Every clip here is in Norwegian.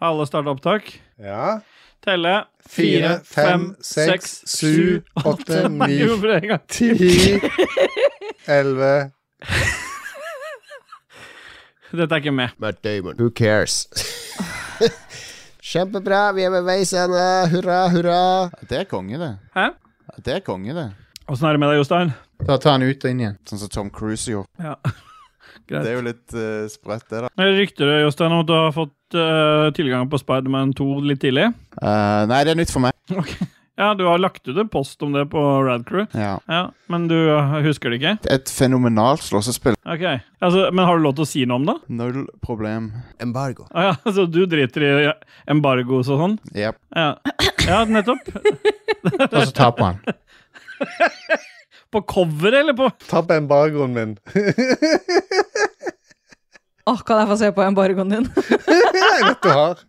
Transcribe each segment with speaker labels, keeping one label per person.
Speaker 1: Alle starter opptak.
Speaker 2: Ja.
Speaker 1: Telle.
Speaker 2: Fire, fem, seks, sju, åtte,
Speaker 1: Nei,
Speaker 2: ni,
Speaker 1: jo, for en gang.
Speaker 2: ti, elleve
Speaker 1: Dette er ikke med.
Speaker 3: Matt Damon. Who cares? Kjempebra, vi er ved veis ende. Hurra, hurra.
Speaker 4: Det er konge, det.
Speaker 1: Hæ?
Speaker 4: Det er konge, det.
Speaker 1: Åssen er det med deg, Jostein?
Speaker 5: Da tar han ut og inn igjen.
Speaker 4: Sånn som Tom Cruise gjorde.
Speaker 1: Ja.
Speaker 4: Det er
Speaker 1: Greit.
Speaker 4: jo litt eh, sprøtt, det, da.
Speaker 1: Rykter det, Jostein, om at du har fått eh, tilgang på Spiderman 2 litt tidlig?
Speaker 4: Eh, nei, det er nytt for meg.
Speaker 1: Ok. Ja, du har lagt ut en post om det på Radcrew.
Speaker 4: Ja.
Speaker 1: Ja, men du eh, husker det ikke?
Speaker 4: Et fenomenalt slåssespill.
Speaker 1: Ok. Altså, men har du lov til å si noe om det?
Speaker 4: Null problem.
Speaker 3: Embargo.
Speaker 1: Å ja, så du driter i eh, embargos og sånn?
Speaker 4: Yep.
Speaker 1: Ja. ja, nettopp.
Speaker 5: Og så taper han.
Speaker 1: På coveret, eller på
Speaker 2: Tapp embargoen min.
Speaker 6: Åh, kan jeg få se på embargoen din?
Speaker 2: Jeg vet du har.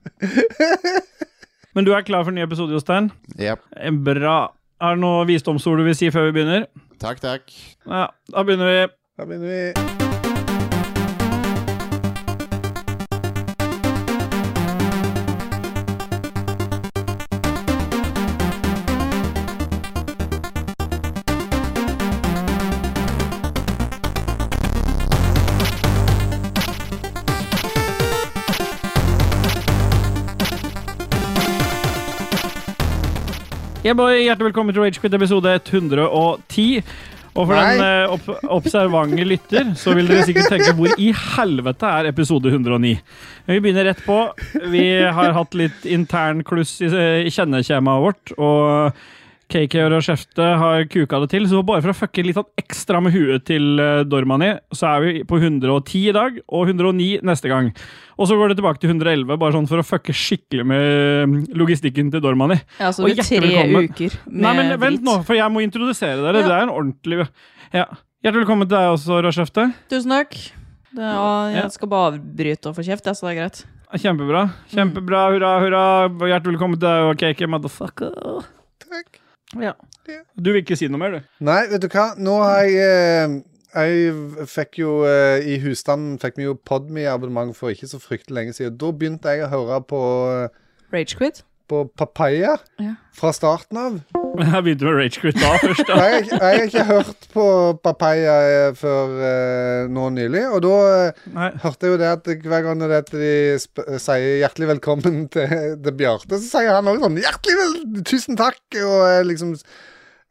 Speaker 1: Men du er klar for en ny episode, Jostein?
Speaker 4: Yep.
Speaker 1: Eh, Bra. Er det noe visdomsord du vil si før vi begynner?
Speaker 4: Takk, takk.
Speaker 1: Ja, da begynner vi.
Speaker 2: Da begynner vi.
Speaker 1: Yeah, boy, hjertelig velkommen til Ragequit episode 110. Og for
Speaker 2: Nei.
Speaker 1: den eh, opp observante lytter, så vil dere sikkert tenke hvor i helvete er episode 109? Men vi begynner rett på. Vi har hatt litt intern kluss i, eh, i kjennekjemaet vårt, og KK og Skjefte har kuka det til, så bare for å fucke litt sånn ekstra med huet til eh, Dormani, så er vi på 110 i dag, og 109 neste gang. Og så går det tilbake til 111, bare sånn for å fucke skikkelig med eh, logistikken til Dormani.
Speaker 6: Ja, så
Speaker 1: Og
Speaker 6: det blir tre
Speaker 1: hjertelig velkommen.
Speaker 6: uker med
Speaker 1: Nei, men vent
Speaker 6: drit.
Speaker 1: nå, for jeg må introdusere dere.
Speaker 6: Ja.
Speaker 1: Det er en ordentlig ja. Hjertelig velkommen til deg også, Rashefte.
Speaker 6: Tusen takk. Det, og
Speaker 1: Ja.
Speaker 6: jeg skal bare avbryte og få kjeft, ja, så det er greit.
Speaker 1: Kjempebra. Kjempebra, hurra, hurra. Hjertelig velkommen til deg og Kake, motherfucker.
Speaker 2: Takk.
Speaker 1: Ja.
Speaker 2: Ja.
Speaker 1: Du vil ikke si noe mer, du?
Speaker 2: Nei, vet du hva? Nå har jeg eh, Jeg fikk jo eh, I husstanden fikk vi jo Podme-abonnement for ikke så fryktelig lenge siden. Da begynte jeg å høre på,
Speaker 6: Ragequit.
Speaker 2: på Papaya
Speaker 6: Ja.
Speaker 2: fra starten av.
Speaker 1: Jeg begynte med rage quit da først.
Speaker 2: Jeg, har ikke- jeg har ikke hørt på Papaya eh, før eh, nå nylig, og da eh,
Speaker 1: Nei.
Speaker 2: hørte jeg jo det at hver gang det at de sp eh, sier hjertelig velkommen til, til Bjarte, så sier han også sånn hjertelig vel, tusen takk, og eh, liksom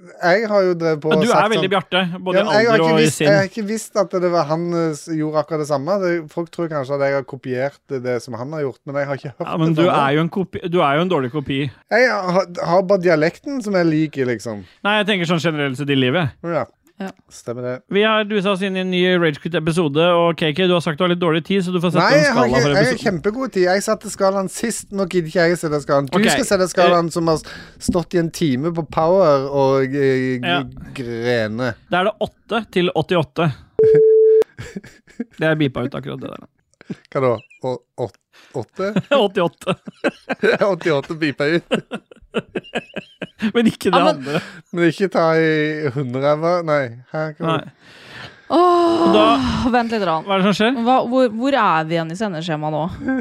Speaker 2: Jeg har jo drevet på
Speaker 1: Men du er
Speaker 2: og sagt
Speaker 1: veldig
Speaker 2: sånn,
Speaker 1: Bjarte, både i
Speaker 2: ja, men jeg, har
Speaker 1: alder
Speaker 2: ikke
Speaker 1: og i
Speaker 2: visst, jeg har
Speaker 1: sinn.
Speaker 2: ikke visst at det var han eh, som gjorde akkurat det samme. Det, folk tror kanskje at jeg har kopiert det som han har gjort, men jeg har ikke hørt
Speaker 1: Ja, men du
Speaker 2: det.
Speaker 1: er, jo en kopi, du er jo en dårlig kopi.
Speaker 2: Jeg har, har bare dialekten som jeg liker, liksom.
Speaker 1: Nei, jeg tenker sånn generelt sett i livet.
Speaker 2: Ja.
Speaker 6: Ja.
Speaker 2: Stemmer det.
Speaker 1: Vi har dusa oss inn i en ny Ragequit-episode, og KK, du har sagt du har litt dårlig tid, så du får sette
Speaker 2: Nei,
Speaker 1: en
Speaker 2: jeg har,
Speaker 1: skala
Speaker 2: ikke,
Speaker 1: for
Speaker 2: jeg har
Speaker 1: episoden.
Speaker 2: kjempegod tid. Jeg satte skalaen sist. Nå gidder ikke jeg å sette skalaen. Du
Speaker 1: Ok, eh,
Speaker 2: skal sette skalaen som har stått i en time på Power og eh, g-
Speaker 1: Ja.
Speaker 2: grene.
Speaker 1: Da er det 8 til 88. Det er beepa ut akkurat det der.
Speaker 2: Hva da? Å- åt- Åtte?
Speaker 1: 88.
Speaker 2: 88 piper ut.
Speaker 1: Men ikke det
Speaker 6: Ja, men-
Speaker 1: andre.
Speaker 2: Men ikke ta i hundreræva. Nei. Her
Speaker 1: Nei.
Speaker 2: kan du
Speaker 6: Åh,
Speaker 1: da-
Speaker 6: vent litt. Rann.
Speaker 1: Hva er det som skjer?
Speaker 6: Hva, hvor, hvor er vi igjen i sendeskjemaet nå?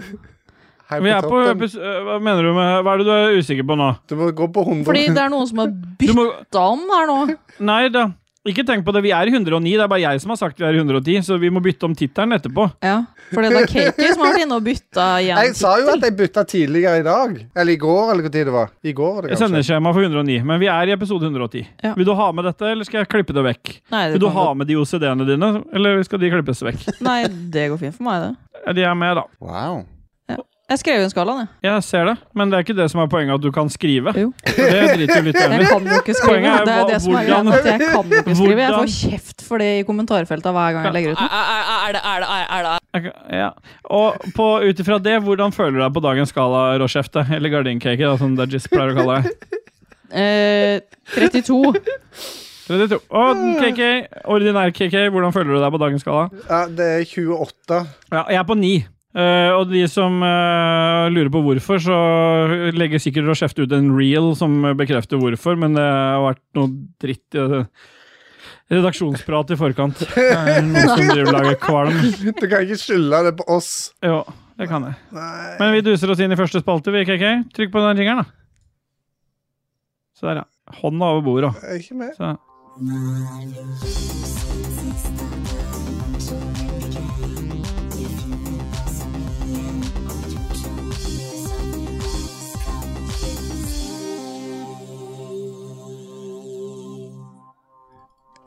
Speaker 2: Hei
Speaker 1: Vi er på
Speaker 2: toppen.
Speaker 1: epis- øh, Hva mener du med Hva er det du er usikker på nå?
Speaker 2: Du må gå på 100.
Speaker 6: Fordi det er noen som har
Speaker 1: Du må
Speaker 6: bytta om her nå.
Speaker 1: Nei da. Ikke tenk på det. Vi er i 109. Det er bare jeg som har sagt vi er i 110, så vi må bytte om tittelen etterpå.
Speaker 6: Ja, Fordi det er Kaker som har vært inne og bytta igjen.
Speaker 2: Jeg sa jo at jeg bytta tidligere i dag. Eller i går, eller hvor tid det var. I går, var det kanskje.
Speaker 1: Sendeskjema for 109. Men vi er i episode 110.
Speaker 6: Ja.
Speaker 1: Vil du ha med dette, eller skal jeg klippe det vekk?
Speaker 6: Nei, det
Speaker 1: Vil du
Speaker 6: kan
Speaker 1: ha
Speaker 6: gå-
Speaker 1: med de OCD-ene dine, eller skal de klippes vekk?
Speaker 6: Nei, det går fint for meg, det.
Speaker 1: Ja, De er med, da.
Speaker 4: Wow.
Speaker 6: Jeg skrev jo en skala, jeg.
Speaker 1: Jeg ser det, men det er ikke det som er poenget, at du kan skrive.
Speaker 6: Jo.
Speaker 1: For det driter jo litt i.
Speaker 6: Jeg kan jo ikke skrive.
Speaker 1: Poenget er
Speaker 6: Det er
Speaker 1: hva-
Speaker 6: det som er greia.
Speaker 1: hvordan-
Speaker 6: at Jeg kan jo ikke skrive. Jeg får
Speaker 1: Hvordan-
Speaker 6: kjeft for det i kommentarfeltet hver gang jeg legger ut noe.
Speaker 7: Er det, er det, er det
Speaker 1: Ok, Ja. Og på- ut ifra det, hvordan føler du deg på dagens skala, Rochefte? Eller gardincake, da, som Dajis pleier å kalle deg.
Speaker 6: Eh, 32.
Speaker 1: 32. Og KK, ordinær KK, hvordan føler du deg på dagens skala?
Speaker 2: Ja, det er 28.
Speaker 1: Ja, jeg er på 9. Eh, og de som eh, lurer på hvorfor, så legger sikkert Rochefte ut en reel som bekrefter hvorfor, men det har vært noe dritt i det. Redaksjonsprat i forkant. Det er Noen som driver og lager kvalm.
Speaker 2: Du kan ikke skylde det på oss.
Speaker 1: Jo. det kan jeg.
Speaker 2: Nei.
Speaker 1: Men vi duser oss inn i første spalte, vi, KK. Trykk på den ringeren, da. Så der, ja. Hånda over bordet.
Speaker 2: Jeg er ikke med.
Speaker 1: Så.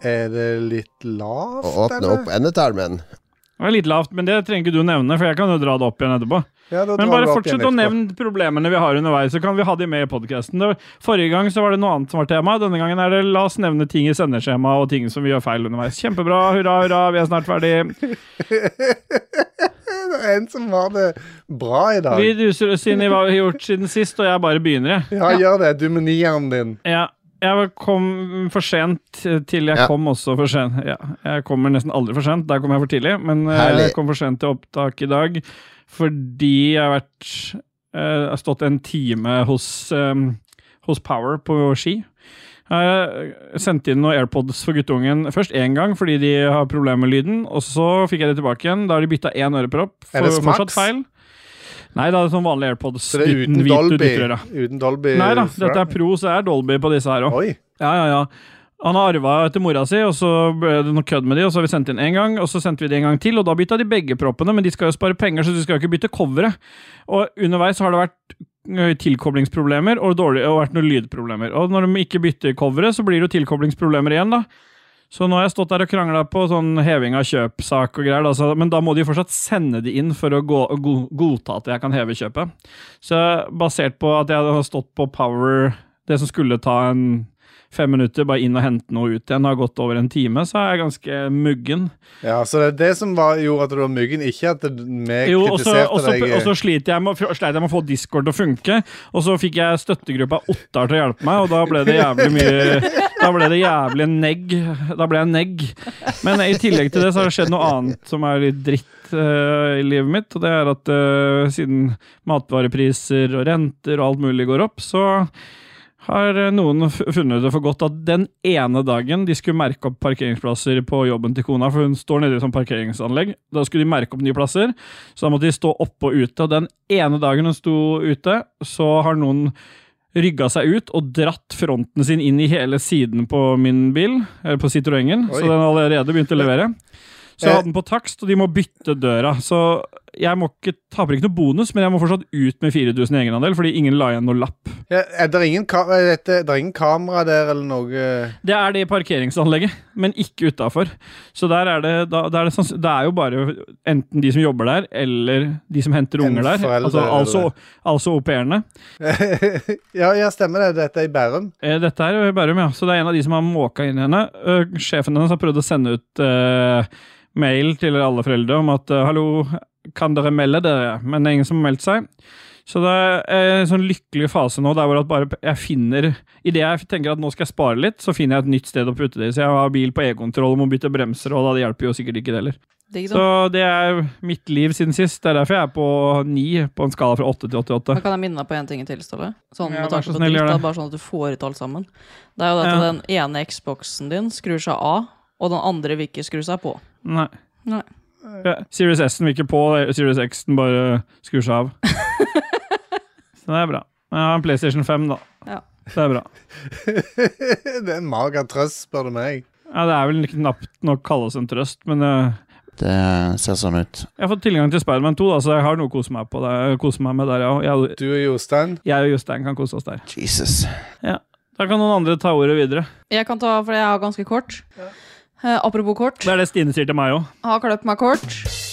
Speaker 2: Er det litt lavt,
Speaker 3: Og åpne opp endetarmen.
Speaker 1: Det var litt lavt, men det trenger ikke du nevne, for jeg kan jo dra det opp igjen etterpå.
Speaker 2: Ja, da
Speaker 1: Men
Speaker 2: drar
Speaker 1: bare
Speaker 2: vi opp
Speaker 1: fortsett
Speaker 2: igjen
Speaker 1: å
Speaker 2: etterpå.
Speaker 1: nevne problemene vi har underveis, så kan vi ha de med i podkasten. Forrige gang så var det noe annet som var tema. Denne gangen er det la oss nevne ting i sendeskjema og ting som vi gjør feil underveis. Kjempebra, hurra, hurra, vi er snart ferdig.
Speaker 2: Det er en som har det bra i dag.
Speaker 1: Vi duser oss inn i hva vi har gjort siden sist, og jeg bare begynner, jeg.
Speaker 2: Ja, gjør det. Du med nieren din.
Speaker 1: Ja, jeg kom for sent til jeg
Speaker 3: Ja.
Speaker 1: kom også for sent. Ja, jeg kommer nesten aldri for sent, der kom jeg for tidlig. Men eh,
Speaker 3: Herlig.
Speaker 1: jeg kom for sent til opptak i dag fordi jeg har vært eh, Jeg har stått en time hos, eh, hos Power på ski. Jeg sendte inn noen AirPods for guttungen først én gang fordi de har problemer med lyden. Og så fikk jeg det tilbake igjen. Da har de bytta én ørepropp.
Speaker 2: Er det
Speaker 1: For-
Speaker 2: Smax?
Speaker 1: fortsatt feil. Nei, da er det sånn vanlige AirPods.
Speaker 2: Så det er uten
Speaker 1: dytten hvit ut
Speaker 2: Dolby.
Speaker 1: ytterøra.
Speaker 2: Uten Dolby
Speaker 1: Nei da,
Speaker 2: fra-
Speaker 1: dette er pro, så det er Dolby på disse her òg.
Speaker 2: Oi.
Speaker 1: Ja, ja, ja. Han har arva etter mora si, og så ble det noe kødd med de, og så har vi sendt inn én gang, og så sendte vi det en gang til, og da bytta de begge proppene, men de skal jo spare penger, så de skal jo ikke bytte coveret. Og underveis har det vært ø, tilkoblingsproblemer og, dårlig, og vært noen lydproblemer. Og når de ikke bytter coveret, så blir det jo tilkoblingsproblemer igjen, da. Så nå har jeg stått der og krangla på sånn heving av kjøpsak og greier, da, så, men da må de jo fortsatt sende det inn for å gå, go, godta at jeg kan heve kjøpet. Så basert på at jeg har stått på Power, det som skulle ta en fem minutter, bare inn og hente noe ut igjen, har gått over en time, så er jeg ganske muggen.
Speaker 2: Ja, så det er det som var, gjorde at du var myggen, ikke at det- vi
Speaker 1: Jo, og så
Speaker 2: kritiserte
Speaker 1: og så-
Speaker 2: deg.
Speaker 1: og så sliter jeg med, å- sleit jeg med å få Discord til å funke, og så fikk jeg støttegruppa Ottar til å hjelpe meg, og da ble det jævlig mye Da ble det jævlig negg. Da ble jeg negg. Men i tillegg til det så har det skjedd noe annet som er litt dritt eh, i livet mitt, og det er at eh, siden matvarepriser og renter og alt mulig går opp, så har eh, noen f- funnet det for godt at den ene dagen de skulle merke opp parkeringsplasser på jobben til kona, for hun står nede i et sånt parkeringsanlegg, da skulle de merke opp nye plasser, så da måtte de stå oppe og ute. Og den ene dagen hun sto ute, så har noen rygga seg ut og dratt fronten sin inn i hele siden på min bil, eller på Citroengen, så
Speaker 2: Oi.
Speaker 1: den har allerede begynt å levere. Så jeg
Speaker 2: Eh.
Speaker 1: hadde den på takst, og de må bytte døra. Så jeg må ikke taper ikke noe bonus, men jeg må fortsatt ut med 4000 i egenandel, fordi ingen la igjen noe lapp.
Speaker 2: eh. ja, er det, ingen ka er dette, det er ingen kamera der eller noe
Speaker 1: Det er det i parkeringsanlegget, men ikke utafor. Så der er det, da, da er det, sanns- det er jo bare enten de som jobber der, eller de som henter
Speaker 2: En
Speaker 1: unger der.
Speaker 2: forelder,
Speaker 1: altså, altså,
Speaker 2: eller-
Speaker 1: altså au pairene.
Speaker 2: ja, ja, stemmer det. Dette er i Bærum.
Speaker 1: Eh, Dette er jo i Bærum, ja. Så det er en av de som har måka inn i henne. Ø, Sjefen hennes har prøvd å sende ut eh, mail til alle foreldre om at eh, hallo, kan dere melde dere? Men det er ingen som har meldt seg. Så det er en sånn lykkelig fase nå, der hvor at bare jeg finner Idet jeg tenker at nå skal jeg spare litt, så finner jeg et nytt sted å putte det i. Så jeg har bil på e-kontroll og må bytte bremser, og da det hjelper jo sikkert ikke det heller.
Speaker 6: Digg,
Speaker 1: Så
Speaker 6: da.
Speaker 1: det er mitt liv siden sist. Det er derfor jeg er på ni på en skala fra åtte til
Speaker 6: Da
Speaker 1: 88.
Speaker 6: kan jeg minne deg på en ting til, Ståle. Sånn
Speaker 1: Ja,
Speaker 6: med
Speaker 1: vær
Speaker 6: tanke
Speaker 1: så
Speaker 6: på
Speaker 1: snill,
Speaker 6: dritt,
Speaker 1: gjør
Speaker 6: da,
Speaker 1: det.
Speaker 6: bare sånn at du får ut alt sammen. Det er jo det at
Speaker 1: Ja.
Speaker 6: den ene Xboxen din skrur seg av, og den andre vil ikke skru seg på.
Speaker 1: Nei.
Speaker 6: Nei.
Speaker 1: Ja, Series S-en vil ikke på, Series X-en bare skrur seg av. Så det er bra. Men Jeg har en PlayStation 5, da.
Speaker 6: Ja.
Speaker 1: Det er bra.
Speaker 2: det er en mager trøst, spør du meg.
Speaker 1: Ja, det er vel knapt nok kalles en trøst, men eh,
Speaker 4: Det ser sånn ut.
Speaker 1: jeg har fått tilgang til Spiderman 2, da, så jeg har noe å kose meg, på der, kose meg med der, ja. Jeg,
Speaker 2: Du og Jostein.
Speaker 1: jeg og Jostein kan kose oss der.
Speaker 4: Jesus.
Speaker 1: Da kan noen andre ta ordet videre.
Speaker 6: Jeg kan ta, for jeg har ganske kort. Eh, apropos kort.
Speaker 1: Det er det Stine sier til meg òg.
Speaker 6: Har kløpt meg kort.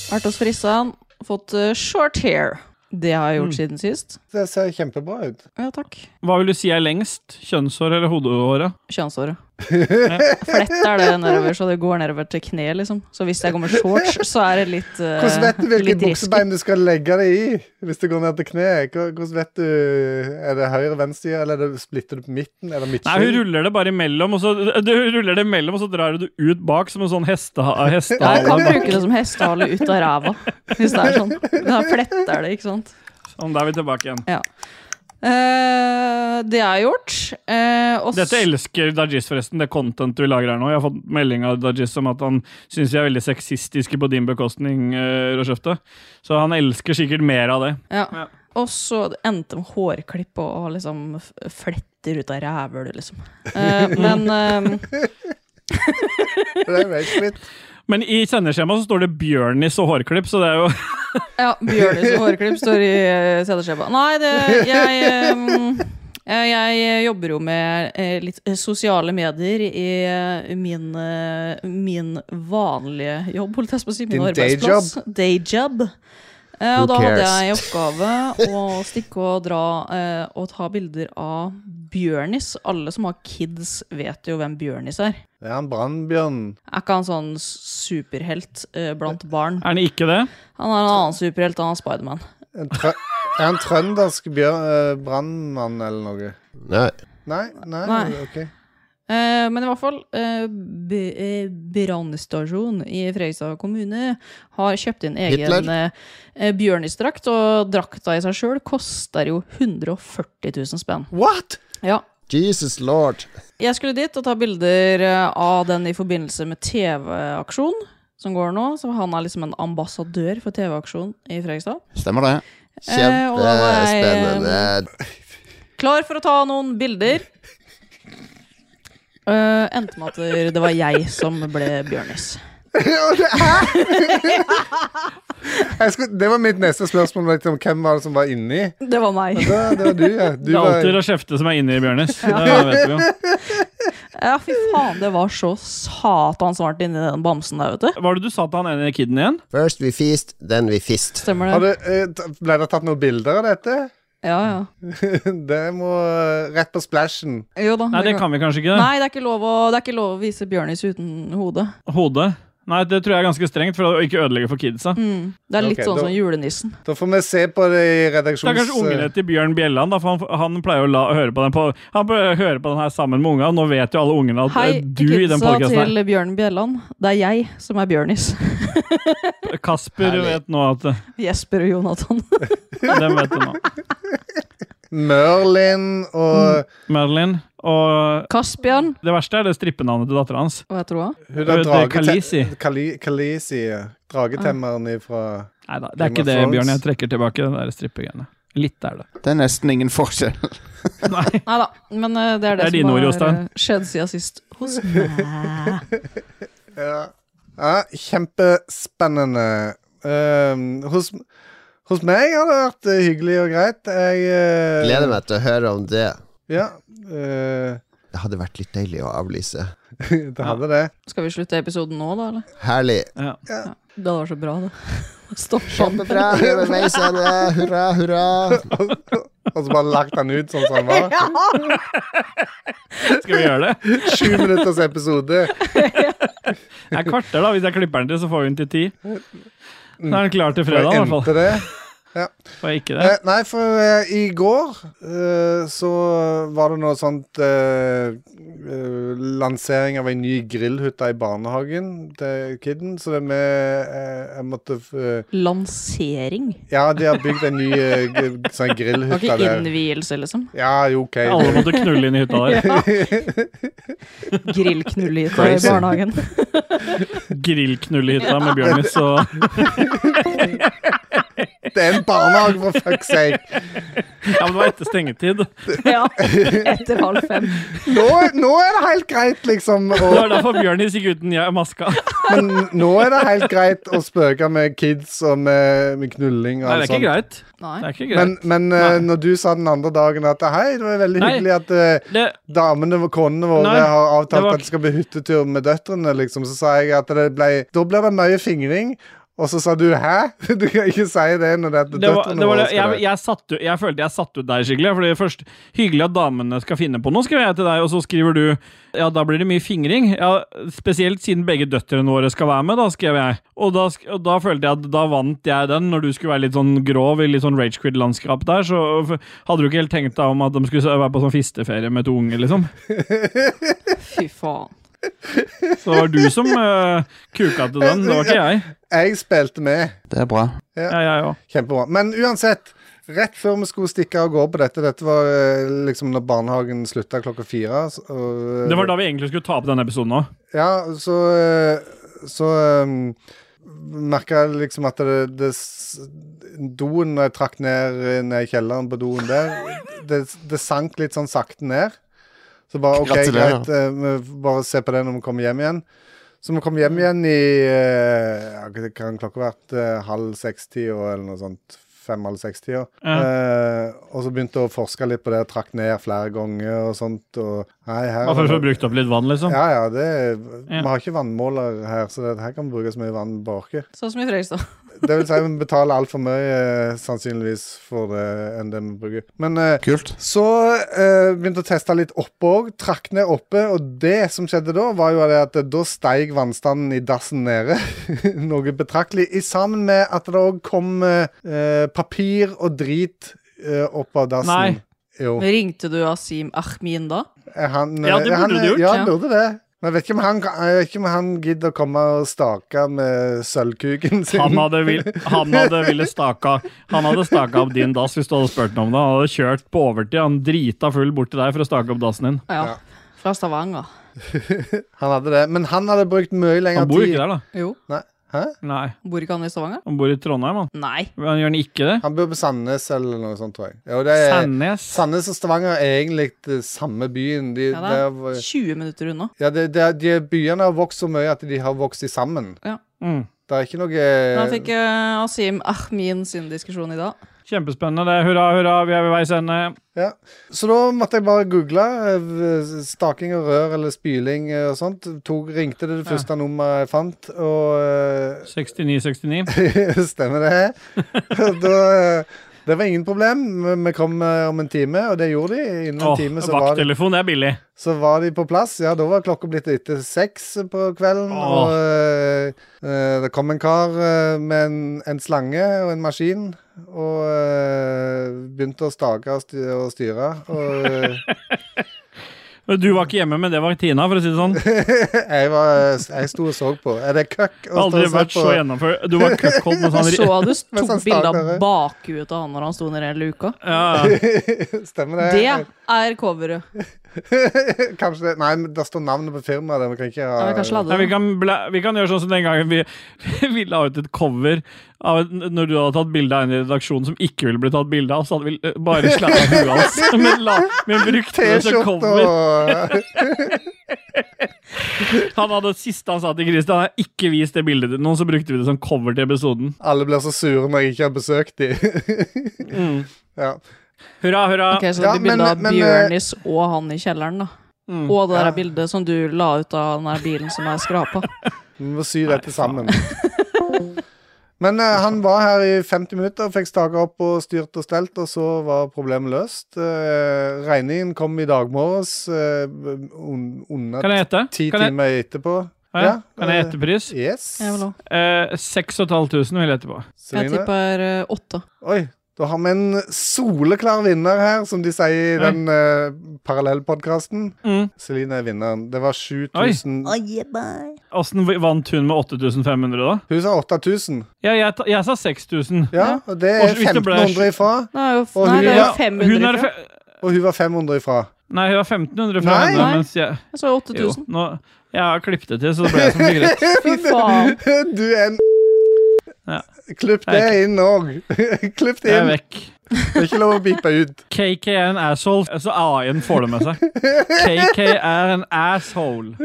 Speaker 6: Vært hos frissan. Fått eh, short hair. Det har jeg gjort
Speaker 1: Mm.
Speaker 6: siden sist.
Speaker 2: Det ser kjempebra ut.
Speaker 6: Ja, takk.
Speaker 1: Hva vil du si er lengst? Kjønnshår eller hodehåret?
Speaker 6: Kjønnshåret. Flett er det nedover, så det går nedover til kne, liksom. Så hvis jeg går med shorts, så er det litt eh,
Speaker 2: Hvordan vet du hvilke
Speaker 6: litt risky.
Speaker 2: buksebein du skal legge det i hvis det går ned til kneet? Hva- Hvordan vet du Er det høyre, venstre, eller er det, splitter du på midten? Er det
Speaker 1: Nei, hun
Speaker 2: midtskinn?
Speaker 1: ruller det bare imellom, og så, du ruller det imellom, og så drar du det ut bak som en sånn hesteha-
Speaker 6: Ja, jeg kan
Speaker 1: hestehale.
Speaker 6: bruke det som hestehale ut av ræva, hvis det er sånn. Da fletter det, ikke sant.
Speaker 1: Sånn, da er vi tilbake igjen.
Speaker 6: Eh, det har jeg gjort. Eh, og
Speaker 1: Dette elsker Dajis, forresten. Det content du lager her nå. Jeg har fått melding av Dajis om at han syns vi er veldig sexistiske på din bekostning, uh, Røsjøfte. Så han elsker sikkert mer av det.
Speaker 6: Ja.
Speaker 1: Ja.
Speaker 6: Og så endte med hårklipp og, og liksom f- fletter ut av rævhølet, liksom. Eh, men eh,
Speaker 2: Det er rage quit.
Speaker 1: Men i sendeskjemaet så står det Bjørnis og hårklipp, så det er jo
Speaker 6: ja, Bjørnis og hårklipp står i eh, CD-skjeva. Nei, det Jeg eh, eh, jeg jobber jo med eh, litt eh, sosiale medier i eh, min, eh, min vanlige jobb, holdt jeg på å si. Min
Speaker 2: Din day
Speaker 6: arbeidsplass. Dayjob. Eh,
Speaker 3: Who
Speaker 6: og da hadde
Speaker 3: cares?
Speaker 6: jeg i oppgave å stikke og dra eh, og ta bilder av Bjørnis. Alle som har kids, vet jo hvem Bjørnis er.
Speaker 2: Det er han brannbjørnen.
Speaker 6: Er ikke han sånn superhelt eh, blant barn?
Speaker 1: Er han ikke det?
Speaker 6: Han er en annen superhelt, han er Spiderman.
Speaker 2: En trø- Er han trøndersk bjørn, eh, brannmann eller noe?
Speaker 3: Nei.
Speaker 2: Nei, nei,
Speaker 6: Nei.
Speaker 2: ok.
Speaker 6: Eh, men i hvert fall, eh, b- eh, brannstasjon i Fredrikstad kommune har kjøpt inn egen
Speaker 3: Hitler.
Speaker 6: eh, eh, bjørnisdrakt, og drakta i seg sjøl koster jo 140 000 spenn.
Speaker 2: What?!
Speaker 6: Ja.
Speaker 3: Jesus lord.
Speaker 6: Jeg skulle dit og ta bilder eh, av den i forbindelse med TV-aksjon som går nå. Så han er liksom en ambassadør for TV-aksjon i Fredrikstad.
Speaker 4: Stemmer det?
Speaker 6: Eh, og da var jeg,
Speaker 3: Kjempespennende.
Speaker 6: Klar for å ta noen bilder. Eh, endte med at det var jeg som ble Bjørnis.
Speaker 2: Jeg skulle, det var mitt neste spørsmål. Liksom, hvem var det som var inni?
Speaker 6: Det var meg.
Speaker 2: Det, det var du, ja. Du
Speaker 1: Det er alltid
Speaker 2: var,
Speaker 1: Røsjøfte som er inne i Bjørnis. Det vet vi jo.
Speaker 6: Ja, fy faen, det var så satans varmt inni den bamsen der, vet du.
Speaker 1: Hva var det du sa til han ene kiden igjen?
Speaker 3: First we feast, then we fist.
Speaker 6: Stemmer
Speaker 2: har
Speaker 6: det?
Speaker 2: du, eh, t- ble det tatt noen bilder av dette?
Speaker 6: Ja, ja.
Speaker 2: Det må eh, rett på splashen.
Speaker 6: Jo da.
Speaker 1: Nei, det kan vi kanskje ikke.
Speaker 6: Nei, det er ikke lov å, det er ikke lov å vise Bjørnis uten hode.
Speaker 1: Hodet. Nei, det tror jeg er ganske strengt for å ikke ødelegge for kidsa.
Speaker 6: Det er litt
Speaker 2: Ok,
Speaker 6: sånn
Speaker 2: da-
Speaker 6: som julenissen.
Speaker 2: Da får vi se på det i
Speaker 1: Det er
Speaker 2: redaksjons... eh,
Speaker 1: kanskje ungene til Bjørn Bjelland, da, for han, han pleier å la, høre på den på, Han pleier å høre på den her sammen med unga, og nå vet jo alle ungene at eh,
Speaker 6: Hei,
Speaker 1: du i den
Speaker 6: kidsa
Speaker 1: podkasten
Speaker 6: til Bjørn Bjelland. Det er jeg som er Bjørnis.
Speaker 1: her Kasper
Speaker 3: Herlig.
Speaker 1: vet nå at eh,
Speaker 6: Jesper og Jonathan.
Speaker 1: Dem vet du nå.
Speaker 2: Merlin
Speaker 1: Mm.
Speaker 2: og
Speaker 1: Madeline. Og
Speaker 6: Kasbjørn.
Speaker 1: det verste er det strippenavnet til dattera hans.
Speaker 6: Og jeg tror han.
Speaker 2: Hun
Speaker 1: Hun
Speaker 2: der
Speaker 1: heter
Speaker 2: dragete-
Speaker 1: Khaleesi.
Speaker 2: Khali- Khaleesi, ja. Dragetemmeren ifra
Speaker 1: Nei da, det er ikke det,
Speaker 2: Game of Thrones.
Speaker 1: Bjørn. Jeg trekker tilbake den der strippegreiene. Litt er det.
Speaker 4: Det er nesten ingen forskjell.
Speaker 1: Nei.
Speaker 6: Nei da, men eh, det er det,
Speaker 1: Det er dine
Speaker 6: som
Speaker 1: ord,
Speaker 6: har
Speaker 1: Jostein.
Speaker 6: eh, skjedd siden sist hos meg.
Speaker 2: Ja. ja kjempespennende. Ehm, hos, hos meg har det vært eh, hyggelig og greit. Jeg eh,
Speaker 3: Gleder meg til å høre om det.
Speaker 2: Ja. eh,
Speaker 3: Det hadde vært litt deilig å avlyse.
Speaker 2: det hadde det.
Speaker 6: Skal vi slutte episoden nå, da? eller?
Speaker 3: Herlig.
Speaker 1: Ja.
Speaker 6: Det hadde vært så bra, det. Stopp sånn.
Speaker 3: Kjempebra. Vi er ved veisende. Hurra, hurra.
Speaker 2: Og så bare lagt han ut sånn som han var.
Speaker 1: Skal vi gjøre det?
Speaker 2: Sju minutters episode.
Speaker 1: Det er kvarter, da. Hvis jeg klipper den til, så får vi den til ti. Da er den klar til fredag, i hvert fall.
Speaker 2: Endte det.
Speaker 1: Får jeg ikke det?
Speaker 2: Eh, nei, for eh, i går eh, så var det noe sånt eh, eh, Lansering av ei ny grillhytte i barnehagen til kidden. Så det med eh, Jeg måtte f- eh,
Speaker 6: sånn. Lansering?
Speaker 2: Ja, de har bygd ei ny eh, g- sånn
Speaker 6: Det var
Speaker 2: grillhytte
Speaker 6: ikke
Speaker 2: der.
Speaker 6: innvielse, liksom?
Speaker 2: Ja, jo, OK.
Speaker 1: Alle måtte knulle inn i hytta der.
Speaker 6: Grillknull i i
Speaker 3: Crazy.
Speaker 6: barnehagen.
Speaker 1: Grillknulle i hytta med Bjørnis og
Speaker 2: Det er en barnehage, for fuck's sake!
Speaker 1: Ja, men det var etter stengetid.
Speaker 6: ja, etter halv fem.
Speaker 2: Nå, nå er det helt greit, liksom.
Speaker 1: Det
Speaker 2: Og,
Speaker 1: var derfor Bjørnis gikk uten jeg- maska.
Speaker 2: men nå er det helt greit å spøke med kids og med, med knulling og
Speaker 1: Nei, det
Speaker 2: alt
Speaker 1: er ikke
Speaker 2: sånt.
Speaker 1: greit. Det
Speaker 6: Nei.
Speaker 1: er ikke
Speaker 2: Men,
Speaker 1: greit.
Speaker 2: men eh,
Speaker 1: Nei.
Speaker 2: når du sa den andre dagen at hei, det var veldig
Speaker 1: Nei.
Speaker 2: hyggelig at eh,
Speaker 1: Det,
Speaker 2: damene og konene våre
Speaker 1: Nei,
Speaker 2: har
Speaker 1: det
Speaker 2: avtalt
Speaker 1: var-
Speaker 2: at det skal bli hyttetur med døtrene, liksom, så sa jeg at det ble Da ble det mye fingring. Og så sa du 'hæ?' Du kan ikke si det når det er
Speaker 1: det var,
Speaker 2: døtrene
Speaker 1: det var
Speaker 2: våre
Speaker 1: det.
Speaker 2: skal
Speaker 1: Jeg,
Speaker 2: det.
Speaker 1: jeg, satt, ut- jeg følte jeg satte ut deg skikkelig. Fordi først Hyggelig at damene skal finne på noe, skrev jeg til deg, og så skriver du ja, da blir det mye fingring. Ja, Spesielt siden begge døtrene våre skal være med, da, skrev jeg. Og da, sk- og da følte jeg at da vant jeg den, når du skulle være litt sånn grov i litt sånn ragequid-landskap der, så f- hadde du ikke helt tenkt deg om at de skulle s- være på sånn fisteferie med to unger, liksom.
Speaker 6: Fy faen.
Speaker 1: Så det var du som øh, kuka til den, det var ikke jeg.
Speaker 2: Jeg spilte med.
Speaker 4: Det er bra.
Speaker 1: Ja, jeg òg.
Speaker 2: Kjempebra. Men uansett, Rett før vi skulle stikke av gårde på dette Dette var eh, liksom når barnehagen slutta klokka fire. så- og-
Speaker 1: Det var da vi egentlig skulle ta opp denne episoden òg.
Speaker 2: Ja, så eh, Så um, merka jeg liksom at det, det s- Doen når jeg trakk ned, eh, ned i kjelleren på doen der, det, det sank litt sånn sakte ned. Så bare OK,
Speaker 4: Gratulerer.
Speaker 2: greit, eh, vi får bare se på det når vi kommer hjem igjen. Så vi kom hjem igjen i eh, ja, hva kan klokka vært eh, halv seks-tida eller noe sånt. Fem-halv seks-tida. Eh, og så begynte jeg å forske litt på det, trakk ned flere ganger og sånt. Og, nei, her,
Speaker 1: Bare for å få brukt opp litt vann, liksom.
Speaker 2: ja, ja, det er,
Speaker 1: Ja.
Speaker 2: Vi har ikke vannmåler her, så det her kan brukes mye vann vi orker.
Speaker 6: Sånn som i Fredrikstad.
Speaker 2: Det vil si vi betaler altfor mye eh, sannsynligvis for det enn det vi bruker. Men eh,
Speaker 4: Kult.
Speaker 2: så eh, begynte jeg å teste litt oppe òg. Trakk ned oppe, og det som skjedde da, var jo det at eh, da steig vannstanden i dassen nede noe betraktelig. I sammen med at det òg kom eh, eh, papir og drit eh, opp av dassen.
Speaker 1: Nei.
Speaker 2: Jo.
Speaker 6: Ringte du Asim Ahmin da?
Speaker 2: Er Han,
Speaker 1: Ja, det burde
Speaker 2: er han,
Speaker 1: du gjort.
Speaker 2: Ja,
Speaker 6: Ja.
Speaker 2: han burde det. Men jeg vet ikke om han, jeg vet ikke om han gidder å komme og stake med sølvkuken sin.
Speaker 1: Han hadde, vil, han hadde ville staka Han hadde staka opp din dass hvis du hadde spurt ham om det. Han hadde kjørt på overtid, han drita full bort til deg for å stake opp dassen din.
Speaker 6: Ja. Fra Stavanger.
Speaker 2: Han hadde det, men han hadde brukt mye lengre
Speaker 1: Han bor
Speaker 2: tid.
Speaker 1: ikke der, da.
Speaker 6: Jo.
Speaker 2: Nei. Hæ?
Speaker 1: Nei,
Speaker 6: Bor ikke han i Stavanger?
Speaker 1: han bor i Trondheim, han.
Speaker 6: Nei.
Speaker 1: Men Gjør han ikke det?
Speaker 2: Han bor på Sandnes eller noe sånt, tror jeg. Jo, det er,
Speaker 1: Sandnes?
Speaker 2: Sandnes og Stavanger er egentlig det samme byen. De,
Speaker 6: Ja,
Speaker 2: ja,
Speaker 6: da. 20 minutter unna.
Speaker 2: ja, det- det- de byene har vokst så mye at de har vokst i sammen.
Speaker 1: Mm.
Speaker 2: Det er ikke noe
Speaker 6: Da fikk eh, Asim Ahmin sin diskusjon i dag.
Speaker 1: Kjempespennende. det. Hurra, hurra, vi er ved veis ende.
Speaker 2: Ja. Så da måtte jeg bare google eh, staking og rør eller spyling eh, og sånt. Tok, ringte det det første nummeret jeg fant, og
Speaker 1: 69-69.
Speaker 2: eh, Stemmer det? da, eh, det var ingen problem. Vi- Vi kom eh, om en time, og det gjorde de. Innen en
Speaker 1: Åh,
Speaker 2: time så var, de,
Speaker 1: Vakttelefon, det er billig.
Speaker 2: så var de på plass. Ja, da var klokka blitt etter seks på kvelden,
Speaker 1: Åh.
Speaker 2: og eh, eh, det kom en kar eh, med en, en slange og en maskin. Og eh, begynte å stake og sty- og styre. Og eh,
Speaker 1: Du var ikke hjemme, men det var Tina, for å si det sånn.
Speaker 2: jeg, var, eh, jeg sto og så på. Er det køkk å stå
Speaker 1: Aldri
Speaker 2: og
Speaker 1: vært
Speaker 2: se
Speaker 1: så
Speaker 2: på?
Speaker 1: gjennomført. Du var cuckold med
Speaker 6: Jeg så
Speaker 1: sånn
Speaker 6: du
Speaker 2: Mens
Speaker 6: tok
Speaker 2: han
Speaker 6: bilde av
Speaker 2: staker.
Speaker 6: bakhuet av han når han sto nede hele uka.
Speaker 1: ja, ja.
Speaker 2: Stemmer det?
Speaker 6: Det er coveret.
Speaker 2: Kanskje det Nei, men der står navnet på firmaet. det, Vi kan ikke
Speaker 6: Ja, vi
Speaker 2: ha
Speaker 6: kan sladde
Speaker 1: Nei, vi,
Speaker 6: det.
Speaker 1: kan bla, vi kan gjøre sånn som den gangen vi, vi la ut et cover av, et- når du hadde tatt bilde av en i redaksjonen som ikke ville bli tatt bilde av, så hadde vi eh, bare sletta huet hans. Men, la, men brukte det som
Speaker 2: T-skjorte
Speaker 1: cover.
Speaker 2: og
Speaker 1: Han hadde siste han sa til Christian, er ikke vis det bildet til noen, så brukte vi det som cover til episoden.
Speaker 2: Alle blir så sure når jeg ikke har besøkt dem. Mm. ja.
Speaker 1: Hurra, hurra.
Speaker 6: Ok, så det
Speaker 2: Ja,
Speaker 6: blir bilde
Speaker 2: men-
Speaker 6: av
Speaker 2: men, eh,
Speaker 6: Bjørnis og han i kjelleren, da.
Speaker 1: Mm.
Speaker 6: Og det der
Speaker 2: Ja.
Speaker 6: bildet som du la ut av den der bilen som er skrapa.
Speaker 2: Vi må sy dette sammen. Men eh, han var her i 50 minutter, fikk staka opp og styrt og stelt, og så var problemet løst. Eh, regningen kom i dag morges, eh, un- under
Speaker 1: Kan jeg gjette?
Speaker 2: ti
Speaker 1: Kan jeg,
Speaker 2: timer etterpå.
Speaker 1: ja,
Speaker 2: Ja,
Speaker 1: kan jeg
Speaker 2: eh,
Speaker 1: gjette pris?
Speaker 2: Yes.
Speaker 6: Jeg vil også.
Speaker 1: Eh, 6500 vil jeg gjette på.
Speaker 6: Jeg
Speaker 2: Celine.
Speaker 6: tipper eh, åtte.
Speaker 2: Oi, da har vi en soleklar vinner her, som de sier i den uh, parallellpodkasten.
Speaker 1: Mm.
Speaker 2: Celine er vinneren. Det var 7000
Speaker 1: Åssen vant hun med 8500, da?
Speaker 2: Hun sa 8000.
Speaker 1: Ja, jeg, ta- jeg sa 6000.
Speaker 2: Ja, og det
Speaker 1: Og
Speaker 2: er
Speaker 1: så hvis det ble-
Speaker 2: 1500 ifra,
Speaker 6: Nei, jo, f-
Speaker 2: Og
Speaker 6: nei
Speaker 2: hun
Speaker 6: det er jo
Speaker 2: er-
Speaker 1: Hun
Speaker 6: 500
Speaker 1: er,
Speaker 6: fra.
Speaker 1: fe-
Speaker 2: og hun var 500 ifra.
Speaker 1: nei, hun er 1500 fra
Speaker 2: Nei.
Speaker 1: henne.
Speaker 6: Nei.
Speaker 1: Mens jeg,
Speaker 6: Jeg så
Speaker 1: jo,
Speaker 6: 8000.
Speaker 1: nå, jeg har klippet det til, så det ble jeg som fikk rett.
Speaker 6: Fy faen.
Speaker 2: Du er en
Speaker 1: Ja.
Speaker 2: Klipp det
Speaker 1: Jeg
Speaker 2: inn òg. Klipp det
Speaker 1: Jeg er
Speaker 2: inn.
Speaker 1: vekk.
Speaker 2: Det er ikke lov å pipe ut.
Speaker 1: KK er en asshole, så AI-en får det med seg. KK er en asshole.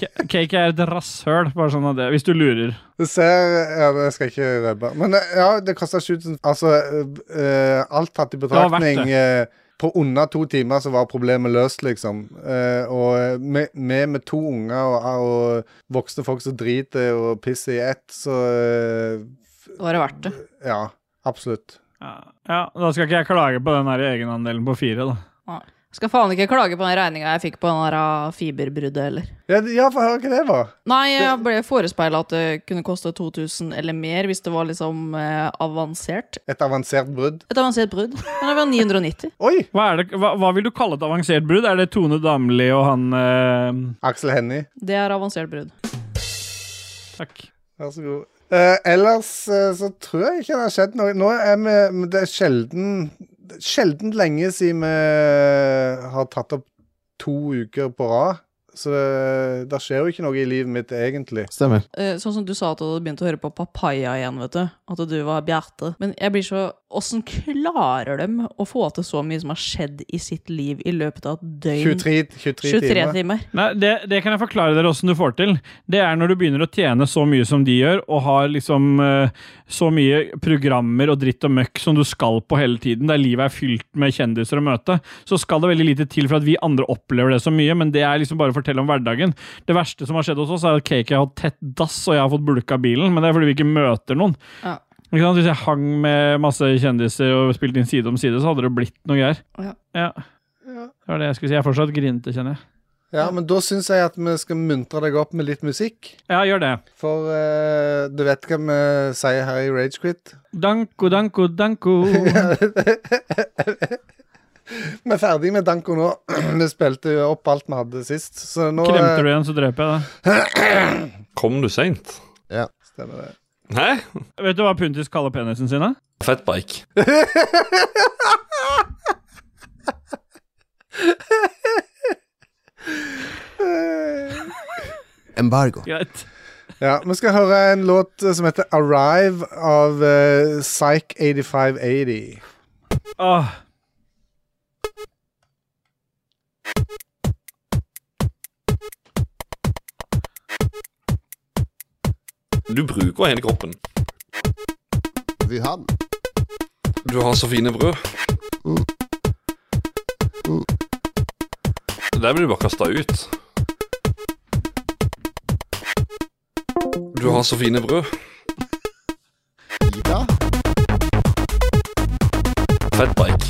Speaker 1: K KK er et rasshøl, bare sånn at det Hvis du lurer.
Speaker 2: Du ser Ja, jeg skal ikke røpe. Men eh, ja, det kosta 7000 Altså, eh, eh, alt tatt i
Speaker 1: var verdt
Speaker 2: betraktning eh, På under to timer så var problemet løst, liksom. Eh, og eh, med, med, med to unger og, og voksne folk som driter og pisser i ett, så eh,
Speaker 6: Da var det verdt det.
Speaker 2: Ja, absolutt.
Speaker 1: Ja, ja, da skal ikke jeg klage på den her egenandelen på fire, da.
Speaker 6: Jeg skal faen ikke klage på den regninga jeg fikk på den der ah, fiberbruddet, eller.
Speaker 2: Ja, d- ja få høre hva det var.
Speaker 6: Nei, jeg ble forespeila at det kunne koste 2000 eller mer hvis det var liksom eh, avansert.
Speaker 2: Et avansert brudd.
Speaker 6: Et avansert brudd. Men det var 990.
Speaker 2: Oi!
Speaker 1: Hva, er det, hva, hva vil du kalle et avansert brudd? Er det Tone Damli og han eh,
Speaker 2: Aksel Hennie,
Speaker 6: Det er avansert brudd.
Speaker 1: Takk.
Speaker 2: vær så god. Eh, ellers eh, så tror jeg ikke det har skjedd noe. Nå er vi men Det er sjelden Sjelden lenge siden vi har tatt opp to uker på rad. Så det, det skjer jo ikke noe i livet mitt, egentlig.
Speaker 8: Stemmer.
Speaker 6: Eh, Sånn som du sa at du hadde begynt å høre på Papaya igjen, vet du. At du var Bjarte. Men jeg blir så Åssen klarer dem å få til så mye som har skjedd i sitt liv i løpet av et døgn?
Speaker 2: 23, 23,
Speaker 6: 23
Speaker 2: timer.
Speaker 6: timer.
Speaker 1: Nei, det, det kan jeg forklare dere åssen du får til. Det er når du begynner å tjene så mye som de gjør, og har liksom eh, så mye programmer og dritt og møkk som du skal på hele tiden, der livet er fylt med kjendiser å møte, så skal det veldig lite til for at vi andre opplever det så mye, men det er liksom bare å fortelle om hverdagen. Det verste som har skjedd hos oss, er at Cake har hatt tett dass, og jeg har fått bulka bilen, men det er fordi vi ikke møter noen.
Speaker 6: Ja.
Speaker 1: Ikke sant? Hvis jeg hang med masse kjendiser og spilte inn side om side, så hadde det blitt noe greier.
Speaker 6: Ja.
Speaker 1: Det var det jeg skulle si. Jeg er fortsatt grinete, kjenner jeg.
Speaker 2: Ja, men da syns jeg at vi skal muntre deg opp med litt musikk.
Speaker 1: Ja, gjør det.
Speaker 2: For eh, du vet hva vi sier her i Ragequit?
Speaker 1: Danko, danko, danko.
Speaker 2: Vi er ferdig med Danko nå. vi spilte jo opp alt vi hadde sist, så nå eh,
Speaker 1: Kremter du igjen, så dreper jeg deg.
Speaker 9: Kom du seint?
Speaker 2: Stemmer det.
Speaker 9: Hæ?
Speaker 1: Vet du hva Puntis kaller penisen sin? da?
Speaker 9: Fettbike.
Speaker 3: Embargo.
Speaker 1: Greit.
Speaker 2: Ja, Vi skal høre en låt eh, som heter 'Arrive' av uh, Psych 8580.
Speaker 1: Åh.
Speaker 9: Du bruker hele kroppen.
Speaker 3: Wuhan.
Speaker 9: Du har så fine brød. Der blir du bare kasta ut. Du har så fine brød.
Speaker 3: Ida.
Speaker 9: Fatbike.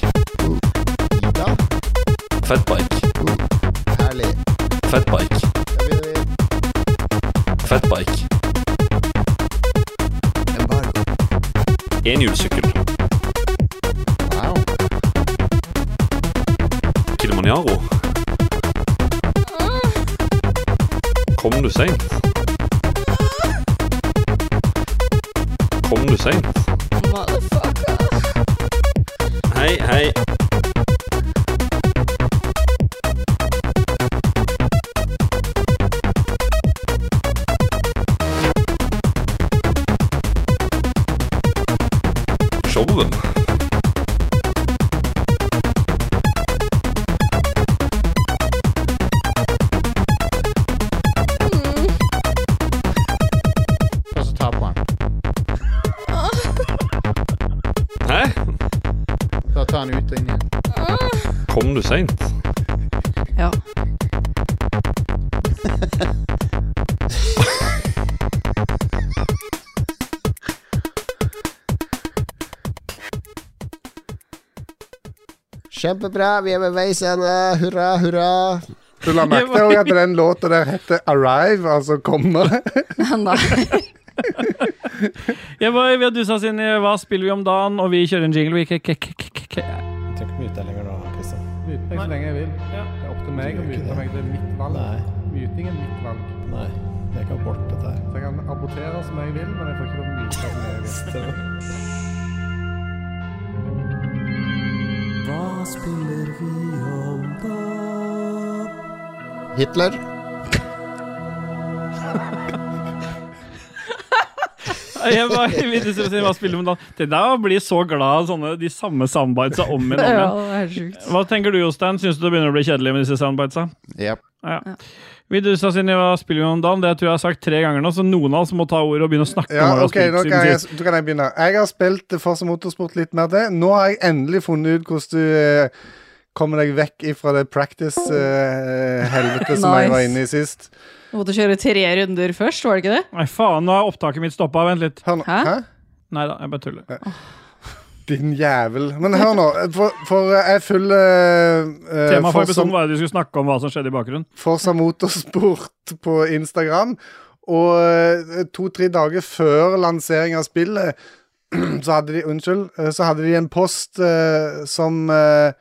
Speaker 3: Ida.
Speaker 9: Fatbike.
Speaker 3: Herlig.
Speaker 9: Fatbike.
Speaker 3: Da begynner vi.
Speaker 9: Fatbike.
Speaker 3: Embargo.
Speaker 9: Enhjulssykkel.
Speaker 5: Wow.
Speaker 9: Kilimanjaro. Kom du seint? Kom du seint? Hei, hei. Showen.
Speaker 5: Og så taper han.
Speaker 9: Hæ?
Speaker 5: Da tar han ut og inn igjen.
Speaker 9: Kom du seint?
Speaker 6: Ja.
Speaker 3: Kjempebra, vi er ved veis ende. Hurra, hurra.
Speaker 2: Du la merke til også at den låta der heter 'Arrive', altså 'komme'.
Speaker 6: Nei.
Speaker 1: Jeg var, vi har dusa oss inn i Hva spiller vi om dagen? Og vi kjører en jingle. Vi k k k k k k
Speaker 8: Du trenger ikke mute deg lenger nå, Kristian.
Speaker 2: Mute meg så lenge jeg vil. Det er opp til meg å mute meg. Det er mitt valg. Muting er mitt valg.
Speaker 8: Nei, det er ikke abort, dette her.
Speaker 2: Så jeg kan abortere som jeg vil, men jeg får ikke lov å mute som jeg vil.
Speaker 3: Hitler.
Speaker 1: Jeg var vi duser oss inn i Hva spiller vi om dagen? Det der blir så glad av sånne, de samme soundbitesa om igjen. om
Speaker 6: Ja,
Speaker 1: igjen.
Speaker 6: det er helt sjukt.
Speaker 1: Hva tenker du, Jostein? Syns du det begynner å bli kjedelig med disse soundbitesa?
Speaker 4: Yep.
Speaker 1: Ja. Vi dusa oss inn i Hva spiller vi om dagen? Det tror jeg jeg har sagt tre ganger nå, så noen av oss må ta ordet og begynne å snakke om hva vi
Speaker 2: Ja,
Speaker 1: har
Speaker 2: ok,
Speaker 1: spilt
Speaker 2: nå
Speaker 1: siden
Speaker 2: kan jeg,
Speaker 1: sist.
Speaker 2: da kan jeg begynne. Jeg har spilt Forza Motorsport litt mer det. Nå har jeg endelig funnet ut hvordan du eh, kommer deg vekk ifra det practice-helvetet som jeg var
Speaker 6: Nice.
Speaker 2: inne i sist.
Speaker 6: Du måtte kjøre tre runder først, var det ikke det?
Speaker 1: Nei, faen, nå har opptaket mitt stoppa. Vent litt.
Speaker 2: Hør nå.
Speaker 6: Hæ?
Speaker 2: Hæ?
Speaker 1: Nei da, jeg bare tuller.
Speaker 2: Din jævel. Men hør nå, for, for eh, jeg følger eh,
Speaker 1: Temaet for
Speaker 2: Forza-
Speaker 1: episoden var at vi skulle snakke om hva som skjedde i bakgrunnen.
Speaker 2: Forsa Motorsport på Instagram. Og eh, to-tre dager før lansering av spillet, så hadde de Unnskyld. eh, Så hadde de en post eh, som eh,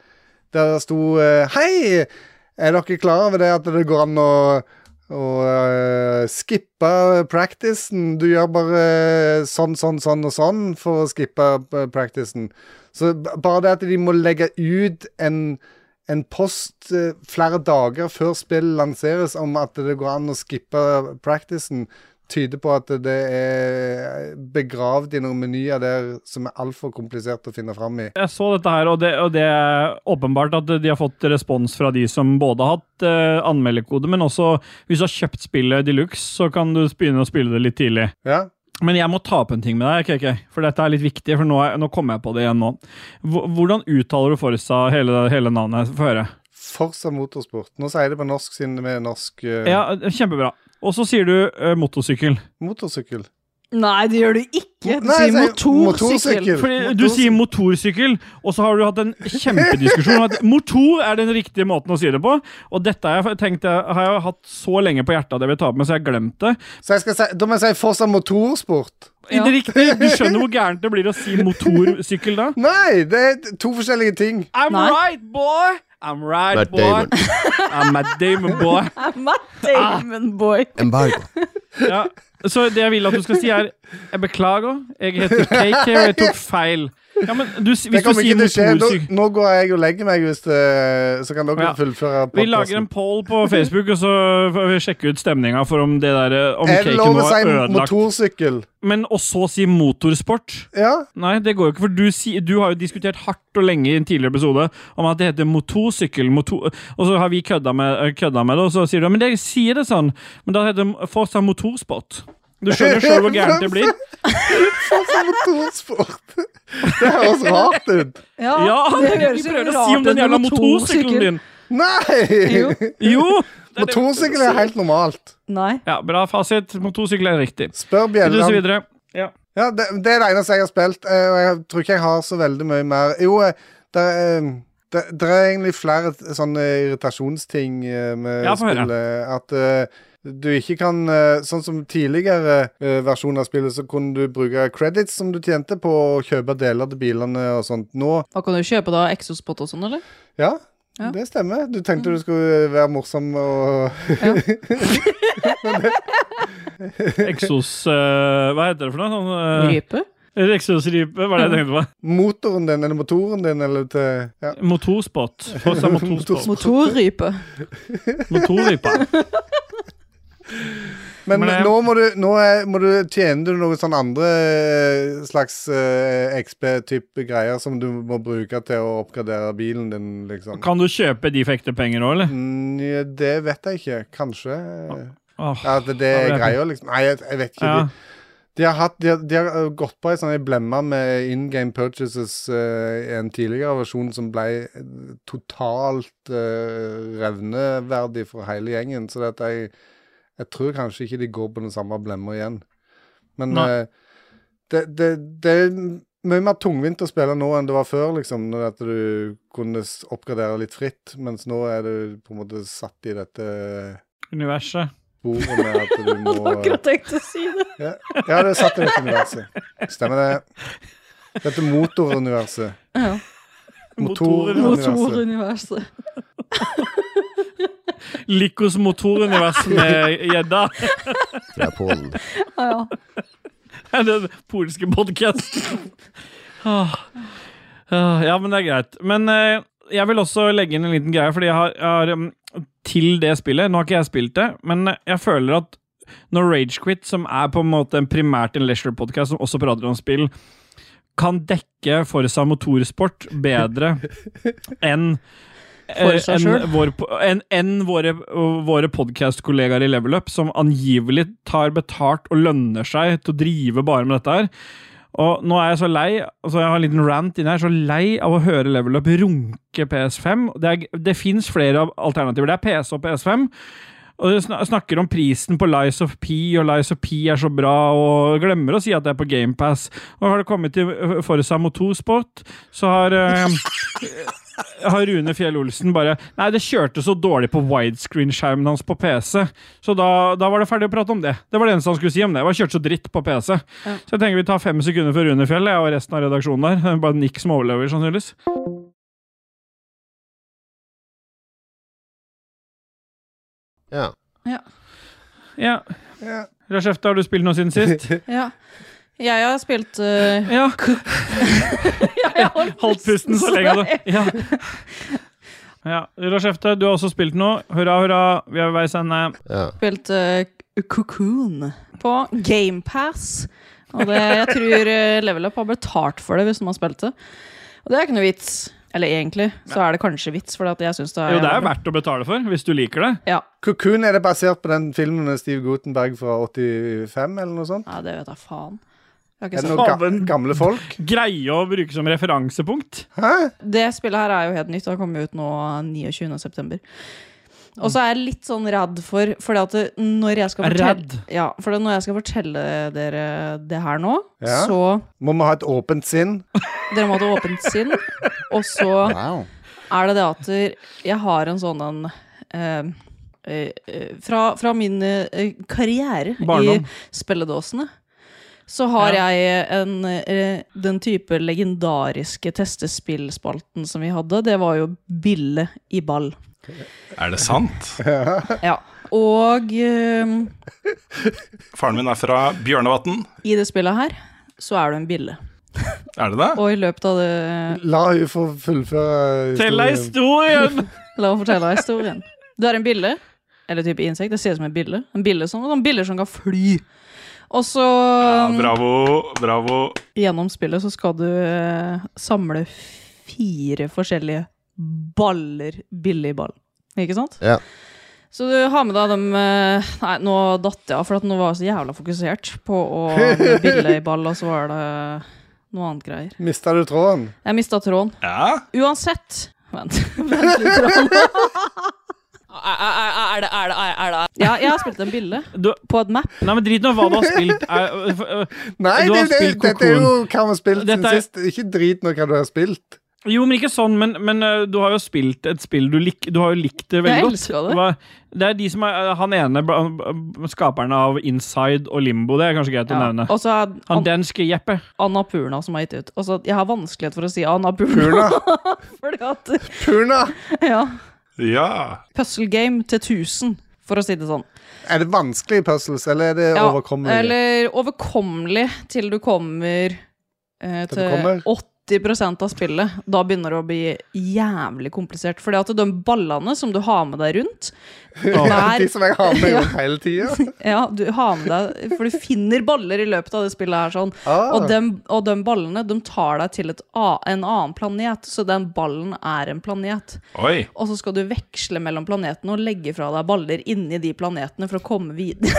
Speaker 2: Der det sto eh, Hei! Er dere klar over det at det går an å Og uh, skippe practicen. Du gjør bare sånn, sånn, sånn og sånn for å skippe eh, practicen. Så b- bare det at de må legge ut en, en post eh, flere dager før spillet lanseres om at det går an å skippe practicen, tyder på at det er begravd i noen menyer der som er altfor komplisert å finne fram i.
Speaker 1: Jeg så dette her, og det, og det er åpenbart at de har fått respons fra de som både har hatt eh, anmeldekode, men også hvis du har kjøpt spillet de luxe, så kan du begynne å spille det litt tidlig.
Speaker 2: Ja?
Speaker 1: Men jeg må ta opp en ting med deg, KK, for dette er litt viktig. For nå, er, nå kommer jeg på det igjen nå. Hv- Hvordan uttaler du Forsa hele, hele navnet? Få høre.
Speaker 2: Forsa motorsport. Nå sier jeg det på norsk siden vi er norsk eh,
Speaker 1: Ja, kjempebra. Og så sier du eh, motorsykkel.
Speaker 2: motorsykkel.
Speaker 6: Nei, det gjør du ikke. Du
Speaker 2: Nei, jeg
Speaker 6: sier motorsykkel.
Speaker 2: motorsykkel.
Speaker 1: Fordi du sier motorsykkel, og så har du hatt en kjempediskusjon om at motor er den riktige måten å si det på. Og dette har jeg, tenkt, jeg har jeg hatt så lenge på hjertet at jeg vil ta opp med, så jeg har glemt det.
Speaker 2: Så jeg skal si, da må jeg si Forsa motorsport.
Speaker 1: I det riktige, Du skjønner hvor gærent det blir å si motorsykkel da?
Speaker 2: Nei, det er to forskjellige ting.
Speaker 1: I'm
Speaker 6: Nei.
Speaker 1: right, boy! I'm right,
Speaker 4: Matt
Speaker 1: boy!
Speaker 4: Damon.
Speaker 1: I'm a Damon, boy.
Speaker 6: Matt Damon, boy.
Speaker 4: Embargo.
Speaker 1: Ja. Så det jeg vil at du skal si, er Jeg beklager, jeg heter KK, og jeg tok feil. Ja, men du, s-
Speaker 2: Det
Speaker 1: hvis du
Speaker 2: kommer
Speaker 1: sier
Speaker 2: ikke til å skje. Nå,
Speaker 1: motorsykkel
Speaker 2: nå går jeg og legger meg, hvis det, så kan dere
Speaker 1: Ja.
Speaker 2: fullføre
Speaker 1: Vi lager en
Speaker 2: podkasten.
Speaker 1: poll på Facebook, og så får vi sjekke ut stemninga for om det der eh, Om
Speaker 2: Er det
Speaker 1: caken
Speaker 2: lov å
Speaker 1: var
Speaker 2: si
Speaker 1: ødelagt.
Speaker 2: motorsykkel?
Speaker 1: Men og så si motorsport?
Speaker 2: Ja.
Speaker 1: Nei, det går jo ikke, for du, si, du har jo diskutert hardt og lenge i en tidligere episode om at det heter motorsykkel, motor, og så har vi kødda med, eh, kødda med det, og så sier du men dere sier det sånn, men da heter det Forsa motorsport. Du skjønner sjøl hvor gærent det blir.
Speaker 2: Forsa motorsport. Det høres rart ut.
Speaker 6: Ja,
Speaker 1: Ja,
Speaker 6: det
Speaker 1: det
Speaker 6: høres
Speaker 1: de
Speaker 6: jo
Speaker 1: prøver å si
Speaker 6: rart
Speaker 1: om
Speaker 6: ut
Speaker 1: den
Speaker 6: med
Speaker 1: jævla motorsykkelen din.
Speaker 2: Nei!
Speaker 6: Jo.
Speaker 1: Jo! det er det-
Speaker 2: Motorsykkel er helt normalt.
Speaker 6: Nei.
Speaker 1: Ja, bra fasit. Motorsykkel er riktig.
Speaker 2: Spør
Speaker 1: Du så
Speaker 2: bjelland.
Speaker 1: videre. Ja.
Speaker 2: Ja, det, det er det eneste jeg har spilt, eh, og jeg tror ikke jeg har så veldig mye mer. Jo, eh, det er, det, det er egentlig flere t- sånne irritasjonsting eh, med
Speaker 1: Ja, få høre.
Speaker 2: spillet. At eh, du ikke kan eh, Sånn som tidligere eh, versjon av spillet, så kunne du bruke credits som du tjente på å kjøpe deler til bilene og sånt. Nå
Speaker 6: Hva kan du kjøpe da? Exospot og sånn, eller?
Speaker 2: Ja.
Speaker 6: Ja.
Speaker 2: Det stemmer. Du tenkte
Speaker 1: Mm.
Speaker 2: du skulle eh, være morsom og
Speaker 1: Exos eh, Hva heter det for noe? Sånn,
Speaker 6: Rype?
Speaker 1: eh, Exosripe, hva er det jeg tenkte på?
Speaker 2: Motoren din, eller motoren din, eller til ja.
Speaker 1: Motorspot. Forsa motorspot.
Speaker 6: Motorrype.
Speaker 1: Motorripa.
Speaker 2: Men,
Speaker 1: Men det-
Speaker 2: nå, må du, nå er, må du tjene du noen sånne andre eh, slags eh, XP-type greier som du må bruke til å oppgradere bilen din, liksom.
Speaker 1: Kan du kjøpe de for ekte penger òg, eller?
Speaker 2: Mm, ja, det vet jeg ikke. Kanskje.
Speaker 1: Åh,
Speaker 2: At
Speaker 1: Ja,
Speaker 2: det er
Speaker 1: det er
Speaker 2: greia, liksom. Nei, jeg, jeg vet ikke.
Speaker 1: ja.
Speaker 2: De, de, har hatt, de, har, de har eh, gått på ei sånn ei blemme med in game purchases eh, i en tidligere versjon som ble eh, totalt eh, revneverdig for hele gjengen. Så det at jeg, jeg tror kanskje ikke de går på den samme blemma igjen. Men
Speaker 1: Nei.
Speaker 2: eh, det, det, det er mye mer tungvint å spille nå enn det var før, liksom. Når at du kunne s- oppgradere litt fritt, mens nå er du på en måte satt i dette
Speaker 1: Universet.
Speaker 2: bordet med at du må
Speaker 6: Akkurat tenkte å si det.
Speaker 2: ja, ja det satt i dette universet. Stemmer det. Dette motoruniverset.
Speaker 6: Ja.
Speaker 2: Motoruniverset.
Speaker 6: Motoruniverset.
Speaker 1: Likos motorunivers med gjedda.
Speaker 3: Fra Polen.
Speaker 6: Ja, ja.
Speaker 1: Er det Den polske podkasten. Ah, Ja, men det er greit. Men eh, jeg vil også legge inn en liten greie, fordi jeg har, jeg har um, til det spillet Nå har ikke jeg spilt det, men eh, jeg føler at når Ragequit, som er på en måte en primært en leisure-podkast som også prater om spill, kan dekke Forsa motorsport bedre enn eh,
Speaker 6: Forsa
Speaker 1: enn
Speaker 6: selv.
Speaker 1: vår, po- enn- enn våre, våre podkastkollegaer i Level Up, som angivelig tar betalt og lønner seg til å drive bare med dette her. Og nå er jeg så lei altså jeg har en liten rant inne her, så lei av å høre Level Up runke PS5. Det, er, det fins flere av- alternativer. Det er PC og PS5. Og de sna- snakker om prisen på Lies of P, og Lies of P er så bra, og glemmer å si at det er på GamePass. Og har det kommet til eh, Forsa Motorsport, så har eh, har Rune Fjell Olsen bare Nei, det kjørte så dårlig på widescreen-skjermen hans på PC, så da, da var det ferdig å prate om det. Det var det eneste han skulle si om det. Det var kjørt så dritt på PC. Så jeg tenker vi tar fem sekunder for Rune Fjell, jeg og resten av redaksjonen der. Det er bare Nick som overlever, sannsynligvis.
Speaker 3: Ja.
Speaker 6: Ja.
Speaker 1: Ja.
Speaker 2: Ja.
Speaker 1: Rashefta, har du spilt noe siden sist?
Speaker 6: Ja. Jeg har spilt eh,
Speaker 1: Ja.
Speaker 6: jeg har
Speaker 1: Holdt pusten så lenge du Ja. ja. Rashefta, du har også spilt noe. Hurra, hurra, vi er ved veis ende.
Speaker 3: Ja.
Speaker 6: spilt eh, Cocoon på GamePass. Og det, jeg tror eh, Level Up har betalt for det hvis de har spilt det. Og det er ikke noe vits. Eller egentlig så er det kanskje vits, for jeg syns det er
Speaker 1: Jo, det er verdt å betale for, hvis du liker det.
Speaker 6: Ja.
Speaker 2: Cocoon, er det basert på den filmen med Steve Gutenberg fra 85, eller noe sånt?
Speaker 6: ja, det vet jeg faen. Jeg
Speaker 2: Er
Speaker 6: har ikke
Speaker 2: det
Speaker 6: sett.
Speaker 2: noen ga
Speaker 1: Faven.
Speaker 2: gamle folk?
Speaker 1: Greie å bruke som referansepunkt.
Speaker 2: Hæ?
Speaker 6: Det spillet her er jo helt nytt og har kommet ut nå 29.9. Og så er jeg litt sånn redd for Fordi at det- når jeg skal fortelle,
Speaker 1: Redd.
Speaker 6: ja, for det- når jeg skal fortelle dere det her nå,
Speaker 2: Ja.
Speaker 6: så
Speaker 2: Må vi ha et åpent sinn?
Speaker 6: Dere må ha et åpent sinn. Og så
Speaker 5: Wow.
Speaker 6: er det det at der- jeg har en sånn en eh, eh, eh, fra, fra min eh, karriere
Speaker 1: Barndom.
Speaker 6: i spilledåsene så har
Speaker 1: Ja.
Speaker 6: jeg en, eh, den type legendariske testespillspalten som vi hadde. Det var jo Bille i ball.
Speaker 10: Er det sant?
Speaker 6: Ja. Og eh,
Speaker 10: Faren min er fra Bjørnevatn.
Speaker 6: i det spillet her så er du en bille.
Speaker 10: Er det det?
Speaker 6: Og i løpet av det
Speaker 2: La hun få fullføre
Speaker 1: Tell deg
Speaker 2: historien.
Speaker 1: historien!
Speaker 6: La meg fortelle deg historien. Du er en bille, eller type insekt. Det ser ut som en bille. En bille som, en bille som kan fly. Og så
Speaker 10: Ja, bravo, bravo.
Speaker 6: gjennom spillet så skal du eh, samle fire forskjellige baller billig ball. Ikke sant?
Speaker 3: Ja.
Speaker 6: Så du har med deg dem eh, Nei, nå datt jeg av, for at nå var jeg så jævla fokusert på å bille i ball, og så var det noe annet greier.
Speaker 2: Mista du tråden?
Speaker 6: Jeg mista tråden.
Speaker 10: Ja.
Speaker 6: Uansett Vent, vent litt. Trond.
Speaker 7: Er- er- er- er- er det- er det- er- er det-
Speaker 6: Ja, jeg har spilt en bille
Speaker 1: Du-
Speaker 6: på et map.
Speaker 1: Nei, men Drit nå hva du har spilt. Er- øh, øh,
Speaker 2: Nei,
Speaker 1: Du
Speaker 2: det,
Speaker 1: har
Speaker 2: det,
Speaker 1: spilt
Speaker 2: dette er jo
Speaker 1: Cocoon.
Speaker 2: hva vi har spilt siden
Speaker 1: Dette er-
Speaker 2: sist. Ikke drit nå hva du har spilt.
Speaker 1: Jo, men ikke sånn, men, men øh, du har jo spilt et spill du lik... Du har jo likt det veldig
Speaker 6: Jeg
Speaker 1: godt.
Speaker 6: elsker det.
Speaker 1: Hva- det er de som er øh, Han ene, bla- skaperen av Inside og Limbo, det er kanskje greit å nevne.
Speaker 6: Og så er
Speaker 1: Han
Speaker 6: An
Speaker 1: danske Jeppe.
Speaker 6: Annapurna som har gitt ut. Altså, jeg har vanskelighet for å si Annapurna.
Speaker 2: Puna!
Speaker 6: Fordi at,
Speaker 2: Puna!
Speaker 6: ja,
Speaker 10: ja.
Speaker 6: Puzzle game til 1000, for å si det sånn.
Speaker 2: Er det vanskelige puzzles, eller er det
Speaker 6: Ja,
Speaker 2: overkommelig?
Speaker 6: Eller overkommelig til du kommer eh,
Speaker 2: du kommer?
Speaker 6: til 80 av spillet. Da begynner det å bli jævlig komplisert. Fordi at de ballene som du har med deg rundt
Speaker 2: De
Speaker 6: der,
Speaker 2: som jeg har med rundt hele tida?
Speaker 6: ja, du har med deg, For du finner baller i løpet av det spillet her sånn. Og de, og de ballene de tar deg til et, a- en annen planet, så den ballen er en planet.
Speaker 10: Oi.
Speaker 6: Og så skal du veksle mellom planetene og legge fra deg baller inni de planetene for å komme videre.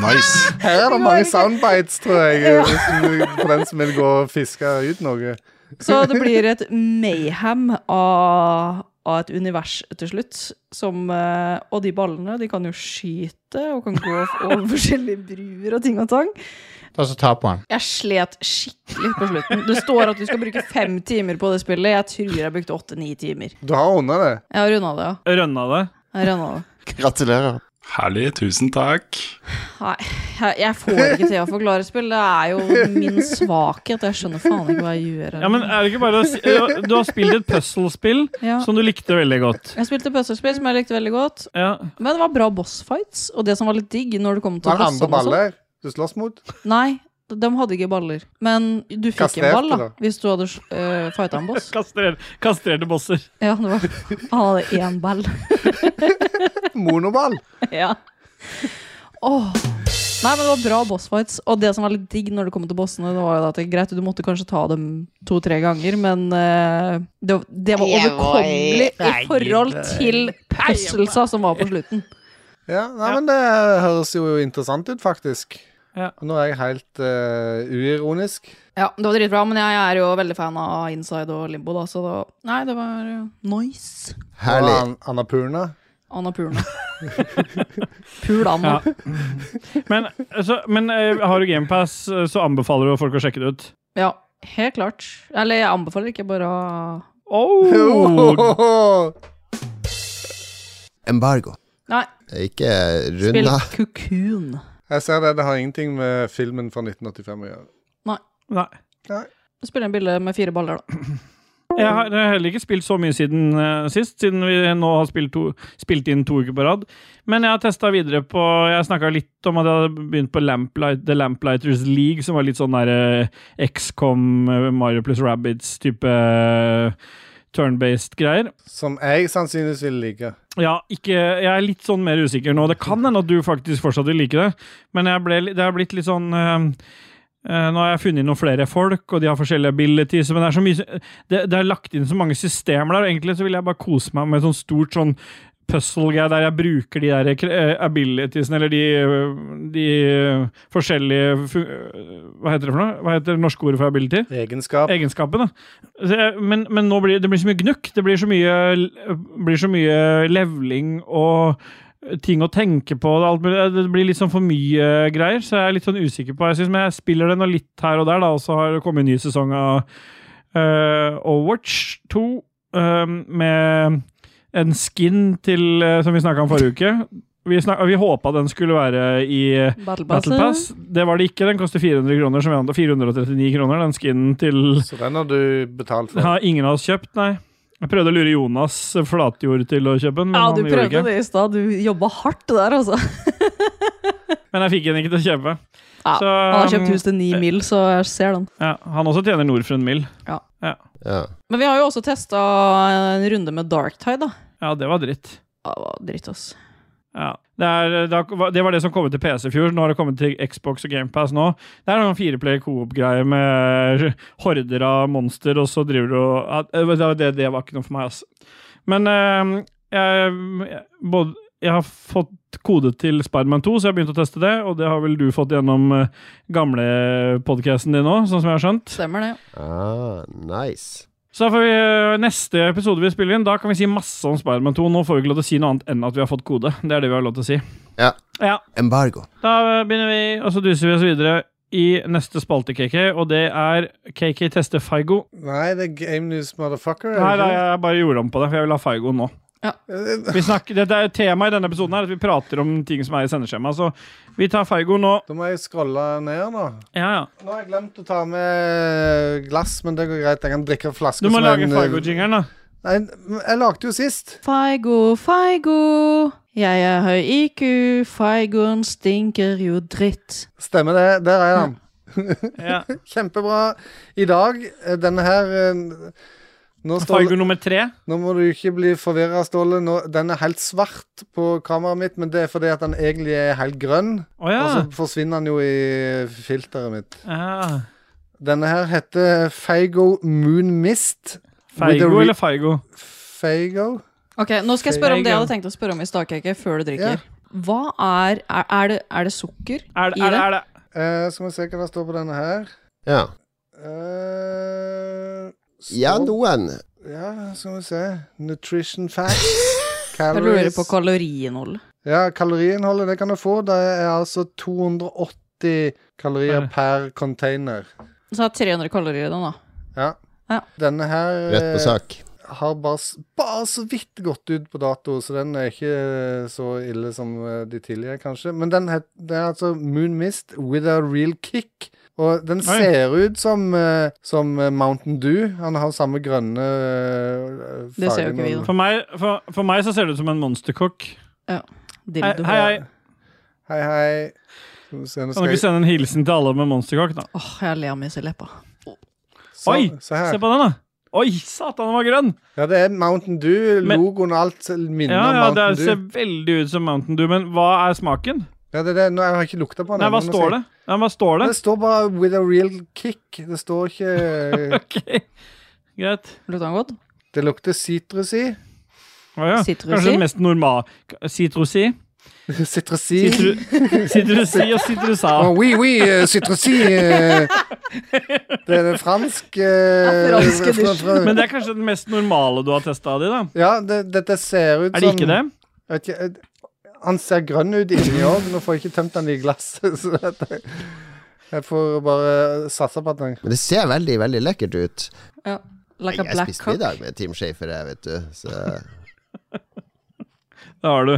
Speaker 10: Nice.
Speaker 2: Her er det mange soundbites, tror jeg, hvis du- for den som vil gå og fiske ut noe.
Speaker 6: Så det blir et mayhem av, av et univers til slutt. Som, eh, og de ballene de kan jo skyte og kan gå over forskjellige bruer og ting og tang.
Speaker 5: Ta så ta på han.
Speaker 6: Jeg slet skikkelig på slutten. Det står at du skal bruke fem timer på det spillet. Jeg tror jeg brukte åtte-ni timer.
Speaker 2: Du har runda det.
Speaker 6: Jeg har runda det, ja.
Speaker 1: Rønna det.
Speaker 6: Jeg har rundet det.
Speaker 4: Gratulerer.
Speaker 10: Herlig. Tusen takk.
Speaker 6: Nei, jeg, jeg får ikke til å forklare spill. Det er jo min svakhet. Jeg skjønner faen ikke hva jeg gjør. her.
Speaker 1: Ja, men er det ikke bare å si øh, Du har spilt et puzzlespill
Speaker 6: Ja.
Speaker 1: som du likte veldig godt.
Speaker 6: Jeg spilte puzzlespill som jeg likte veldig godt,
Speaker 1: Ja.
Speaker 6: men det var bra bossfights. Og det som var litt digg når det kom til
Speaker 2: Var det andre
Speaker 6: bossene og sånn-
Speaker 2: baller du slåss mot?
Speaker 6: Nei, de hadde ikke baller. Men du fikk
Speaker 2: Kastrerte,
Speaker 6: en ball da,
Speaker 2: da.
Speaker 6: hvis du hadde uh, fighta en boss.
Speaker 1: Kastrer, kastrerte bosser.
Speaker 6: Ja, det var, han hadde én ball.
Speaker 2: Monoball?
Speaker 6: ja. Åh. Nei, men det var bra bossfights. Og det som var litt digg når det kom til bossene, det var jo at det, greit, du måtte kanskje ta dem to-tre ganger, men eh, det, det var
Speaker 7: Jeg var
Speaker 6: overkommelig i forhold til puzzlesa som var på slutten.
Speaker 2: Ja, nei, men det høres jo interessant ut, faktisk.
Speaker 1: Ja.
Speaker 2: Nå er jeg helt eh, uironisk.
Speaker 6: Ja, det var dritbra, men jeg er jo veldig fan av Inside og Limbo, da, så det var, Nei, det var eh, nice.
Speaker 2: Og
Speaker 3: Herlig.
Speaker 2: An Annapurna.
Speaker 6: Anna Purna. Pul Anna.
Speaker 1: Ja. Men, altså, men øh, har du GamePass, så anbefaler du folk å sjekke det ut.
Speaker 6: Ja. helt klart. Eller jeg anbefaler ikke bare å-
Speaker 1: Oh,
Speaker 3: Embargo.
Speaker 6: Nei,
Speaker 3: Ikke
Speaker 6: spill
Speaker 3: runda.
Speaker 6: Cocoon.
Speaker 2: Jeg ser det, det har ingenting med filmen fra 1985 å gjøre.
Speaker 1: Nei.
Speaker 6: Spiller en bille med fire baller, da.
Speaker 1: Jeg har eh, heller ikke spilt så mye siden eh, sist, siden vi nå har spilt, to, spilt inn to uker på rad. Men jeg har testa videre på Jeg snakka litt om at jeg hadde begynt på Lamplight, The Lamplighters League, som var litt sånn derre XCOM, eh, Mario pluss Rabbits-type eh, turn-based greier.
Speaker 2: Som jeg sannsynligvis vil like.
Speaker 1: Ja, ikke, jeg er litt sånn mer usikker nå. Det kan hende at du faktisk fortsatt vil like det, men jeg ble, li- det har blitt litt sånn eh, eh, Nå har jeg funnet noen flere folk, og de har forskjellige abilities, men det er så mye Det, det er lagt inn så mange systemer der, og egentlig så vil jeg bare kose meg med et sånt stort sånn puzzle-greie der jeg bruker de der eh, abilitiesene, eller de, eh, de eh, forskjellige fu- eh, Hva heter det for noe? Hva heter det norske ordet for ability?
Speaker 2: Egenskap.
Speaker 1: egenskapen. Da. Så jeg, men, men nå blir det blir så mye gnukk. Det blir så mye, blir så mye levling og ting å tenke på. og Alt, mulig. det blir litt sånn for mye greier, så jeg er litt sånn usikker på Jeg synes, men jeg spiller det nå litt her og der, da, og så har det kommet en ny sesong av eh, Overwatch 2 eh, med en skin til eh, Som vi snakka om forrige uke. Vi, snak, vi håpa den skulle være i eh,
Speaker 6: Battle Pass.
Speaker 1: Battle Pass. Det var det ikke. Den koster 400 kroner, som vi hadde 439 kroner, den skinen til
Speaker 2: Så den har du betalt for.
Speaker 1: Har ingen av oss kjøpt, nei. Jeg prøvde å lure Jonas Flatjord til å kjøpe den, men
Speaker 6: Ja,
Speaker 1: han
Speaker 6: du
Speaker 1: gjorde
Speaker 6: prøvde
Speaker 1: ikke.
Speaker 6: det i stad. Du jobba hardt der, altså.
Speaker 1: Men jeg fikk den ikke til å kjøpe.
Speaker 6: Ja,
Speaker 1: Så,
Speaker 6: han har kjøpt
Speaker 1: um,
Speaker 6: hus til ni mil, så jeg ser den.
Speaker 1: Ja, han også tjener nord for en mil.
Speaker 3: Ja.
Speaker 6: Men vi har jo også testa en runde med Darktide, da.
Speaker 1: Ja, det var dritt.
Speaker 6: Ja, det var dritt, ass.
Speaker 1: Ja. Det, er, eh, det har- det var det som kom ut til PC i fjor. Nå har det kommet til Xbox og GamePass nå. Det er noen fireplay coop-greier med horder av monster, og så driver du og ja, det, det, det var ikke noe for meg, altså. Men eh, jeg, både, jeg har fått kode til Spiderman 2, så jeg har begynt å teste det. Og det har vel du fått gjennom eh, gamle podcasten din òg, sånn som jeg har skjønt.
Speaker 6: Stemmer det.
Speaker 3: Ah, nice.
Speaker 1: Så da får vi eh, neste episode vi spiller inn, da kan vi si masse om Spiderman 2. Nå får vi ikke lov til å si noe annet enn at vi har fått kode. Det er det vi har lov til å si.
Speaker 3: Ja.
Speaker 1: ja.
Speaker 3: Embargo.
Speaker 1: Da begynner vi, og så duser vi oss videre i neste spalte, KK, og det er KK tester Feigo.
Speaker 2: Nei, det er Game News Motherfucker.
Speaker 1: Nei,
Speaker 2: er det
Speaker 1: nei,
Speaker 2: ikke?
Speaker 1: jeg bare gjorde om på det, for jeg vil ha Feigo nå. Vi snakker, dette er Temaet i denne episoden er at vi prater om ting som er i sendeskjemaet, så vi tar Feigo nå.
Speaker 2: Da må jeg scrolle ned, da.
Speaker 1: Ja, ja.
Speaker 2: Nå har jeg glemt å ta med glass, men det går greit. Jeg kan drikke en flaske
Speaker 1: Du må
Speaker 2: som
Speaker 1: lage
Speaker 2: en, eh,
Speaker 1: Feigo-jingeren, da.
Speaker 2: Nei, jeg lagde jo sist.
Speaker 6: Feigo, Feigo. Jeg er høy IQ, Feigoen stinker jo dritt.
Speaker 2: Stemmer det. Der er han.
Speaker 1: Ja.
Speaker 2: Kjempebra. I dag, eh, denne her eh, nå,
Speaker 1: Feigo
Speaker 2: Ståle,
Speaker 1: nummer tre.
Speaker 2: nå må du ikke bli forvirra, Ståle. Nå, den er helt svart på kameraet mitt, men det er fordi at den egentlig er helt grønn.
Speaker 1: Å ja.
Speaker 2: Og så forsvinner den jo i filteret mitt.
Speaker 1: ja.
Speaker 2: Denne her heter Feigo Moon Mist. With
Speaker 1: Feigo
Speaker 2: a re-
Speaker 1: eller Feigo?
Speaker 2: Feigo?
Speaker 6: Ok, Nå skal jeg spørre om det jeg
Speaker 1: Feigo.
Speaker 6: hadde tenkt å spørre om i stakeke, før du drikker. Hva er Er, er, det, er det sukker
Speaker 1: Er, det-
Speaker 6: i
Speaker 1: er,
Speaker 6: det?
Speaker 1: det- er det
Speaker 2: Eh, skal vi se hva det står på denne her.
Speaker 3: Ja.
Speaker 2: Eh, står-
Speaker 3: ja, noen.
Speaker 2: Ja, skal vi se. Nutrition facts.
Speaker 6: Jeg lurer
Speaker 2: Calories.
Speaker 6: på kaloriinnholdet.
Speaker 2: Ja, kaloriinnholdet, det kan du få. Det er altså 280 kalorier
Speaker 1: Her.
Speaker 2: per container.
Speaker 6: Så er det 300 kalorier i den, da.
Speaker 2: Ja.
Speaker 6: Ja.
Speaker 2: Denne her
Speaker 3: Rett på
Speaker 2: eh,
Speaker 3: sak.
Speaker 2: har bare, s- bare så vidt gått ut på dato, så den er ikke eh, så ille som eh, de tidligere, kanskje. Men den het, det er altså Moon Mist with a real kick. Og den
Speaker 1: Oi.
Speaker 2: ser ut som, eh, som eh, Mountain Dew. Han har samme grønne eh, fargen.
Speaker 6: Det ser jo ikke vi,
Speaker 2: og-
Speaker 1: for meg, for, for meg så ser det ut som en monsterkokk. Hei,
Speaker 6: Dildo.
Speaker 1: hei, hei.
Speaker 2: Hei, hei. Skal vi se, nå
Speaker 1: Kan
Speaker 2: skal
Speaker 1: dere
Speaker 2: jeg
Speaker 1: sende en hilsen til alle med monsterkokk, da?
Speaker 6: Åh, jeg ler av meg i leppa.
Speaker 2: så,
Speaker 1: Oi,
Speaker 2: se her.
Speaker 1: Se på den, da. Oi, satan, den var grønn!
Speaker 2: Ja, det er Mountain Dew.
Speaker 1: Men-
Speaker 2: Logoen og alt minner
Speaker 1: Ja,
Speaker 2: om
Speaker 1: ja, Det
Speaker 2: Mountain
Speaker 1: ser
Speaker 2: Dew.
Speaker 1: veldig ut som Mountain Dew, men hva er smaken?
Speaker 2: Ja, det er det. Nå, jeg har ikke lukta på den.
Speaker 1: Nei, hva
Speaker 2: ennå, nå
Speaker 1: står
Speaker 2: skal
Speaker 1: det? Nei, hva står
Speaker 2: jeg-
Speaker 1: det?
Speaker 2: Det står bare 'with a real kick'. Det står ikke
Speaker 1: Ok, greit.
Speaker 6: Lukter den godt?
Speaker 2: Det lukter sitrus i.
Speaker 1: Å, ja.
Speaker 6: Sitrusi?
Speaker 1: Kanskje den mest normal Sitrusi?
Speaker 2: Sitrusi.
Speaker 1: Sitru- Sitrusi og sitrusa.
Speaker 2: Oh, oui, oui, eh, sitrusi. eh. Det er det fransk eh,
Speaker 6: Ja, franske
Speaker 2: fra- fra-
Speaker 1: Men det er kanskje den mest normale du har testa av de, da?
Speaker 2: Ja, det, dette ser ut
Speaker 1: Er det ikke det?
Speaker 2: Vet ikke, eh, han ser grønn ut inni òg. Nå får jeg ikke tømt den i glasset. Så dette, jeg får bare satse på at den
Speaker 3: Men det ser veldig, veldig lekkert ut.
Speaker 6: Ja. Like a
Speaker 3: Jeg
Speaker 6: black
Speaker 3: spiste
Speaker 6: cock.
Speaker 3: middag med Team Shafer, jeg, vet du. Så
Speaker 1: Det har du.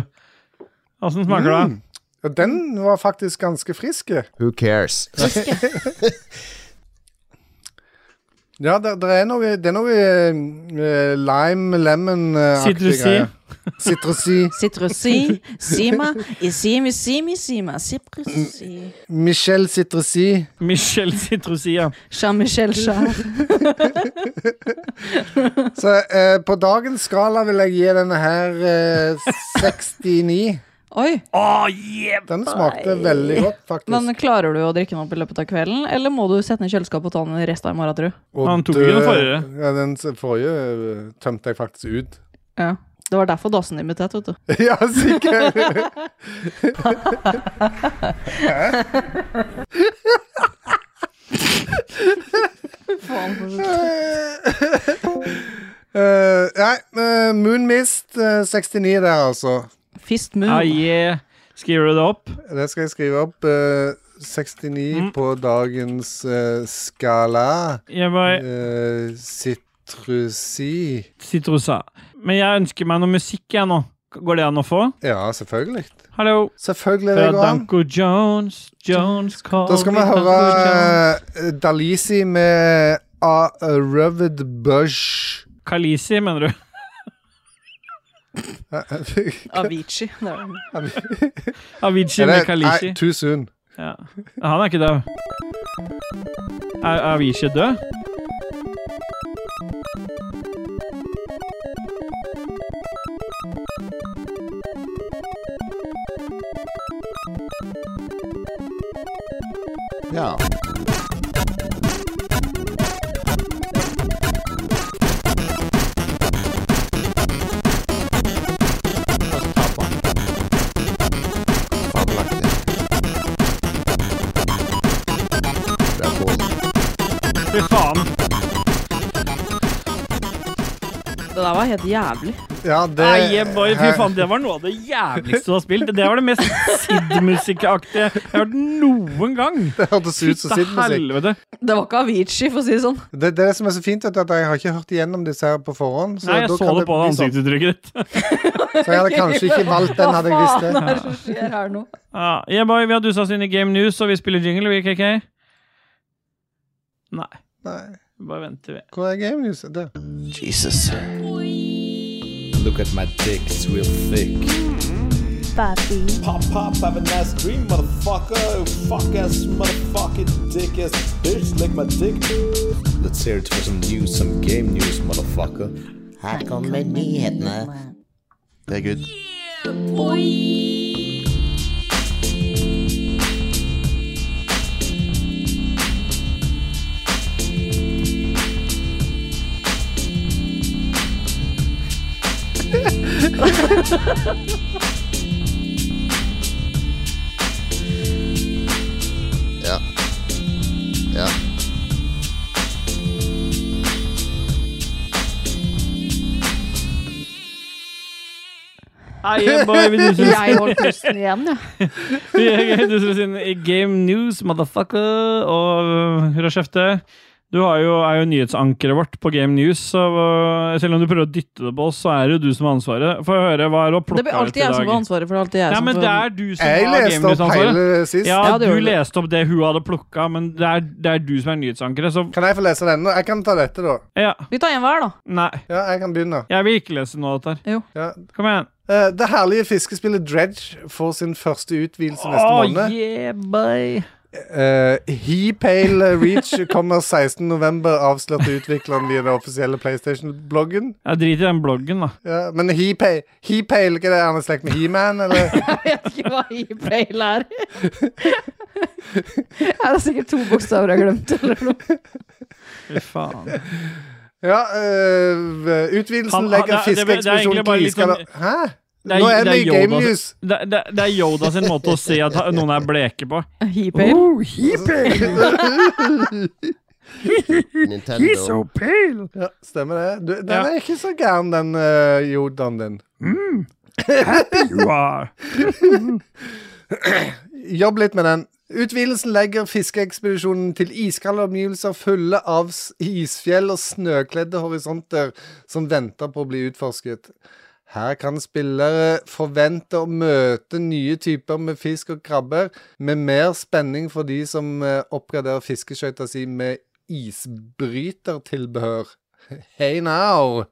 Speaker 1: Åssen smaker det?
Speaker 2: Ja, Den var faktisk eh. ganske frisk.
Speaker 3: who cares?
Speaker 2: Ja, det, det er noe, det er noe eh, lime, lemon-aktig
Speaker 1: Citrusi.
Speaker 2: greie. Citrusi.
Speaker 6: Citrusi, sima, isimi, simi, sima, citrusi.
Speaker 2: Michelle Citrusi.
Speaker 1: Michelle Citrusia.
Speaker 6: Jean-Michel Jarre.
Speaker 2: Så eh, på dagens skala vil jeg gi denne her eh, 69.
Speaker 6: Oi,
Speaker 2: Den smakte veldig godt, faktisk.
Speaker 6: men klarer du å drikke den opp i løpet av kvelden, eller må du sette den i kjøleskapet og ta den resten av i morgen, tror du?
Speaker 2: Og eh,
Speaker 1: Han tok ikke den forrige.
Speaker 2: Ja, den s- forrige eh, tømte jeg faktisk ut.
Speaker 6: Ja. Det var derfor dassen din ble tett, vet du.
Speaker 2: ja, sikkert. Eh, nei, eh, Moonmist eh, 69 der, altså.
Speaker 6: Fist moon.
Speaker 1: Ah, yeah. Skriver du det opp?
Speaker 2: Det skal jeg skrive opp. eh, 69
Speaker 1: Mm.
Speaker 2: på dagens eh, skala.
Speaker 1: Jeg bare
Speaker 2: Eh, Sitrusi
Speaker 1: Citrusa. Men jeg ønsker meg noe musikk jeg nå. Går det an å få?
Speaker 2: Ja, selvfølgelig.
Speaker 1: Hallo.
Speaker 2: Selvfølgelig
Speaker 1: Fra
Speaker 2: det går an.
Speaker 1: Danko Jones. Jones call
Speaker 2: Da skal vi
Speaker 1: me
Speaker 2: høre
Speaker 1: Danko Jones.
Speaker 2: eh, Dalisi med A A Rubbed Bush.
Speaker 1: Kalisi, mener du?
Speaker 2: Eh,
Speaker 6: Avicii. Det er den.
Speaker 1: Avicii
Speaker 2: Er
Speaker 1: med
Speaker 2: det-
Speaker 1: Kalisi.
Speaker 2: Nei, too soon.
Speaker 1: Ja. Han er ikke død. Er er Avicii død?
Speaker 4: Ja.
Speaker 3: Fabelaktig. Bra kone.
Speaker 1: Fy faen.
Speaker 6: Det der var helt jævlig.
Speaker 2: Ja, det
Speaker 1: Nei, jeg bare- Fy faen, det var noe av det jævligste du har spilt. Det var det mest Sid-musikkaktige jeg har hørt noen gang.
Speaker 2: Det hørtes ut som
Speaker 1: Til
Speaker 2: Sid-musikk.
Speaker 1: helvete.
Speaker 6: Det var ikke Avicii, for å si det sånn.
Speaker 2: Det, det er det som er så fint, vet du, at jeg har ikke hørt igjennom disse her på forhånd. Så,
Speaker 1: Nei, jeg
Speaker 2: da
Speaker 1: så
Speaker 2: kan
Speaker 1: det på
Speaker 2: bli sånn.
Speaker 1: ansiktsuttrykket ditt.
Speaker 2: så jeg hadde kanskje ikke valgt den, hadde jeg visst
Speaker 6: Hva
Speaker 2: det.
Speaker 6: faen er det som skjer her nå?
Speaker 1: Ja, yeah, boy, vi har dusa oss inn i Game News, og vi spiller jingle, vi, KK. Nei,
Speaker 2: Nei,
Speaker 1: bare venter vi.
Speaker 2: hvor er Game News? Der.
Speaker 4: Jesus.
Speaker 8: Look at my dick, it's real thick. Pop, pop, have a nice dream, motherfucker. Fuck ass, motherfucking dick ass bitch, lick my dick. Let's hear it for some news, some game news, motherfucker.
Speaker 4: Her kommer nyhetene. Det er good.
Speaker 3: Ja. Ja.
Speaker 1: Nei, yeah, boy, vi duser oss-
Speaker 6: Jeg holdt pusten igjen, ja.
Speaker 1: vi duser oss inn i Game News, motherfucker. Og øh, hurra kjefte. Du har jo, er jo nyhetsankeret vårt på Game News, så øh, selv om du prøver å dytte det på oss, så er det jo du som har ansvaret. Få høre, hva er det å
Speaker 6: Det
Speaker 1: plukke
Speaker 6: blir
Speaker 1: ut i
Speaker 6: alltid jeg som får
Speaker 1: dag?
Speaker 6: ansvaret for det. er alltid jeg
Speaker 1: Ja,
Speaker 6: som
Speaker 1: men
Speaker 6: får-
Speaker 1: det er du som
Speaker 2: Jeg
Speaker 1: har Game
Speaker 2: leste opp
Speaker 1: News-ansvaret.
Speaker 2: hele sist.
Speaker 1: Ja,
Speaker 6: Ja, det
Speaker 1: du
Speaker 6: gjorde du.
Speaker 1: leste opp det hun hadde plukka, men det er, det er du som er nyhetsankeret, så
Speaker 2: Kan jeg få lese denne? Jeg kan ta dette, da.
Speaker 1: ja.
Speaker 6: Vi tar en hver, da.
Speaker 1: Nei.
Speaker 2: Ja, jeg kan begynne.
Speaker 1: Jeg vil ikke lese noe av dette. her.
Speaker 2: Ja.
Speaker 1: Kom igjen.
Speaker 2: Eh, det herlige fiskespillet Dredge får sin første utvidelse neste
Speaker 1: Åh,
Speaker 2: måned.
Speaker 1: yeah, boy.
Speaker 2: Uh, Heapale Reach kommer 16.11., avslørte utvikleren via den offisielle PlayStation-bloggen.
Speaker 1: Jeg driter i den bloggen, da.
Speaker 2: Ja, men Heapale, Heapale, ikke det er han i slekt med He-Man, eller?
Speaker 6: Jeg vet ikke hva e-mail er. Ja, det er sikkert to bokstaver jeg har glemt. Eller noe.
Speaker 1: Fy faen.
Speaker 2: Ja, eh, utvidelsen
Speaker 1: Han- han- det er- det er- det er egentlig
Speaker 2: legger fiskeekspedisjonen
Speaker 1: bare
Speaker 2: til
Speaker 1: litt sånn-
Speaker 2: iskallet Hæ?
Speaker 1: Det er-
Speaker 2: Nå er
Speaker 1: det er
Speaker 2: vi i Game
Speaker 1: Yoda-
Speaker 2: News.
Speaker 1: Det, det, det er Yoda sin måte å si at ha- noen er bleke på.
Speaker 6: He-mail?
Speaker 2: Oh,
Speaker 3: Nintendo.
Speaker 2: Ja, stemmer det. Du, den
Speaker 1: Ja.
Speaker 2: er ikke så gæren, den uh, Yodaen din. Jobb litt med den. Utvidelsen legger fiskeekspedisjonen til iskalde omgivelser fulle av s- isfjell og snøkledde horisonter som venter på å bli utforsket. Her kan spillere forvente å møte nye typer med fisk og krabber, med mer spenning for de som eh, oppgraderer fiskeskøyta si med isbrytertilbehør. Hey now!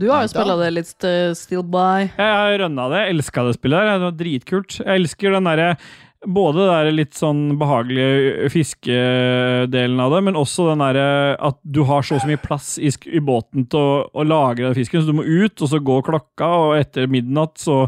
Speaker 6: Du har jo spilla det litt eh, Still By.
Speaker 1: Jeg har rønna det. Jeg elska det spillet. her. Det var dritkult. Jeg elsker den derre både den der litt sånn behagelige fiskedelen av det, men også den derre at du har så og så mye plass i, sk- i båten til å, å lagre den fisken, så du må ut, og så går klokka, og etter midnatt så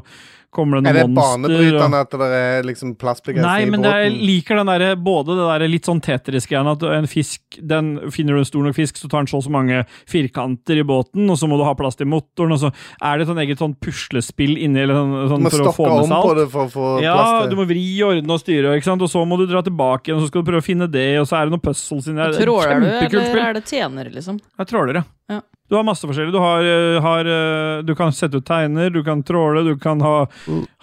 Speaker 1: kommer det
Speaker 2: Er det
Speaker 1: noen monster. og-
Speaker 2: banebrytende at det er liksom
Speaker 1: Nei,
Speaker 2: plassbegrensning i
Speaker 1: men det er- jeg
Speaker 2: båten?
Speaker 1: liker den der, både det der litt sånn Tetris-greia, at en fisk, den, finner du en stor nok fisk, så tar den så og så mange firkanter i båten, og så må du ha plass til motoren, og så er det et sånn eget sånn puslespill inni, eller sånn,
Speaker 2: Du
Speaker 1: sånn
Speaker 2: må
Speaker 1: for å få
Speaker 2: stokke
Speaker 1: med
Speaker 2: om
Speaker 1: seg
Speaker 2: på
Speaker 1: alt.
Speaker 2: det for å få
Speaker 1: Ja,
Speaker 2: plass
Speaker 1: du
Speaker 2: til
Speaker 1: må vri, ordne og styre, ikke sant? og så må du dra tilbake igjen, og så skal du prøve å finne det, og så er det noen puzzles inni der. Det er et
Speaker 6: Tråler du,
Speaker 1: Kjempekult
Speaker 6: eller
Speaker 1: spill.
Speaker 6: er det tjener, liksom?
Speaker 1: Jeg tråler, ja.
Speaker 6: Ja.
Speaker 1: Du har masse forskjellig. Du, har, eh, har, eh, du kan sette ut teiner, du kan tråle, du kan ha,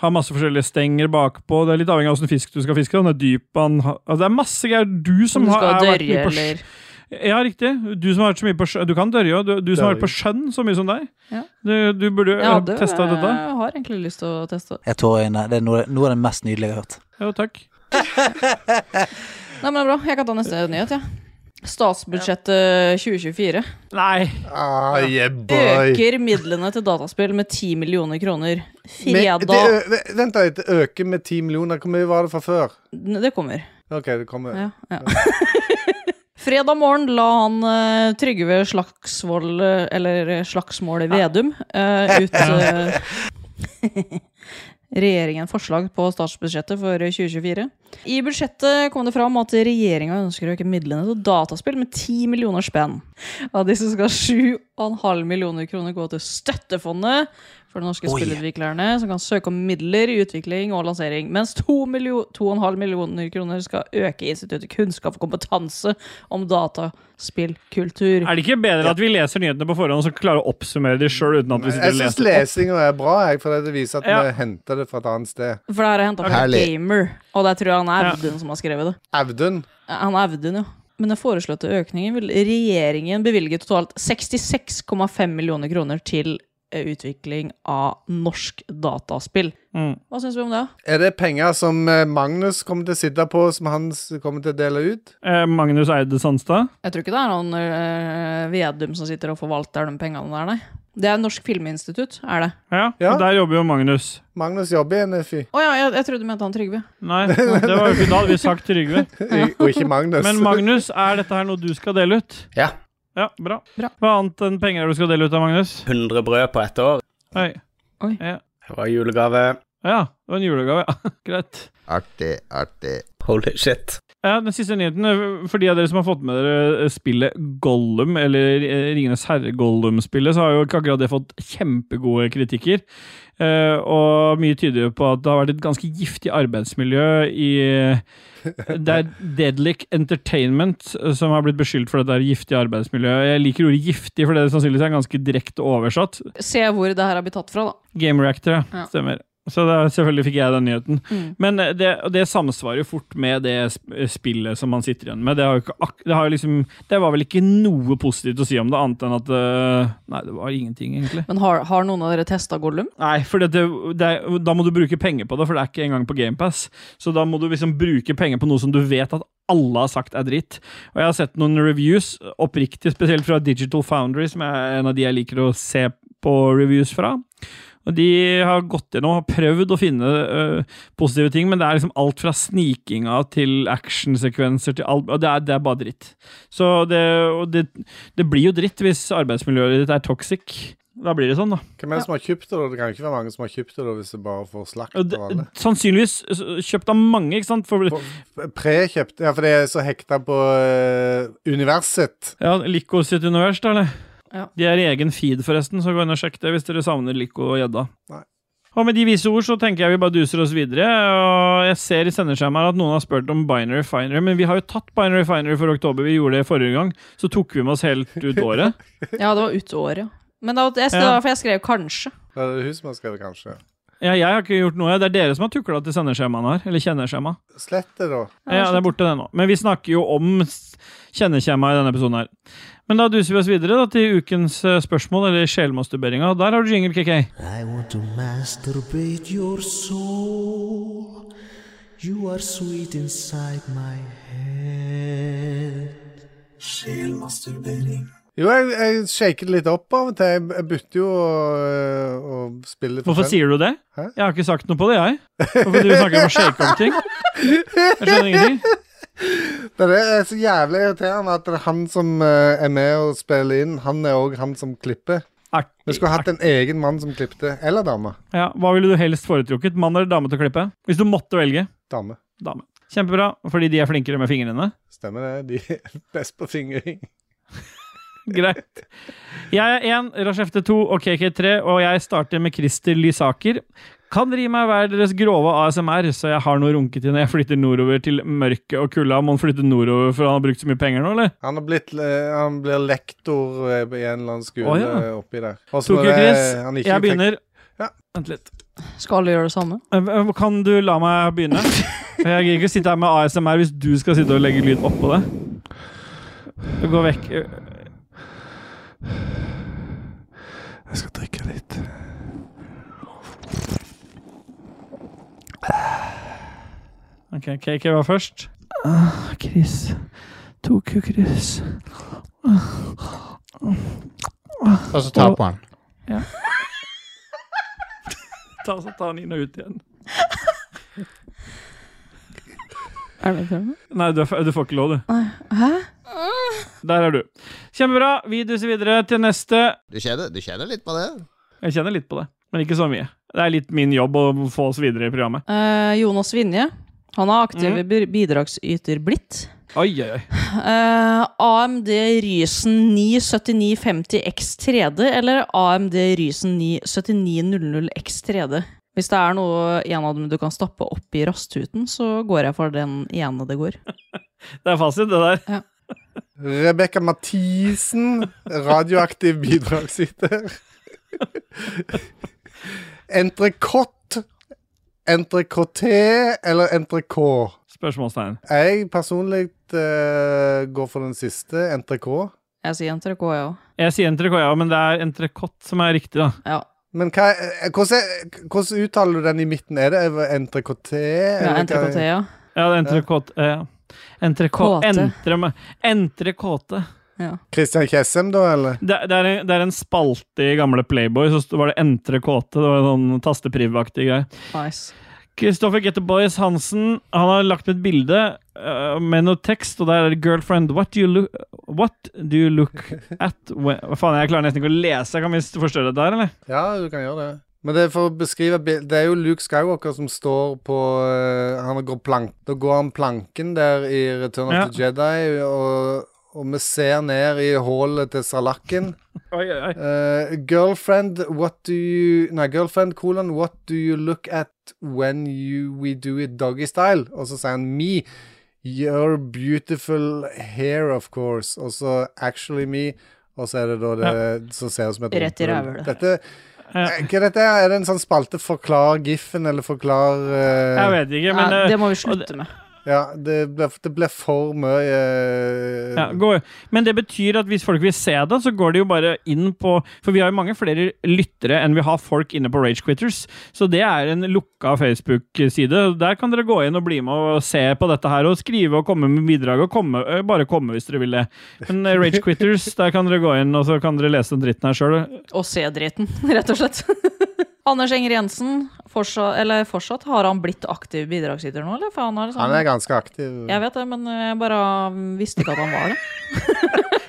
Speaker 1: ha masse forskjellige stenger bakpå. Det er litt avhengig av åssen fisk du skal fiske. Den er dyp, han har- altså, det er masse greier. Du som
Speaker 6: Om du
Speaker 1: har,
Speaker 6: skal
Speaker 1: er, vært
Speaker 6: dørje,
Speaker 1: mye på
Speaker 6: eller-
Speaker 1: sj- Ja, riktig. Du som har vært så mye på sjø. Du kan dørje òg. Du, du som har vært på sjøen så mye som deg.
Speaker 6: Ja.
Speaker 1: Du, du burde jo
Speaker 6: Jeg
Speaker 1: ha
Speaker 6: hadde, eh,
Speaker 1: testa dette.
Speaker 6: jeg har egentlig lyst til å teste det.
Speaker 11: Jeg har tårer i øynene. Det er noe, noe av det mest nydelige jeg har hørt.
Speaker 1: Jo, takk.
Speaker 6: Nei, men det er bra. Jeg kan ta neste nyhet, jeg. Statsbudsjettet 2024
Speaker 1: Nei.
Speaker 2: Ah, yeah, boy.
Speaker 6: øker midlene til dataspill med 10 millioner kroner.
Speaker 2: Men det
Speaker 6: Fredag
Speaker 2: ø- v- Vent da, det øker med 10 millioner. Hvor mye var det fra før?
Speaker 6: Det kommer.
Speaker 2: OK, det kommer.
Speaker 6: Ja, ja. Fredag morgen la han eh, Trygve Slagsvold eh, Eller eh, Slagsmål Vedum eh, ut eh, regjeringen forslag på statsbudsjettet for 2024. I budsjettet kom det fram at regjeringa ønsker å øke midlene til dataspill med 10 millioner spenn. Av disse skal 7,5 millioner kroner gå til Støttefondet for de norske
Speaker 11: Oi.
Speaker 6: spillutviklerne, som kan søke om midler i utvikling og lansering. Mens 2,5 millio 2,5 millioner kroner skal øke Instituttet kunnskap og kompetanse om dataspillkultur.
Speaker 1: Er det ikke bedre at vi leser nyhetene på forhånd, og så klarer å oppsummere de sjøl uten at vi
Speaker 2: Jeg
Speaker 1: sitter og
Speaker 2: syns
Speaker 1: leser?
Speaker 2: lesinga er bra, jeg, for det viser at
Speaker 1: Ja.
Speaker 2: vi henter det fra et annet sted.
Speaker 6: For det her er henta fra
Speaker 2: Herlig.
Speaker 6: Gamer, og der tror jeg han er Audun som har skrevet det.
Speaker 2: Audun.
Speaker 6: Han er Audun, ja. Men den foreslåtte økningen vil regjeringen bevilge totalt 66,5 millioner kroner til eh, utvikling av norsk dataspill.
Speaker 1: Mm.
Speaker 6: Hva syns vi om det?
Speaker 2: Er det penger som eh, Magnus kommer til å sitte på, som han s- kommer til å dele ut?
Speaker 1: Eh, Magnus Eide Sandstad.
Speaker 6: Jeg tror ikke det er noen øh, Vedum som sitter og forvalter de pengene der, nei. Det er Norsk Filminstitutt, er det.
Speaker 1: Ja,
Speaker 2: Ja.
Speaker 1: og der jobber jo Magnus.
Speaker 2: Magnus jobber i NFI,
Speaker 6: Å ja, jeg, jeg trodde du mente han Trygve.
Speaker 1: Nei, det var jo ikke, da hadde vi sagt Trygve.
Speaker 2: og ikke Magnus.
Speaker 1: Men Magnus, er dette her noe du skal dele ut?
Speaker 12: Ja.
Speaker 1: Ja, bra.
Speaker 6: Bra.
Speaker 1: Hva annet enn penger er det du skal dele ut av, Magnus?
Speaker 12: 100 brød på ett år.
Speaker 1: Oi.
Speaker 6: Oi.
Speaker 1: Ja.
Speaker 12: Det var julegave.
Speaker 1: ja, det var en julegave. ja. Greit.
Speaker 3: Artig, artig.
Speaker 12: Holy shit.
Speaker 1: Ja, den siste nyheten, for de av dere som har fått med dere eh, spillet Gollum, eller eh, Ringenes herre-Gollum-spillet, så har jo ikke akkurat det fått kjempegode kritikker. Eh, og mye tyder jo på at det har vært et ganske giftig arbeidsmiljø i eh, Det er Deadlick Entertainment eh, som har blitt beskyldt for dette her giftige arbeidsmiljøet. Jeg liker ordet giftig, for det er sannsynligvis er ganske direkte oversatt.
Speaker 6: Se hvor det her har blitt tatt fra, da.
Speaker 1: Game Reactor, ja.
Speaker 6: Ja.
Speaker 1: Stemmer. Så da, selvfølgelig fikk jeg den nyheten.
Speaker 6: Mm.
Speaker 1: Men eh, det, og det samsvarer jo fort med det sp- spillet som man sitter igjen med. Det, har jo ikke ak det, har jo liksom, det var vel ikke noe positivt å si om det, annet enn at eh, Nei, det var ingenting, egentlig.
Speaker 6: Men har, har noen av dere testa Gollum?
Speaker 1: Nei, for det, det, er- da må du bruke penger på det, for det er ikke engang på GamePass. Så da må du liksom bruke penger på noe som du vet at alle har sagt er dritt. Og jeg har sett noen reviews, oppriktig, spesielt fra Digital Foundry, som er en av de jeg liker å se på reviews fra. Og de har gått gjennom og har prøvd å finne øh, positive ting, men det er liksom alt fra snikinga til actionsekvenser til alt og det, er, det er bare dritt. Så det, og det, det blir jo dritt hvis arbeidsmiljøet ditt er toxic. Da blir det sånn, da.
Speaker 2: Hvem er det som har kjøpt det? da? Det kan jo ikke være mange som har kjøpt det da, hvis det bare får slakt
Speaker 1: Og
Speaker 2: av alle.
Speaker 1: det- Sannsynligvis øh, kjøpt av mange, ikke sant? For,
Speaker 2: Prekjøpt? Ja, for det er så hekta på eh, universet.
Speaker 1: ja, Lico sitt univers, da, eller?
Speaker 6: Ja.
Speaker 1: De er i egen feed, forresten, så gå inn og sjekk det hvis dere savner Lico og gjedda.
Speaker 2: Nei.
Speaker 1: Og med de vise ord så tenker jeg vi bare duser oss videre. og Jeg ser i sendeskjemaet her at noen har spurt om Binary Finery, men vi har jo tatt Binary Finery for oktober. Vi gjorde det forrige gang. Så tok vi med oss helt ut året.
Speaker 6: Ja, det var ut året, ja. Men da, jeg, det
Speaker 1: Ja.
Speaker 6: var derfor jeg skrev kanskje.
Speaker 2: Det er det hun som har skrevet, kanskje.
Speaker 1: Ja, jeg har ikke gjort noe. Det er dere som har tukla til sendeskjemaene her. Eller kjenneskjema.
Speaker 2: Slett det, da.
Speaker 1: Ja, det er borte det nå. Men vi snakker jo om s- kjenneskjema i denne episoden her. Men da duser vi oss videre da, til ukens eh, spørsmål, eller sjelmasturberinga. Der har du jingle, KK.
Speaker 4: I want to masturbate your soul. You are sweet inside my head.
Speaker 8: Sjelmasturbering.
Speaker 2: Jo, jeg, jeg shaker det litt opp av og til. Jeg, jeg bytter jo å, øh, å spille
Speaker 1: Hvorfor sier du det? Jeg har ikke sagt noe på det, jeg. Hvorfor du snakker om å shake om ting? Jeg skjønner ingenting.
Speaker 2: Det er det er så jævlig irriterende at det er han som øh, er med og spiller inn, han er òg han som klipper. Vi skulle hatt en egen mann som klippte. Eller dame.
Speaker 1: Ja, hva ville du helst foretrukket? Mann eller dame til å klippe? Hvis du måtte velge?
Speaker 2: Dame.
Speaker 1: Dame. Kjempebra, fordi de er flinkere med fingrene.
Speaker 2: Stemmer det. De er best på fingring.
Speaker 1: Greit. Jeg er én, Rashefte to og KK3, og jeg starter med Christer Lysaker. Kan dere gi meg hver deres grove ASMR, så jeg har noe runkete når jeg flytter nordover til mørket og kulda? Må han flytte nordover for han har brukt så mye penger nå, eller?
Speaker 2: Han, har blitt, øh, han blir lektor øh, i en eller annen skole
Speaker 1: Å, ja.
Speaker 2: øh, oppi der. Og så
Speaker 1: Tokyo
Speaker 2: når det- han
Speaker 1: Chris,
Speaker 2: ikke
Speaker 1: jeg
Speaker 2: fikk-
Speaker 1: begynner. Vent litt. Skal alle gjøre det samme? Eh, Kan du la meg begynne? For Jeg gidder ikke sitte her med ASMR hvis du skal sitte og legge lyd oppå det. Gå vekk.
Speaker 8: Jeg skal drikke litt.
Speaker 1: Ok, KK var først. Ah, Chris. Tokyo Chris.
Speaker 5: Ta så ta på han.
Speaker 1: Ja. Ta, så ta den inn og ut igjen.
Speaker 6: Er det prøven?
Speaker 1: Nei, du, er f- du får ikke lov, du.
Speaker 6: Hæ?
Speaker 1: Der er du. Kjempebra. Vi duser videre til neste.
Speaker 3: Du kjenner, du kjenner litt på det?
Speaker 1: Jeg kjenner litt på det, men ikke så mye. Det er litt min jobb å få oss videre i programmet.
Speaker 6: Eh, Jonas Vinje. Han er aktiv
Speaker 1: Mhm.
Speaker 6: bi- bidragsyter blitt.
Speaker 1: Oi, oi, oi.
Speaker 6: Eh, AMD Rysen 97950 X3D eller AMD Rysen 97900 X3D. Hvis det er noe en av dem du kan stappe opp i rasthuten, så går jeg for den ene det går.
Speaker 1: Det er fasit, det der.
Speaker 2: Rebekka Mathisen, radioaktiv bidragsyter. Entrecôte, entrecôté eller entrecôte?
Speaker 1: Spørsmålstegn.
Speaker 2: Jeg personlig eh, går for den siste, entrecôte.
Speaker 6: Jeg sier NTRK, jeg òg.
Speaker 1: Jeg sier entrecôte, ja, men det er entrecôte som er riktig, da.
Speaker 2: Men hva, eh, hvordan, er- hvordan uttaler du den i midten? Er det entrecôté?
Speaker 6: Ja, entrecôté, ja.
Speaker 1: Ja, det er entrecôte. eh, Ja. Entrecôte.
Speaker 2: Kåte.
Speaker 1: Entre, med- entrecôte.
Speaker 2: Christian Kjessem, da, eller?
Speaker 1: Det, det, er en, det er en spalte i gamle Playboy, så sto- var det entrecôte. Det var en sånn tasteprivaktig greie.
Speaker 6: Nice.
Speaker 1: Kristoffer Getteboys Hansen han har lagt med et bilde eh, med noe tekst, og der er det 'Girlfriend, what do you look, what do you look at when Hva faen, jeg klarer nesten ikke å lese. Kan vi forstørre dette her, eller?
Speaker 2: Ja, du kan gjøre det. Men det er for å beskrive bil- Det er jo Luke Skywalker som står på eh, Han går plank Da går han planken der i Return of
Speaker 1: Ja.
Speaker 2: the Jedi, og, og vi ser ned i hullet til Salakken.
Speaker 1: Oi, oi, oi.
Speaker 2: Eh, girlfriend, what do you Nei, girlfriend, colon, what do you look at when you we do it doggy style? Og så sier han me. Your beautiful hair, of course. Og så actually me. Og så er det da det som ser ut som et
Speaker 6: Rett i
Speaker 2: rumpehull.
Speaker 6: rævhullet.
Speaker 2: Dette Eh, Hva er dette? her? Er det en sånn spalte 'Forklar Giffen', eller 'Forklar eh,
Speaker 1: Jeg vet ikke, men
Speaker 6: Nei,
Speaker 1: eh,
Speaker 6: det må vi slutte med.
Speaker 2: Ja, det ble, det ble for mye eh,
Speaker 1: Ja, gå- men det betyr at hvis folk vil se det, så går de jo bare inn på For vi har jo mange flere lyttere enn vi har folk inne på Rage Quitters. Så det er en lukka Facebook-side. Der kan dere gå inn og bli med og se på dette her, og skrive og komme med bidrag. Og komme, øh, bare komme hvis dere vil det. Men eh, Rage Quitters, der kan dere gå inn, og så kan dere lese den dritten her sjøl.
Speaker 6: Og se driten, rett og slett. Anders Enger Jensen, fortsatt, eller fortsatt, har han blitt aktiv bidragsyter nå, eller? For han er, liksom,
Speaker 2: Han er ganske aktiv.
Speaker 6: Jeg vet det, men jeg bare mm, visste ikke at han var det.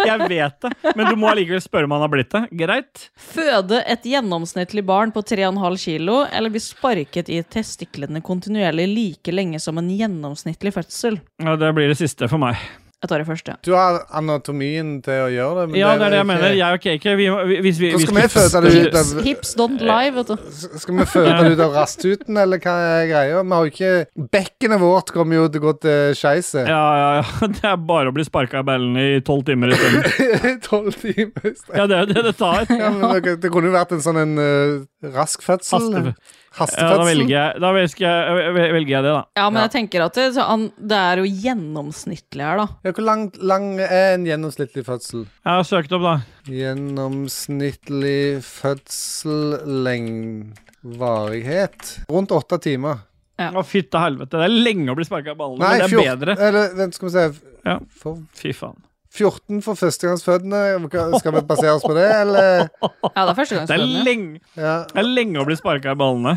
Speaker 1: Jeg vet det, men du må allikevel spørre om han har blitt det. Greit?
Speaker 6: Føde et gjennomsnittlig barn på 3,5 kilo, eller bli sparket i testiklene kontinuerlig like lenge som en gjennomsnittlig fødsel.
Speaker 1: Ja, det blir det siste for meg.
Speaker 6: Jeg tar det første.
Speaker 2: Du har anatomien til å gjøre det. men
Speaker 1: Ja, det er det jeg
Speaker 2: ikke-
Speaker 1: mener. Jeg og KK, vi, må- vi, hvis vi
Speaker 2: Hvordan skal
Speaker 1: vi-
Speaker 2: vi føde det ut av
Speaker 6: Hips don't lie, vet du.
Speaker 2: Skal vi føde det ut av rasthuten, eller hva er greia? Vi har jo ikke Bekkenet vårt kommer jo til å gå til skeiset.
Speaker 1: Ja, ja, ja. Det er bare å bli sparka i ballene i tolv timer i stedet.
Speaker 2: Tolv timer i stedet.
Speaker 1: Ja, det er jo det det tar.
Speaker 2: Ja, men det- det kunne jo vært en sånn en eh, rask fødsel.
Speaker 1: Haste-
Speaker 2: Hastefødsel.
Speaker 1: Ja, da velger jeg, da velger jeg, vel- velger jeg det, da.
Speaker 6: Ja, men jeg tenker at det, så han, det er jo gjennomsnittlig her, da.
Speaker 2: Ja, hvor lang, lang er en gjennomsnittlig fødsel?
Speaker 1: Jeg har søkt opp, da.
Speaker 2: Gjennomsnittlig fødsel leng... varighet? Rundt åtte timer.
Speaker 1: Å, fytte helvete. Det er lenge å bli sparka i ballene, men det
Speaker 2: Nei,
Speaker 1: er
Speaker 2: 14
Speaker 1: bedre.
Speaker 2: Eller, vent, skal vi se.
Speaker 1: Ja.
Speaker 2: For
Speaker 1: Fy faen.
Speaker 2: 14 for førstegangsfødende. Hva- Skal vi basere oss på det, eller?
Speaker 6: Ja, det er
Speaker 1: Det er
Speaker 6: førstegangsfødende.
Speaker 1: lenge, det er lenge å bli sparka i ballene.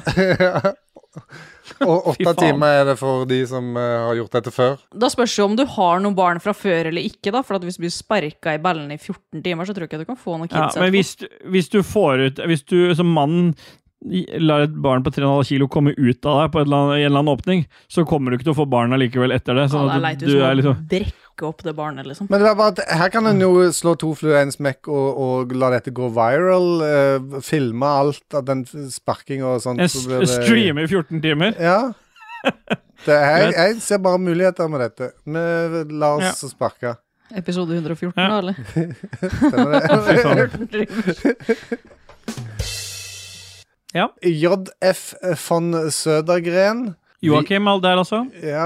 Speaker 2: Og
Speaker 1: Fy
Speaker 2: åtte
Speaker 1: faen.
Speaker 2: timer er det for de som eh, har gjort dette før.
Speaker 6: Da spørs det om du har noen barn fra før eller ikke. da For at hvis du blir sparka i ballene i 14 timer, så tror jeg ikke du kan få noen
Speaker 1: Ja,
Speaker 6: kids.
Speaker 1: men
Speaker 6: etterpå.
Speaker 1: hvis, hvis du får ut Hvis du som mann i- lar et barn på 3,5 kilo komme ut av deg på et eller annet, i en eller annen åpning, så kommer du ikke til å få barn allikevel etter det. Sånn
Speaker 6: ja, det er
Speaker 1: at
Speaker 6: leit
Speaker 1: du,
Speaker 6: hvis
Speaker 1: du er
Speaker 6: man
Speaker 1: liksom
Speaker 6: brekker opp det barnet, liksom.
Speaker 2: Men det er bare at her kan en jo slå to fluer i en smekk og, og la dette gå viral. eh, filme alt av den sparkinga og sånt.
Speaker 1: En
Speaker 2: så
Speaker 1: s-
Speaker 2: blir det-
Speaker 1: streamer i 14 timer.
Speaker 2: Ja. Det er, jeg ser bare muligheter med dette. Vi lar oss sparke.
Speaker 6: Episode 114,
Speaker 1: Ja.
Speaker 6: da, eller?
Speaker 2: Stemmer det. JF von Sødergren.
Speaker 1: Joakim Alder, altså.
Speaker 2: Ja,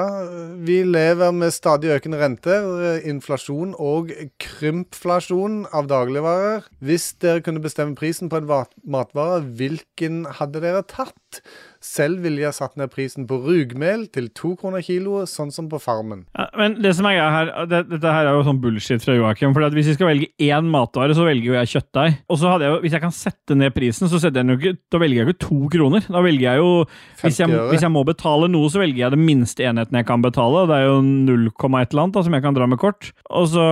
Speaker 2: vi lever med stadig økende renter, inflasjon og krympflasjon av dagligvarer. Hvis dere kunne bestemme prisen på en va- matvare, hvilken hadde dere tatt? Selv ville jeg satt ned prisen på rugmel til to kroner kiloet, sånn som på Farmen.
Speaker 1: Ja, men det som er greia her, det, dette her er jo sånn bullshit fra Joakim. For at hvis jeg skal velge én matvare, så velger jo jeg kjøttdeig. Og så hadde jeg jo, hvis jeg kan sette ned prisen, så setter jeg den jo ikke, da velger jeg jo ikke to kroner. Da velger jeg jo hvis
Speaker 2: 50
Speaker 1: jeg,
Speaker 2: øre.
Speaker 1: hvis jeg må betale noe, så velger jeg den minste enheten jeg kan betale. og Det er jo 0, et eller annet da, som jeg kan dra med kort. Og så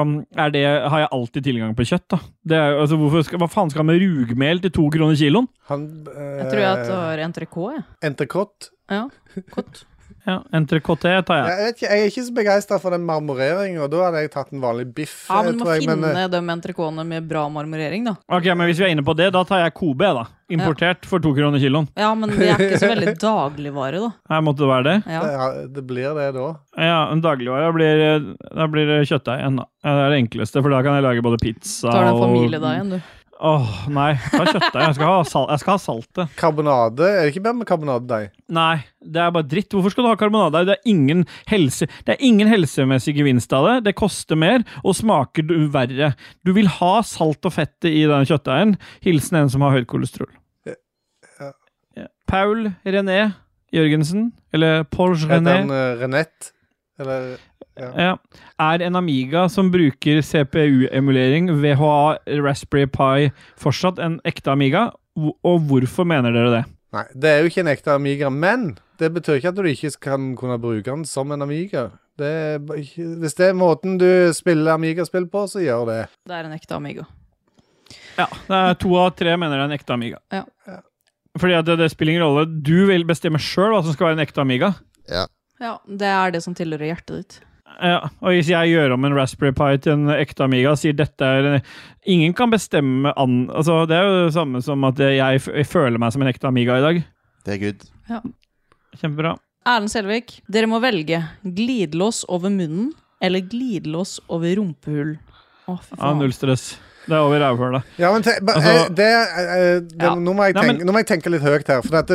Speaker 1: um, er det, har jeg alltid tilgang på kjøtt. da. Det er, jo- altså, hvorfor skal, hva faen skal han med rugmel til to kroner kiloen?
Speaker 2: Han eh,
Speaker 6: Jeg tror jeg tar entrecôte, jeg.
Speaker 2: Entrecôte.
Speaker 6: Ja.
Speaker 1: Ja, Entrecôte tar jeg.
Speaker 2: Jeg, vet ikke, jeg er ikke så begeistra for den marmoreringen, og da hadde jeg tatt en vanlig biff.
Speaker 6: Ja,
Speaker 2: eh,
Speaker 6: men du må
Speaker 2: tror jeg, men,
Speaker 6: finne
Speaker 2: eh,
Speaker 6: de entrecôtene med bra marmorering, da.
Speaker 1: Ok, men Hvis vi er inne på det, da tar jeg Kobe. da. Importert for to kroner kiloen.
Speaker 6: Ja, men det er ikke så veldig dagligvare, da.
Speaker 1: Her måtte det være det.
Speaker 6: Ja.
Speaker 2: ja, det blir det da.
Speaker 1: Ja, en dagligvare blir, da blir det kjøttdeig igjen, da. Ja, Det er det enkleste, for da kan jeg lage både pizza
Speaker 6: Tar du en
Speaker 1: og-
Speaker 6: familie da igjen, du.
Speaker 1: Åh, nei. Ta kjøttdeig. Jeg skal ha, sal jeg skal ha saltet.
Speaker 2: Karbonade? Er det ikke bedre med karbonadedeig?
Speaker 1: Nei, det er bare dritt. Hvorfor skal du ha karbonadedeig? Det, er ingen helse- det er ingen helsemessig gevinst av det. Det koster mer, og smaker du verre. Du vil ha salt og fettet i den kjøttdeigen. Hilsen en som har høyt kolesterol.
Speaker 2: ja.
Speaker 1: Ja. Paul René Jørgensen, eller Porsche
Speaker 2: Heter
Speaker 1: René.
Speaker 2: den eh, Renette? Eller ja.
Speaker 1: Ja. Er en Amiga som bruker CPU-emulering, VHA, Raspberry Pi, fortsatt en ekte Amiga? Hvor- Og hvorfor mener dere det?
Speaker 2: Nei, det er jo ikke en ekte Amiga, men det betyr ikke at du ikke kan kunne bruke den som en Amiga. Det er, ba- ikke- hvis det er måten du spiller Amiga-spill på, så gjør det.
Speaker 6: Det er en ekte Amigo.
Speaker 1: Ja, det er To av tre mener det er en ekte Amiga.
Speaker 6: Ja.
Speaker 1: Fordi at det, det spiller ingen rolle. Du vil bestemme sjøl hva som skal være en ekte Amiga.
Speaker 3: Ja.
Speaker 6: Ja, det er det som tilhører hjertet ditt.
Speaker 1: Ja, og hvis jeg gjør om en Raspberry Pi til en ekte Amiga og sier dette er en, Ingen kan bestemme an... Altså, det er jo det samme som at jeg, f jeg føler meg som en ekte Amiga i dag.
Speaker 3: Det er good.
Speaker 1: Kjempebra.
Speaker 6: Erlend Selvik, dere må velge glidelås over munnen eller glidelås over rumpehull. Å, fy
Speaker 1: Ja,
Speaker 6: faen.
Speaker 1: null stress. Det er over rævhøla.
Speaker 2: Ja, men te, ba,
Speaker 1: Altså-
Speaker 2: eh, det, eh, eh, det
Speaker 1: Ja.
Speaker 2: nå, må jeg
Speaker 1: Nei,
Speaker 2: tenke,
Speaker 1: men-
Speaker 2: nå må jeg tenke litt høyt her. For at,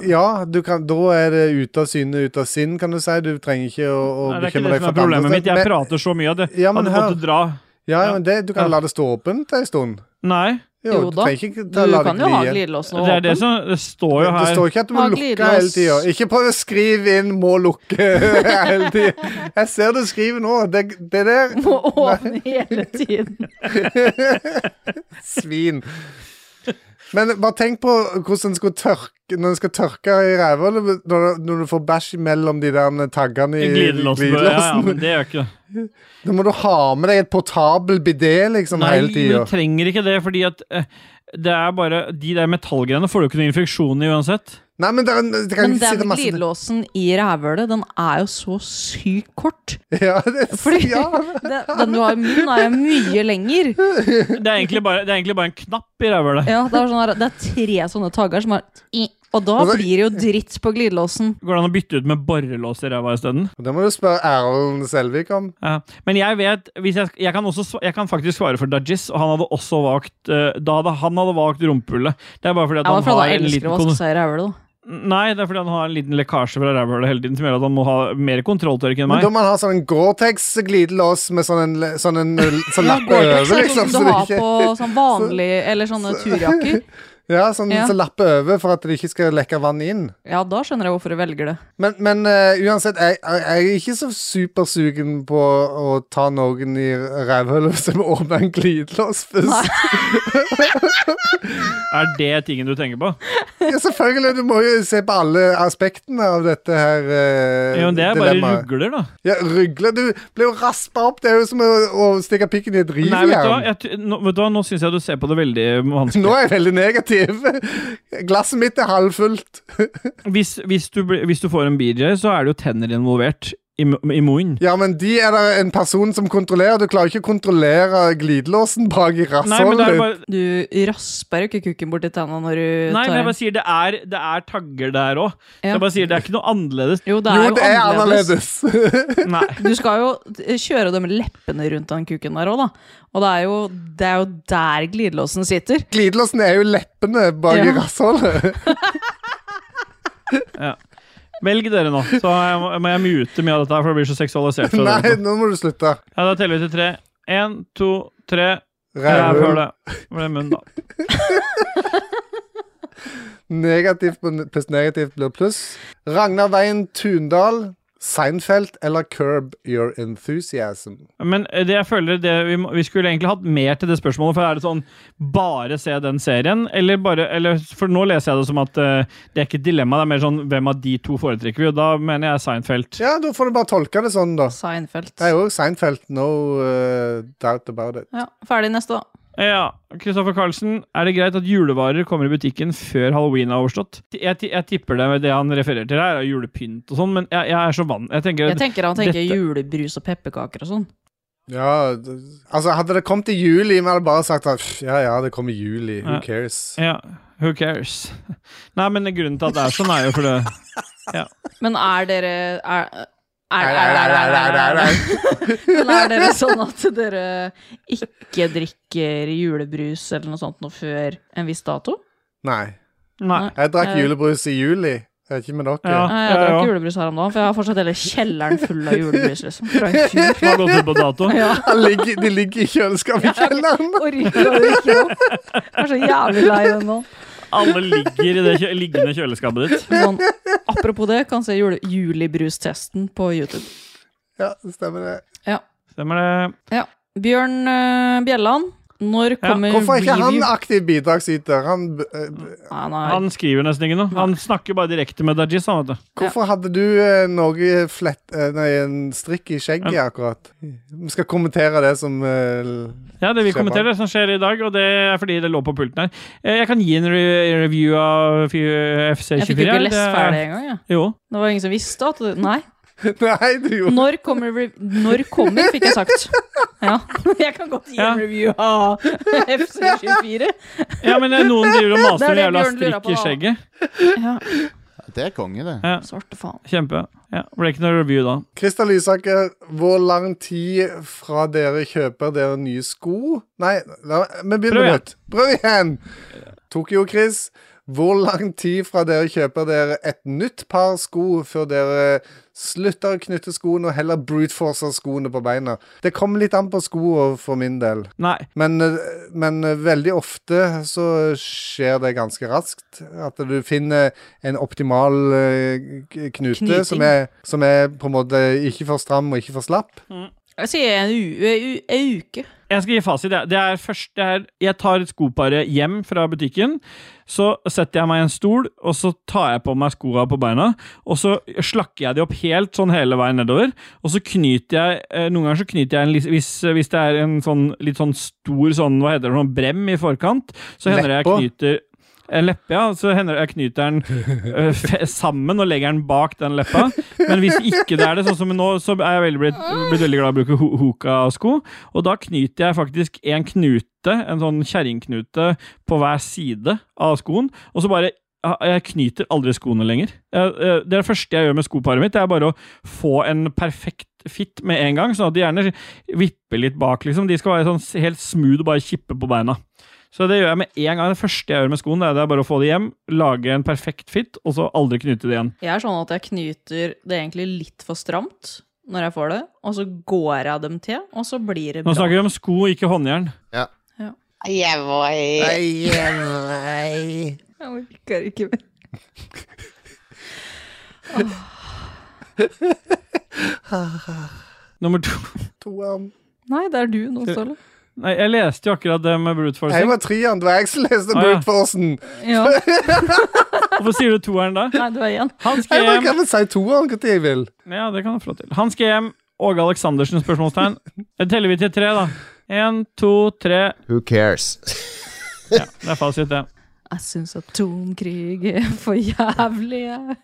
Speaker 2: eh, ja, du kan, da er det ute av syne, ute av sinn, kan du si. Du trenger ikke å, å
Speaker 1: Nei, det er ikke
Speaker 2: bekymre
Speaker 1: det som
Speaker 2: deg for
Speaker 1: er
Speaker 2: at andre-
Speaker 1: problemet mitt. Jeg
Speaker 2: Men-
Speaker 1: prater så mye at det,
Speaker 2: Ja,
Speaker 1: at
Speaker 2: men
Speaker 1: du
Speaker 2: hør.
Speaker 1: måtte dra.
Speaker 2: Ja, men det, du kan la det stå åpent en stund.
Speaker 1: Nei.
Speaker 2: Jo,
Speaker 6: Jo
Speaker 2: du
Speaker 6: da.
Speaker 2: trenger ikke
Speaker 6: Du
Speaker 2: ta- la det
Speaker 6: kan jo ha
Speaker 2: gli.
Speaker 6: glidelåsen
Speaker 1: Det er det
Speaker 6: åpen.
Speaker 1: som det står jo
Speaker 2: Det
Speaker 1: her.
Speaker 2: står ikke at du må
Speaker 6: Ha
Speaker 2: lukke
Speaker 6: glidelås.
Speaker 2: hele tida. Ikke prøv å skrive inn 'må lukke' hele tida. Jeg ser du skriver nå. Det, det der
Speaker 6: Må åpne hele tiden.
Speaker 2: Svin. Men bare tenk på hvordan en skal tørke når en skal tørke i ræva, eller når, når du får bæsj mellom de der taggene i
Speaker 1: Glidelåsen. Ja, ja, men det gjør ikke det.
Speaker 2: Da må du ha med deg et portabel bidé liksom
Speaker 1: Nei,
Speaker 2: hele
Speaker 1: men
Speaker 2: tida.
Speaker 1: du trenger ikke det, fordi at eh, det er bare De der metallgreiene får du ikke noen infeksjon i uansett.
Speaker 2: Nei, men det, er en- det kan
Speaker 6: Men
Speaker 2: ikke
Speaker 6: den
Speaker 2: sitte masse
Speaker 6: glidelåsen i rævhølet, den er jo så sykt kort.
Speaker 2: Ja, det,
Speaker 6: Fordi
Speaker 2: ja.
Speaker 6: den, den du har i munnen, er jo mye lenger.
Speaker 1: Det er egentlig bare, det er egentlig bare en knapp i rævhølet.
Speaker 6: Ja, det, er sånn her, det er tre sånne tagger som er i- Og da
Speaker 2: Altså-
Speaker 6: blir det jo dritt på glidelåsen.
Speaker 1: Går det an å bytte ut med borrelås i ræva isteden?
Speaker 2: Det må du spørre Erlend Selvik om.
Speaker 1: Ja. Men jeg vet hvis jeg, jeg, kan også, sva- jeg kan faktisk svare for Dajis, og han hadde også valgt eh, Da hadde han hadde valgt rumpehullet. Det er bare fordi at
Speaker 6: Ja, men
Speaker 1: han
Speaker 6: for da
Speaker 1: har en
Speaker 6: elsker
Speaker 1: liten
Speaker 6: å
Speaker 1: kon-
Speaker 6: vaske seg i rævhølet, da.
Speaker 1: Nei, det er fordi han har en liten lekkasje fra rævhølet hele tiden som gjør at han må ha mer kontrolltørk enn
Speaker 2: Men
Speaker 1: meg.
Speaker 2: da må man ha sånn en Gore-Tex-glidelås med sånn en, sånn en sånn lapp over,
Speaker 6: Gore-Tex er sånn
Speaker 2: liksom.
Speaker 6: som
Speaker 2: så
Speaker 6: du
Speaker 2: det
Speaker 6: har
Speaker 2: ikke-
Speaker 6: på sånn vanlig, eller sånne turjakker.
Speaker 2: Ja, sånn
Speaker 6: Ja.
Speaker 2: som lapper over for at det ikke skal lekke vann inn.
Speaker 6: Ja, da skjønner jeg hvorfor du velger det.
Speaker 2: Men, men eh, uansett, jeg, jeg, jeg er ikke så supersugen på å ta noen i rævhullet hvis jeg må åpne en glidelås først.
Speaker 1: Er det tingen du tenker på?
Speaker 2: Ja, selvfølgelig, du må jo se på alle aspektene av dette her eh,
Speaker 1: Jo, men det er bare rugler, da.
Speaker 2: Ja, rugler. Du blir jo raspa opp. Det er jo som å, å stikke pikken i et
Speaker 1: Nei, vet du hva?
Speaker 2: rivjern.
Speaker 1: Jeg, t- nå, vet du hva? Nå syns jeg du ser på det veldig vanskelig.
Speaker 2: Nå er jeg veldig negativ. Glasset mitt er halvfullt.
Speaker 1: Hvis, hvis, du, blir- hvis du får en BJ, så er det jo tenner involvert i, mu- i munnen.
Speaker 2: Ja, men de er det en person som kontrollerer. Du klarer ikke å kontrollere glidelåsen bak i
Speaker 1: Nei, men
Speaker 2: rasshølet
Speaker 1: det er
Speaker 2: ditt.
Speaker 1: bare
Speaker 6: Du rasper jo ikke kukken borti tanna når du
Speaker 1: Nei,
Speaker 6: tar
Speaker 1: men jeg
Speaker 6: den.
Speaker 1: bare sier det er, det er tagger der òg.
Speaker 6: Ja.
Speaker 1: Jeg bare sier det er ikke noe annerledes.
Speaker 6: Jo, det er jo,
Speaker 1: Nei.
Speaker 6: Du skal jo eh, kjøre de leppene rundt den kuken der òg, da. Og det er jo, det er jo der glidelåsen sitter.
Speaker 2: Glidelåsen er jo leppene bak i
Speaker 6: Ja.
Speaker 2: rasshølet.
Speaker 1: Ja. Velg dere nå, så jeg må, må jeg mute mye av dette, her, for det blir så seksualisert. fra
Speaker 2: Nei,
Speaker 1: dere to.
Speaker 2: nå må du slutte.
Speaker 1: Ja, Da teller vi til tre. Én, to, tre.
Speaker 2: Rævhull.
Speaker 1: Rævhullet. Med munnen, da.
Speaker 2: Negativt på- pluss negativt blir pluss. Ragnar Veien Tundal, Seinfeld eller Curb Your Enthusiasm?
Speaker 1: Men eh, det jeg føler det, vi, må, vi skulle egentlig hatt mer til det spørsmålet. For er det sånn bare se den serien, eller bare eller, For nå leser jeg det som at eh, det er ikke et dilemma, det er mer sånn hvem av de to foretrekker vi? Og da mener jeg Seinfeld.
Speaker 2: Ja, da får du bare tolke det sånn, da.
Speaker 6: Seinfeld.
Speaker 2: Det er jo Seinfeld. No uh, doubt about it.
Speaker 6: Ja, Ferdig neste, da.
Speaker 1: Ja, Kristoffer Carlsen, er det greit at julevarer kommer i butikken før halloween er overstått? Jeg, ti- jeg tipper det med det han refererer til her, er julepynt og sånn, men jeg, jeg er så vant Jeg tenker,
Speaker 6: Jeg tenker han tenker
Speaker 1: dette-
Speaker 6: julebrus og pepperkaker og sånn.
Speaker 2: Ja, d- altså Hadde det kommet i juli, vi hadde bare sagt at "Pff, ja, ja, det kommer i juli. Who
Speaker 1: Ja.
Speaker 2: cares?
Speaker 1: Ja, who cares? Nei, men grunnen til at det er sånn, er jo for det ja.
Speaker 6: Men er dere er, er, er, er, er, er, er, er, er. Men er dere sånn at dere ikke drikker julebrus eller noe sånt noe før en viss dato?
Speaker 2: Nei.
Speaker 1: Nei.
Speaker 2: Jeg drakk
Speaker 6: Eh.
Speaker 2: julebrus i juli. Jeg vet ikke med dere.
Speaker 1: Ja.
Speaker 6: Nei, jeg drakk
Speaker 1: ja.
Speaker 6: julebrus her om dagen, for jeg har fortsatt hele kjelleren full av julebrus. liksom. Fra en fyr.
Speaker 1: Som har gått ut på dato.
Speaker 6: Ja.
Speaker 2: Han ligger, de ligger i kjøleskapet i kjelleren.
Speaker 6: Orker å drikke opp. Jeg er så jævlig lei den nå.
Speaker 1: Alle ligger i det kjø liggende kjøleskapet ditt.
Speaker 6: Men sånn, apropos det, kan se jule, julibrustesten på YouTube.
Speaker 2: Ja, det stemmer det.
Speaker 6: Ja.
Speaker 1: Stemmer det?
Speaker 6: ja. Bjørn eh, Bjelland, når kommer
Speaker 2: Hvorfor er ikke han
Speaker 6: review?
Speaker 2: aktiv bidragsyter? Han, eh,
Speaker 6: Nei, nei.
Speaker 1: Han skriver nesten ikke noe. Han snakker bare direkte med Dajis, han, vet du.
Speaker 2: hvorfor hadde du eh, noe flett, eh, nei, en strikk i skjegget akkurat? Vi skal kommentere det som eh, l-
Speaker 1: Ja, det vi
Speaker 2: Skjer
Speaker 1: kommenterer det som skjer i dag, og det er fordi det lå på pulten her. Eh, Jeg kan gi en re review av F- FC24.
Speaker 6: Jeg fikk jo ikke lest
Speaker 1: det er-
Speaker 6: ferdig engang. jeg.
Speaker 1: Jo.
Speaker 6: Det var ingen som visste at det- Nei.
Speaker 2: Nei, du gjorde
Speaker 6: Når kommer, re- når kommer fikk jeg sagt. Ja. Jeg kan godt gi
Speaker 1: Ja.
Speaker 6: en review av FC24.
Speaker 1: Ja, men eh, noen driver og
Speaker 6: Det
Speaker 1: maser
Speaker 6: er
Speaker 1: om
Speaker 6: det
Speaker 1: jævla
Speaker 6: Bjørn lurer
Speaker 1: strikk
Speaker 6: på
Speaker 1: i
Speaker 6: da.
Speaker 1: skjegget.
Speaker 6: Ja.
Speaker 12: Det er konge, det.
Speaker 1: Ja,
Speaker 6: Svarte faen.
Speaker 1: kjempe. Ja, ble ikke noe review da.
Speaker 2: Kristian Lysaker, hvor lang tid fra dere kjøper dere nye sko? Nei, la, vi
Speaker 1: Prøv
Speaker 2: begynner
Speaker 1: igjen.
Speaker 2: på nytt. Prøv igjen! Tokyo Chris, hvor lang tid fra dere kjøper dere et nytt par sko før dere slutter å knytte skoene og heller bruteforcer skoene på beina? Det kommer litt an på skoene for min del.
Speaker 1: Nei.
Speaker 2: Men, eh, men eh, veldig ofte så skjer det ganske raskt. At du finner en optimal eh, k- knute
Speaker 6: Knyting.
Speaker 2: som er, som er på en måte ikke for stram og ikke for slapp.
Speaker 6: Jeg sier en, u u en uke.
Speaker 1: Jeg skal gi fasit. jeg. Det er først det er, Jeg tar skoparet hjem fra butikken. Så setter jeg meg i en stol, og så tar jeg på meg skoa på beina. Og så slakker jeg de opp helt sånn hele veien nedover. Og så knyter jeg eh, Noen ganger så knyter jeg en lis- hvis, hvis det er en sånn litt sånn stor sånn, hva heter det, sånn brem i forkant, så hender det jeg
Speaker 2: Leppa.
Speaker 1: knyter en leppe, ja. Så hender det jeg knyter den eh, fe- sammen og legger den bak den leppa. Men hvis ikke det er det, sånn som nå, så er jeg veldig blitt, blitt veldig glad i å bruke ho- hoka-sko. Og da knyter jeg faktisk en knute, en sånn kjerringknute, på hver side av skoen. Og så bare Jeg knyter aldri skoene lenger. Jeg- jeg- Det er det første jeg gjør med skoparet mitt, det er bare å få en perfekt fit med en gang, sånn at de gjerne vipper litt bak, liksom. De skal være sånn s- helt smooth og bare kippe på beina. Så det gjør jeg med en gang. Det første jeg gjør med skoen, det er det er bare å få det hjem, lage en perfekt fit, og så aldri knyte det igjen.
Speaker 6: Jeg er sånn at jeg knyter det egentlig litt for stramt når jeg får det, og så går jeg dem til, og så blir det
Speaker 1: Nå
Speaker 6: bra.
Speaker 1: snakker vi om sko, ikke håndjern.
Speaker 3: Ja.
Speaker 6: Ja.
Speaker 4: Jevoi.
Speaker 6: Jevoi. Jeg orker ikke mer.
Speaker 1: Nummer to.
Speaker 6: Nei, det er du nå, Ståle.
Speaker 1: Nei, jeg leste jo akkurat det med brute forcing.
Speaker 2: Jeg var treeren, det var jeg som leste
Speaker 1: Ah, ja.
Speaker 2: Brute Forcen.
Speaker 6: Ja.
Speaker 1: Hvorfor sier du toeren da?
Speaker 6: Nei, du er igjen.
Speaker 1: Han
Speaker 2: Jeg
Speaker 1: skal
Speaker 2: bare
Speaker 1: hjem.
Speaker 2: kan vel si toeren når jeg vil.
Speaker 1: Ja, det kan du få lov til. Han skal hjem. Åge Aleksandersen? spørsmålstegn. Da teller vi til tre, da. Én, to, tre.
Speaker 3: Who cares?
Speaker 1: Ja, det er fasit, det.
Speaker 6: Jeg syns atomkrig er for jævlig. jeg.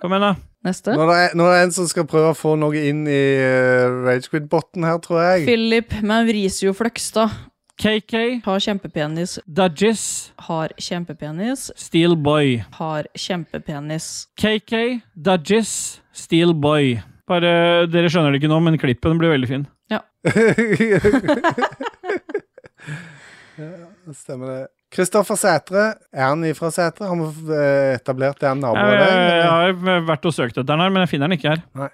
Speaker 1: Kom igjen, da.
Speaker 6: Neste.
Speaker 2: Nå er, det- nå er det en som skal prøve å få noe inn i uh, Ragequid-botten her, tror jeg.
Speaker 6: Philip Maurisio Fløgstad.
Speaker 1: KK.
Speaker 6: Har kjempepenis.
Speaker 1: Dudges.
Speaker 6: Har kjempepenis.
Speaker 1: Steel Boy.
Speaker 6: Har kjempepenis.
Speaker 1: KK. Dudges. Steel Boy. Bare, Dere skjønner det ikke nå, men klippen blir veldig fin.
Speaker 6: Ja.
Speaker 2: Ja, Stemmer det. Kristoffer Sætre. Er han ifra Sætre? Har vi eh, etablert det er nabo av
Speaker 1: Jeg, jeg, jeg
Speaker 2: deg?
Speaker 1: har jo vært og søkt etter den her, men jeg finner den ikke her.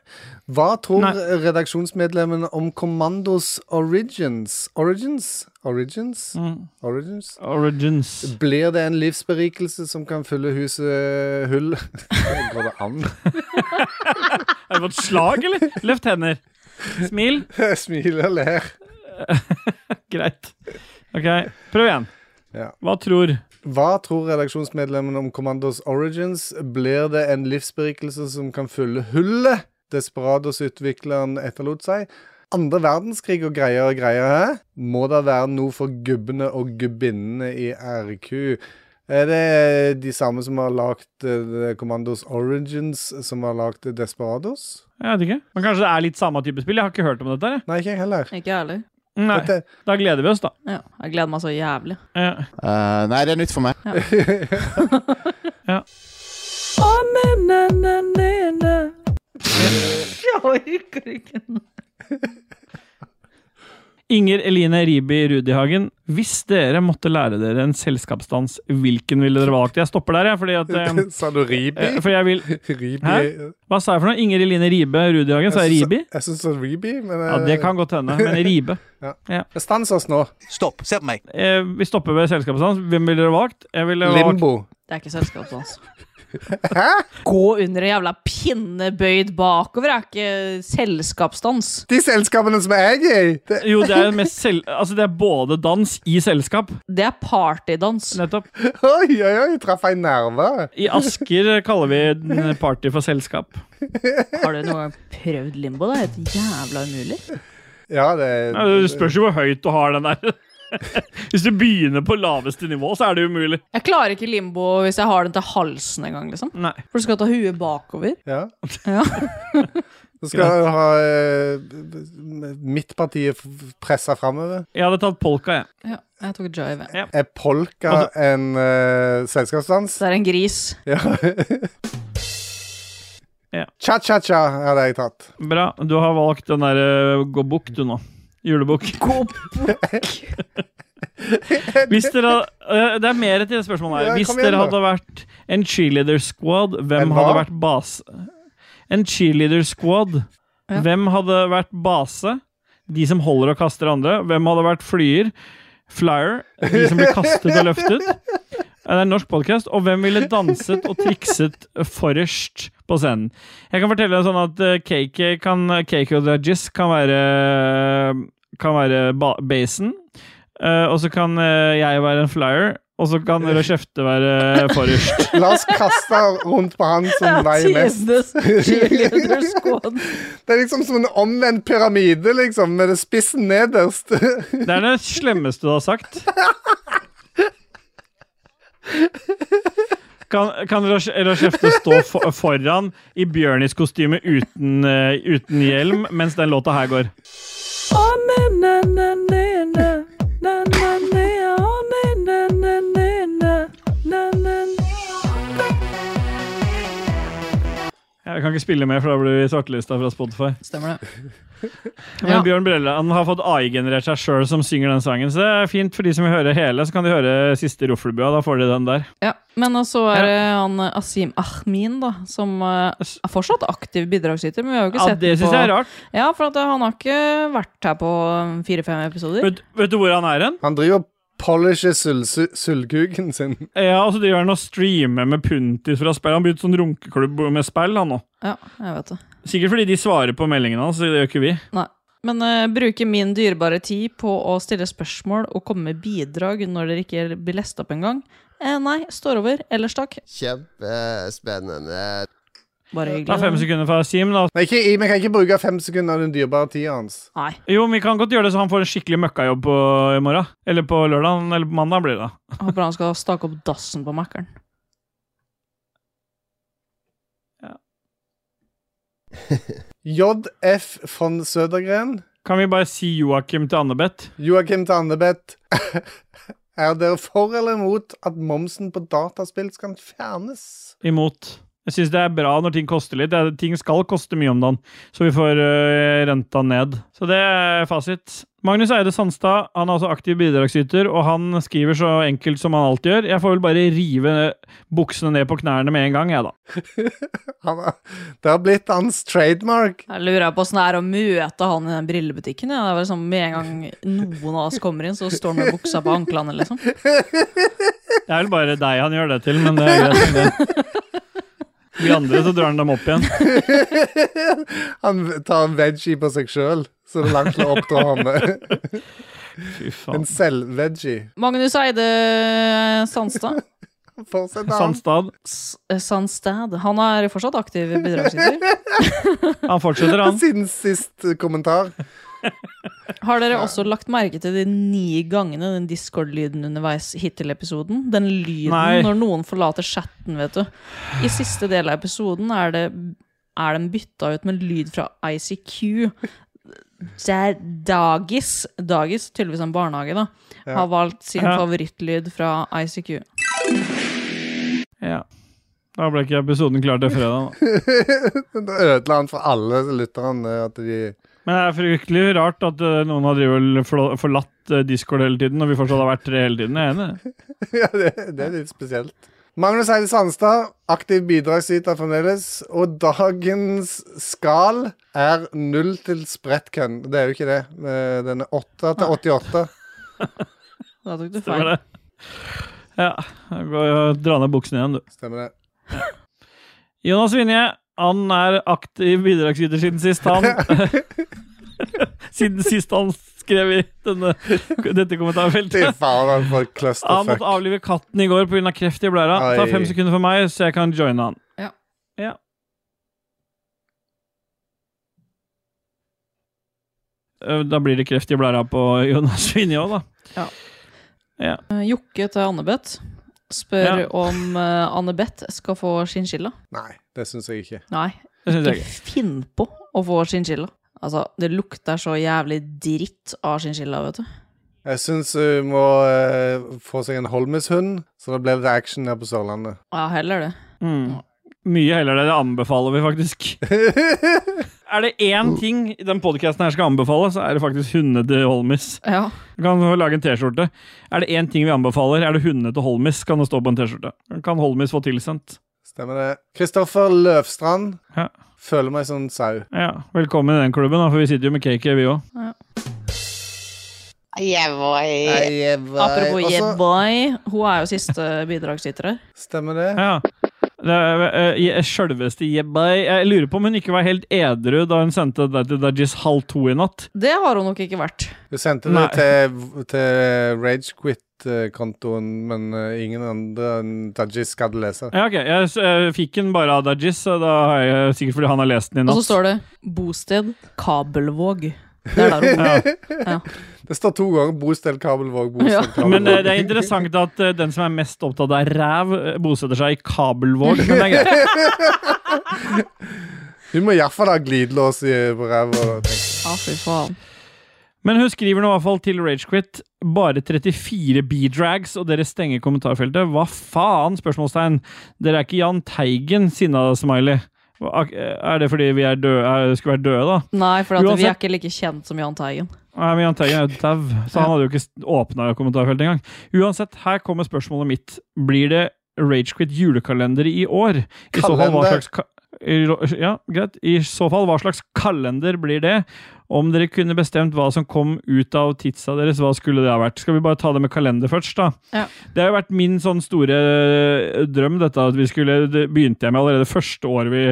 Speaker 2: Hva tror redaksjonsmedlemmene om Commandos Origins? Origins? Origins? Origins?
Speaker 1: Origins.
Speaker 2: Blir det en livsberikelse som kan fylle huset hull? Går det an?
Speaker 1: Har du fått slag, eller? Løft hender. Smil.
Speaker 2: Smil og ler.
Speaker 1: Greit. Ok, prøv igjen. Hva tror
Speaker 2: Hva tror redaksjonsmedlemmene om Commandos Origins? Blir det en livsberikelse som kan fylle hullet Desperados-utvikleren etterlot seg? Andre verdenskrig og greier og greier, hæ? Må det være noe for gubbene og gubbinnene i RQ? Er det de samme som har lagd eh, Commandos Origins, som har lagd Desperados?
Speaker 1: Jeg vet ikke. Men kanskje det er litt samme type spill? Jeg har ikke hørt om dette. her, Jeg.
Speaker 2: Nei, ikke jeg heller.
Speaker 6: Ikke jeg heller.
Speaker 1: Nei. Da gleder vi oss, da.
Speaker 6: Ja, jeg gleder meg så jævlig.
Speaker 1: Ja.
Speaker 12: Eh, nei, det er nytt for meg.
Speaker 6: Jeg orker ikke
Speaker 1: Inger Eline Riibi Rudihagen, hvis dere måtte lære dere en selskapsdans, hvilken ville dere valgt? Jeg stopper der, jeg, fordi at eh,
Speaker 2: Sa du Ribi?
Speaker 1: eh, For jeg vil Hæ?
Speaker 2: Ribi?
Speaker 1: Hva sa jeg for noe? Inger Eline Riibe Rudihagen, sa jeg Riibi?
Speaker 2: Jeg syns det er Ribi, men
Speaker 1: Ja, det kan godt hende, men Ribe.
Speaker 2: Ja.
Speaker 1: Ja.
Speaker 2: Stans oss nå.
Speaker 11: Stopp. Se på meg.
Speaker 1: Eh, vi stopper ved selskapsdans. Hvem ville dere valgt? Jeg ville valgt
Speaker 2: Limbo.
Speaker 6: Det er ikke selskapsdans. Gå under ei jævla pinne bøyd bakover er ikke selskapsdans.
Speaker 2: De selskapene som jeg er i! Det,
Speaker 1: Jo, det er, jo mest sel altså, det er både dans i selskap.
Speaker 6: Det er partydans.
Speaker 1: Nettopp.
Speaker 2: oi, oi, oi, traff jeg en nerve.
Speaker 1: I Asker kaller vi den party for selskap.
Speaker 6: Har du noen gang prøvd limbo? Det er helt jævla umulig.
Speaker 2: Ja, det
Speaker 1: Ja, Det spørs jo hvor høyt du har den der. Hvis du begynner på laveste nivå, så er det umulig.
Speaker 6: Jeg klarer ikke limbo hvis jeg har den til halsen engang. Liksom.
Speaker 1: Nei.
Speaker 6: For du skal ta huet bakover.
Speaker 2: Ja.
Speaker 6: Ja.
Speaker 2: Så skal du ha eh, midtpartiet pressa framover.
Speaker 1: Jeg hadde tatt polka, jeg.
Speaker 6: Ja, jeg tok jive. jeg.
Speaker 2: Er polka
Speaker 1: Altså-
Speaker 2: en eh, selskapsdans?
Speaker 6: Det er en gris.
Speaker 2: Ja.
Speaker 1: Ja.
Speaker 2: Cha-cha-cha hadde jeg tatt.
Speaker 1: Bra. Du har valgt den derre gå bukk, du nå. Julebukk. Hvis dere eh, Det er mer til det spørsmålet
Speaker 2: Ja,
Speaker 1: her. Hvis
Speaker 2: kom igjen,
Speaker 1: dere
Speaker 2: da.
Speaker 1: hadde vært en cheerleader squad, hvem
Speaker 2: En hva?
Speaker 1: hadde vært base? En cheerleader squad.
Speaker 6: Ja.
Speaker 1: Hvem hadde vært base? De som holder og kaster andre. Hvem hadde vært flyer? Flyer. De som blir kastet og løftet. Ja, Det er en norsk podkast. Og hvem ville danset og trikset forrest på scenen? Jeg kan fortelle deg sånn at eh, KK, kan, KK og Dajis kan være Kan være ba basen. Eh, og så kan eh, jeg være en flyer, og så kan Rødskjefte være eh, forrest.
Speaker 2: La oss kaste rundt på han som veier mest.
Speaker 6: Tidenes cheerleader squad.
Speaker 2: Det er liksom som en omvendt pyramide, liksom, med det spissen nederst.
Speaker 1: Det er det slemmeste du har sagt. Kan, kan Raj- Rajefte stå for, foran i Bjørnis kostyme uten, eh, uten hjelm mens den låta her går? Jeg kan ikke spille mer, for da blir vi svartelista fra Spotify.
Speaker 6: Stemmer det.
Speaker 1: Men
Speaker 6: Ja.
Speaker 1: Bjørn Brelle han har fått AI-generert seg sjøl som synger den sangen. Så det er fint for de som vil høre hele, så kan de høre siste Roffelbua. Da får de den der.
Speaker 6: Ja, Men også er det han eh, Asim Ahmin, da, som eh, er fortsatt aktiv bidragsyter. Men vi har jo ikke
Speaker 1: Ja,
Speaker 6: sett
Speaker 1: det
Speaker 6: den
Speaker 1: syns
Speaker 6: på
Speaker 1: jeg er rart.
Speaker 6: Ja, for at eh, han har ikke vært her på fire-fem episoder.
Speaker 1: Vet, vet du hvor han er hen?
Speaker 2: Han driver og polisher sul- su- sølvkuken sin.
Speaker 1: Ja, altså, og så driver han og streamer med puntis fra spill. Han begynte sånn runkeklubb med spill, han nå.
Speaker 6: Ja, jeg vet det.
Speaker 1: Sikkert fordi de svarer på meldingene hans, det gjør ikke vi.
Speaker 6: Nei. Men eh, bruke min dyrebare tid på å stille spørsmål og komme med bidrag når dere ikke blir lest opp engang? Eh, nei, står over. Ellers takk.
Speaker 3: Kjempespennende.
Speaker 6: Bare hyggelig.
Speaker 1: Ta fem sekunder fra Sim, da.
Speaker 2: Nei, ikke, vi kan ikke bruke fem sekunder av den dyrebare tida hans.
Speaker 1: Jo, men vi kan godt gjøre det så han får en skikkelig møkkajobb på, i morgen. Eller på lørdag, eller på mandag blir det. da.
Speaker 6: Håper han skal stake opp dassen på Mækkern.
Speaker 2: JF von Sødergren.
Speaker 1: Kan vi bare si Joakim til Annebeth?
Speaker 2: Joakim til Annebeth. Er dere for eller imot at momsen på dataspill skal fjernes?
Speaker 1: Imot. Jeg syns det er bra når ting koster litt. Det er, ting skal koste mye om dagen, så vi får øh, renta ned. Så det er fasit. Magnus Eide Sandstad han er også aktiv bidragsyter, og han skriver så enkelt som han alltid gjør. Jeg får vel bare rive buksene ned på knærne med en gang, jeg, da.
Speaker 2: Han, har- det har blitt hans trademark.
Speaker 6: Jeg lurer på åssen det er å møte han i den brillebutikken. Ja. Det er vel sånn, Med en gang noen av oss kommer inn, så står han med buksa på anklene, liksom.
Speaker 1: Det er vel bare deg han gjør det til, men det er greit. Det. Vi andre, så drar han dem opp igjen.
Speaker 2: Han tar en veggie på seg sjøl, så det er langt til å oppdra ham. En selv-veggie.
Speaker 6: Magnus Eide Sandstad.
Speaker 2: Fortsett,
Speaker 1: Sandstad.
Speaker 6: S- eh, Sandstad. Han er fortsatt aktiv bidragsyter.
Speaker 1: Han fortsetter, han.
Speaker 2: Siden sist kommentar.
Speaker 6: Har dere også lagt merke til de ni gangene den Discord-lyden underveis hittil i episoden? Den lyden
Speaker 1: Nei.
Speaker 6: når noen forlater chatten, vet du. I siste del av episoden er, det, er den bytta ut med en lyd fra ICQ. Der Dagis, Dagis tydeligvis en barnehage, da,
Speaker 1: Ja.
Speaker 6: har valgt sin
Speaker 1: Ja.
Speaker 6: favorittlyd fra ICQ.
Speaker 1: Ja. Da ble ikke episoden klar til fredag, da.
Speaker 2: da ødela han for alle lytterne at de
Speaker 1: Men det er fryktelig rart at eh, noen har drivet og forla- forlatt eh, Discord hele tiden, og vi fortsatt har vært tre hele tiden. Jeg er enig.
Speaker 2: Ja, det, det er litt spesielt. Magnus Eide Sandstad, aktiv bidragsyter fremdeles. Og dagens skal er null til sprettcun. Det er jo ikke det. Eh, Den er 8 til 88.
Speaker 6: Da tok du
Speaker 1: Stemmer
Speaker 6: feil.
Speaker 1: det. Ja. Gå og dra ned buksene igjen, du.
Speaker 2: Stemmer det.
Speaker 1: Jonas Vinje, han er aktiv bidragsyter siden sist, han. siden sist han skrev i denne, dette
Speaker 2: Fy
Speaker 1: kommentarfeltet.
Speaker 2: faen, han får
Speaker 1: Han
Speaker 2: clusterfuck.
Speaker 1: måtte avlive katten i går pga. kreft i blæra. Ta
Speaker 2: Oi.
Speaker 1: fem sekunder for meg, så jeg kan joine han.
Speaker 6: Ja.
Speaker 1: Ja. Eh, Da blir det kreft i blæra på Jonas Vinje òg, da.
Speaker 6: Eh, Jokke til Annebeth spør
Speaker 1: Ja.
Speaker 6: om eh, Annebeth skal få chinchilla.
Speaker 2: Nei, det syns jeg ikke.
Speaker 6: Nei,
Speaker 1: Det syns jeg
Speaker 6: ikke finn på å få chinchilla. Altså, det lukter så jævlig dritt av chinchilla, vet du.
Speaker 2: Jeg syns hun må eh, få seg en Holmes-hund, så det blir litt action her på Sørlandet.
Speaker 6: Ja, heller det.
Speaker 1: Mm. Mye heller det. Det anbefaler vi faktisk. er det én ting i den podkasten her skal anbefale, så er det faktisk hundene til Holmis.
Speaker 6: Ja.
Speaker 1: Du kan få lage en T-skjorte. Er det én ting vi anbefaler, er det hundene til Holmis. Kan det stå på en T-skjorte. Kan Holmis få tilsendt.
Speaker 2: Stemmer det. Kristoffer Løvstrand.
Speaker 1: Ja.
Speaker 2: Føler meg som en sau.
Speaker 1: Ja, Velkommen i den klubben, da, for vi sitter jo med KK, vi òg.
Speaker 4: Yeah, boy.
Speaker 2: Yeah,
Speaker 6: Apropos
Speaker 2: Også-
Speaker 6: yeah boy, hun er jo siste bidragsyter her.
Speaker 2: Stemmer det.
Speaker 1: Ja. Det er, eh, je- Sjølveste Jebbai. Jeg lurer på om hun ikke var helt edru da hun sendte det til Dajis halv to i natt.
Speaker 6: Det har hun nok ikke vært.
Speaker 2: Du sendte det
Speaker 1: Nei.
Speaker 2: til, til Ragequit-kontoen, men eh, ingen andre enn Dajis gadd lese.
Speaker 1: Ja, ok. Jeg s- eh, fikk den bare av Dajis, så da har jeg eh, sikkert fordi han har lest den i
Speaker 6: Og
Speaker 1: natt.
Speaker 6: så står det 'Bosted Kabelvåg'. Det er der hun bor. Ja.
Speaker 2: Det står to ganger Bostel Kabelvåg, Bostel Kabelvåg.
Speaker 1: Men eh, det er interessant at eh, den som er mest opptatt av ræv, eh, bosetter seg i Kabelvåg. Men det er greit.
Speaker 2: Du må iallfall ha glidelås i, på ræva. da, tenker jeg.
Speaker 6: Ja, fy faen.
Speaker 1: Men hun skriver nå i hvert fall til Ragequit bare 34 B-drags, og dere stenger kommentarfeltet. Hva faen? spørsmålstegn. Dere er ikke Jahn Teigen, sinna-smiley. Hva- ak- Er det fordi vi er døde, er, skulle vært døde, da?
Speaker 6: Nei, for at vi er
Speaker 1: Uansett-
Speaker 6: ikke like kjent som Jahn Teigen.
Speaker 1: Nei, men Jahn Teigen er jo dau, så han hadde jo ikke åpna kommentarfeltet engang. Uansett, her kommer spørsmålet mitt. Blir det Ragequit julekalender i år? I så fall hva
Speaker 2: Kalender?
Speaker 1: slags ka Ro- Ja, greit. I så fall, hva slags kalender blir det? Om dere kunne bestemt hva som kom ut av tidsa deres, hva skulle det ha vært? Skal vi bare ta det med kalender først, da?
Speaker 6: Ja.
Speaker 1: Det har jo vært min sånn store eh, drøm, dette at vi skulle Det begynte jeg med allerede første året vi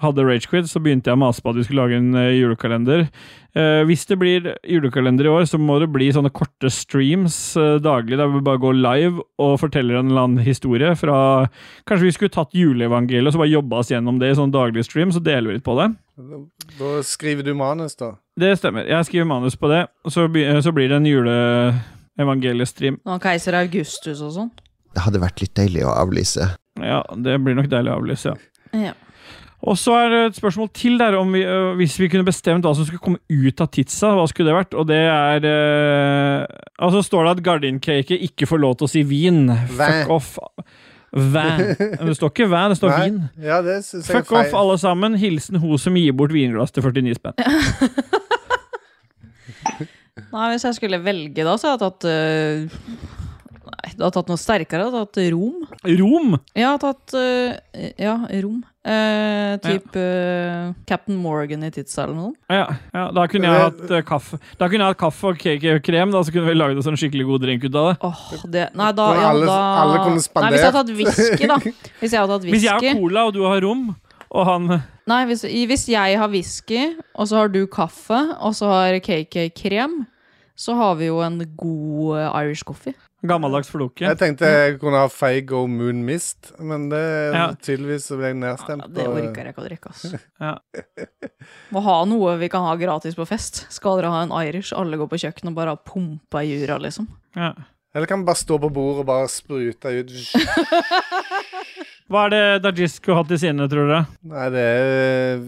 Speaker 1: hadde Ragequid, så begynte jeg å mase på at vi skulle lage en eh, julekalender. Eh, hvis det blir julekalender i år, så må det bli sånne korte streams eh, daglig, der vi bare går live og forteller en eller annen historie fra Kanskje vi skulle tatt juleevangeliet og så bare jobba oss gjennom det i sånn daglig stream, så deler vi litt på det.
Speaker 2: Da skriver du manus, da.
Speaker 1: Det stemmer. Jeg skriver manus på det, og så, by- så blir det en juleevangeliestream.
Speaker 6: Nå har Keiser Augustus og sånn.
Speaker 3: Det hadde vært litt deilig å avlyse.
Speaker 1: Ja, det blir nok deilig å avlyse, ja.
Speaker 6: Ja.
Speaker 1: Og så er det et spørsmål til der om vi, øh, hvis vi kunne bestemt hva som skulle komme ut av tidsa, hva skulle det vært? Og det er øh, Altså står det at gardincake ikke får lov til å si vin.
Speaker 2: Væ.
Speaker 1: Fuck off. Væ. Men det står ikke væ, det står
Speaker 2: Nei.
Speaker 1: vin.
Speaker 2: Ja, det synes jeg er
Speaker 1: Fuck off,
Speaker 2: feil.
Speaker 1: alle sammen. Hilsen ho som gir bort vinglass til 49 spenn.
Speaker 6: Nei, hvis jeg skulle velge da, så hadde jeg tatt øh, Nei, da hadde jeg tatt noe sterkere. Jeg hadde tatt Rom.
Speaker 1: Rom?
Speaker 6: Ja, jeg hadde tatt øh, Ja, Rom. Eh, typ øh, Captain Morgan i sånn. Tidsa eller noe sånt.
Speaker 1: Ja, ja, da kunne jeg hatt øh, kaffe Da kunne jeg hatt kaffe og cake og krem, da, så kunne vi lagd en sånn skikkelig god drink ut av det.
Speaker 6: Det, nei, da,
Speaker 1: Og
Speaker 6: ja,
Speaker 1: alle-
Speaker 6: da
Speaker 1: alle kunne spandert.
Speaker 6: Nei, hvis jeg hadde tatt whisky, da. Hvis jeg hadde tatt
Speaker 1: Hvis jeg
Speaker 6: whisky.
Speaker 1: har cola, og du har rom, og han
Speaker 6: Nei, hvis, i- hvis jeg har whisky, og så har du kaffe, og så har KK krem, så har vi jo en god eh, Irish coffee.
Speaker 1: Gammeldags floke.
Speaker 2: Jeg tenkte jeg kunne ha Feigo Moon Mist, men det
Speaker 6: Ja.
Speaker 2: tydeligvis så ble jeg nedstemt.
Speaker 6: Det
Speaker 2: og-
Speaker 6: orker jeg ikke å drikke, ass. Må ha noe vi kan ha gratis på fest. Skal dere ha en Irish, alle går på kjøkkenet og bare har pumpa i jura, liksom.
Speaker 2: Eller kan vi bare stå på bordet og bare sprute ut
Speaker 1: Hva er det Dajis skulle hatt i sine, tror dere?
Speaker 2: Nei, det er eh,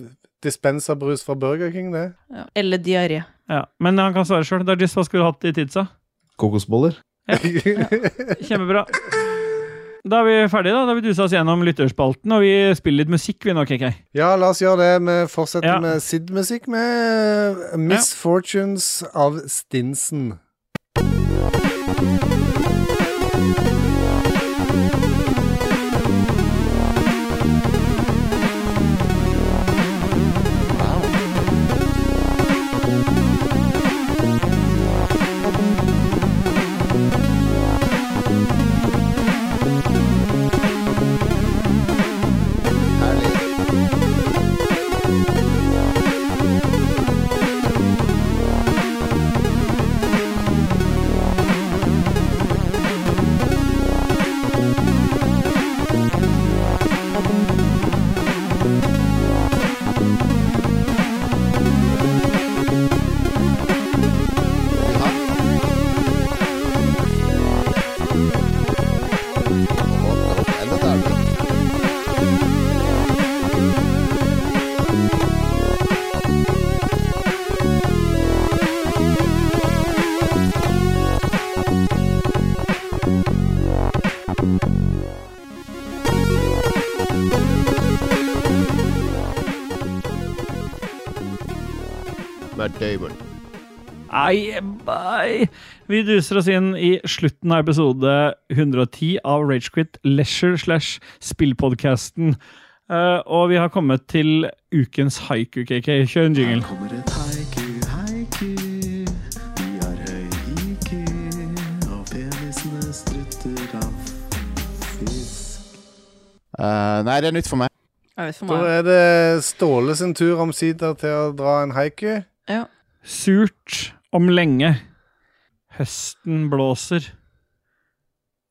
Speaker 2: dispenserbrus fra Burger King, det.
Speaker 6: Ja. Eller diaré.
Speaker 1: Ja, Men han kan svare sjøl. Dajis, hva skulle du hatt i tidsa?
Speaker 12: Kokosboller?
Speaker 1: Kjempebra. Da er vi ferdige, da. Da har vi dusa oss gjennom lytterspalten, og vi spiller litt musikk, vi nå, KK.
Speaker 2: Ja, la oss gjøre det. Vi fortsetter med Sid-musikk med Misfortunes av Stinson.
Speaker 3: Matt Damon.
Speaker 1: Nei, bye. Vi duser oss inn i slutten av episode 110 av Ragequit Leisure slash spillpodcasten. Eh, og vi har kommet til ukens haiku, KK. Kjør en jingle.
Speaker 12: Eh, nei, det er nytt for meg.
Speaker 2: Da er det Ståle sin tur omsider til å dra en haiku.
Speaker 6: Ja.
Speaker 1: Surt om lenge. Høsten blåser.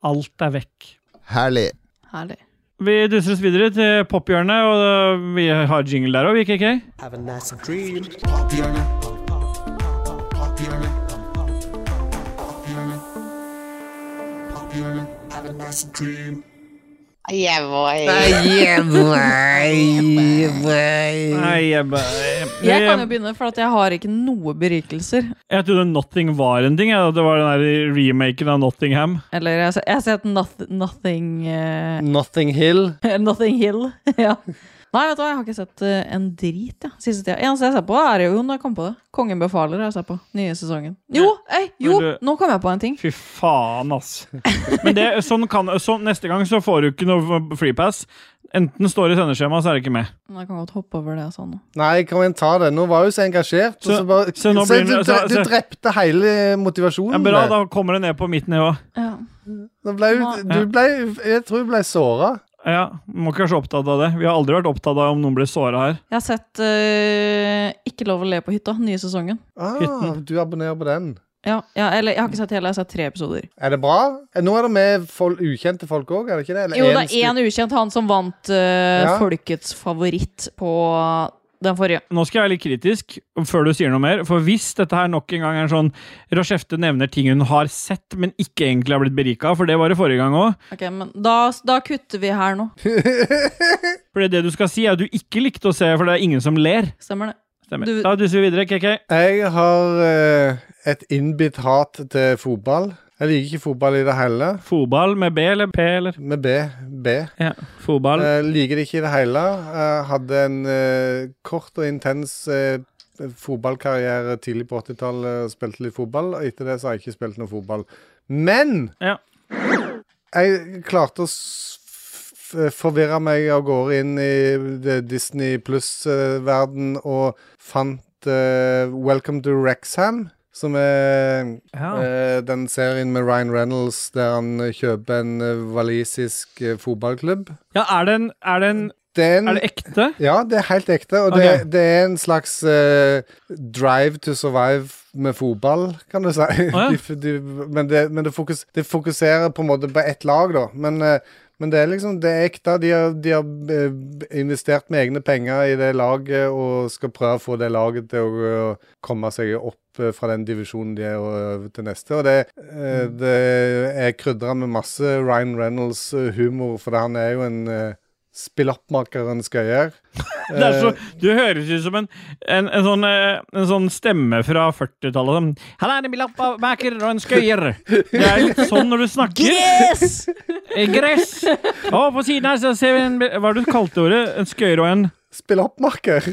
Speaker 1: Alt er vekk.
Speaker 3: Herlig.
Speaker 6: Herlig.
Speaker 1: Vi duser oss videre til pophjørnet, og øh, vi har jingle der òg, vi, KK.
Speaker 13: Have a nice dream. Pophjørnet. Pophjørnet. Pophjørnet. Pophjørnet. Have a nice dream.
Speaker 4: Yeah, boy.
Speaker 13: Yeah,
Speaker 1: Nei, jeg bare
Speaker 6: Jeg kan jo begynne, for at jeg har ikke noe berikelser.
Speaker 1: Jeg trodde Nothing var en ting. jeg, at Det var den der remaken av Nottingham.
Speaker 6: Eller jeg har se- jeg har sett noth Nothing eh,
Speaker 2: Nothing Hill.
Speaker 6: Nothing Hill. ja. Nei, vet du hva, jeg har ikke sett eh, en drit, jeg. Siste tida. Eneste jeg ser på, er jo når jeg kom på det. Kongen befaler har jeg sett på. Nye sesongen. Jo, ei, jo,
Speaker 1: Men du-
Speaker 6: nå kom jeg på en ting.
Speaker 1: Fy faen, ass. Men det, sånn kan, sånn, neste gang så får du ikke noe freepass. Enten står det i sendeskjemaet, så er det ikke med.
Speaker 6: Men jeg kan godt hoppe over det sånn.
Speaker 2: Nei, kom igjen, ta det. Nå var hun så engasjert. og
Speaker 1: Så-
Speaker 2: så bare,
Speaker 1: så nå
Speaker 2: se,
Speaker 1: blir
Speaker 2: du,
Speaker 1: det- så-
Speaker 2: du
Speaker 1: så-
Speaker 2: drepte hele
Speaker 1: Ja,
Speaker 2: motivasjonen.
Speaker 1: bra,
Speaker 2: der.
Speaker 1: da kommer det ned på mitt nivå.
Speaker 6: Ja.
Speaker 2: Da ble, hun- du ble, jeg tror hun ble såra.
Speaker 1: Ja, Må ikke være så opptatt av det. Vi har aldri vært opptatt av om noen blir såra her.
Speaker 6: Jeg har sett eh, Ikke lov å le på hytta, nye sesongen.
Speaker 2: Ah, du abonnerer på den.
Speaker 6: Ja, ja, eller jeg har ikke sett hele, jeg har sett tre episoder.
Speaker 2: Er det bra? Nå er det med fol ukjente folk òg, er det ikke det? Eller
Speaker 6: Jo, det
Speaker 2: en
Speaker 6: er én ukjent, han som vant eh,
Speaker 1: Ja.
Speaker 6: folkets favoritt på den forrige.
Speaker 1: Nå skal jeg være litt kritisk før du sier noe mer, for hvis dette her nok en gang er sånn Rochefte nevner ting hun har sett, men ikke egentlig har blitt berika av, for det var det forrige gang òg.
Speaker 6: Ok, men da, da kutter vi her nå.
Speaker 1: For det du skal si, er at du ikke likte å se, for det er ingen som ler.
Speaker 6: Stemmer det.
Speaker 1: Stemmer.
Speaker 6: Du-
Speaker 1: Da duser vi videre, KK.
Speaker 2: Jeg har eh, et innbitt hat til fotball. Jeg liker ikke fotball i det hele.
Speaker 1: Fotball med B eller P, eller?
Speaker 2: Med B. B.
Speaker 1: Ja, fotball.
Speaker 2: Eh, liker det ikke i det hele. Jeg hadde en eh, kort og intens eh, fotballkarriere tidlig på 80-tallet og spilte litt fotball. Og etter det så har jeg ikke spilt noe fotball. Men jeg klarte å s- f- forvirre meg av gårde inn i det Disney pluss-verden og fant eh, Welcome to Rexham. Som er eh, den serien med Ryan Reynolds der han eh, kjøper en eh, walisisk eh, fotballklubb.
Speaker 1: Ja, er det en Er det, en,
Speaker 2: er
Speaker 1: det ekte?
Speaker 2: Ja, det er helt ekte. Og
Speaker 1: Ok.
Speaker 2: det, det er en slags eh, drive to survive med fotball, kan du si.
Speaker 1: ja.
Speaker 2: De- de, men det, men det, fokus, det fokuserer på en måte på ett lag, da. Men, eh, men det er liksom det er ekte. De har, de har eh, investert med egne penger i det laget og skal prøve å få det laget til å eh, komme seg opp eh, fra den divisjonen de er og over til neste. Og det, eh,
Speaker 1: Mm.
Speaker 2: det er krydra med masse Ryan Reynolds-humor, for han er jo en eh, spill-opp-maker en skal gjøre.
Speaker 1: Det er
Speaker 2: Eh,
Speaker 1: så, du høres ut som en, en, en, sånn, eh, en sånn stemme fra 40-tallet. Sånn, Han er en bilappmaker og en skøyer. Det er litt sånn når du snakker.
Speaker 6: Gress!
Speaker 1: Eh, Gress! Og på siden her så ser vi en Hva er det du kalte ordet? En skøyer og en
Speaker 2: Spill-opp-maker.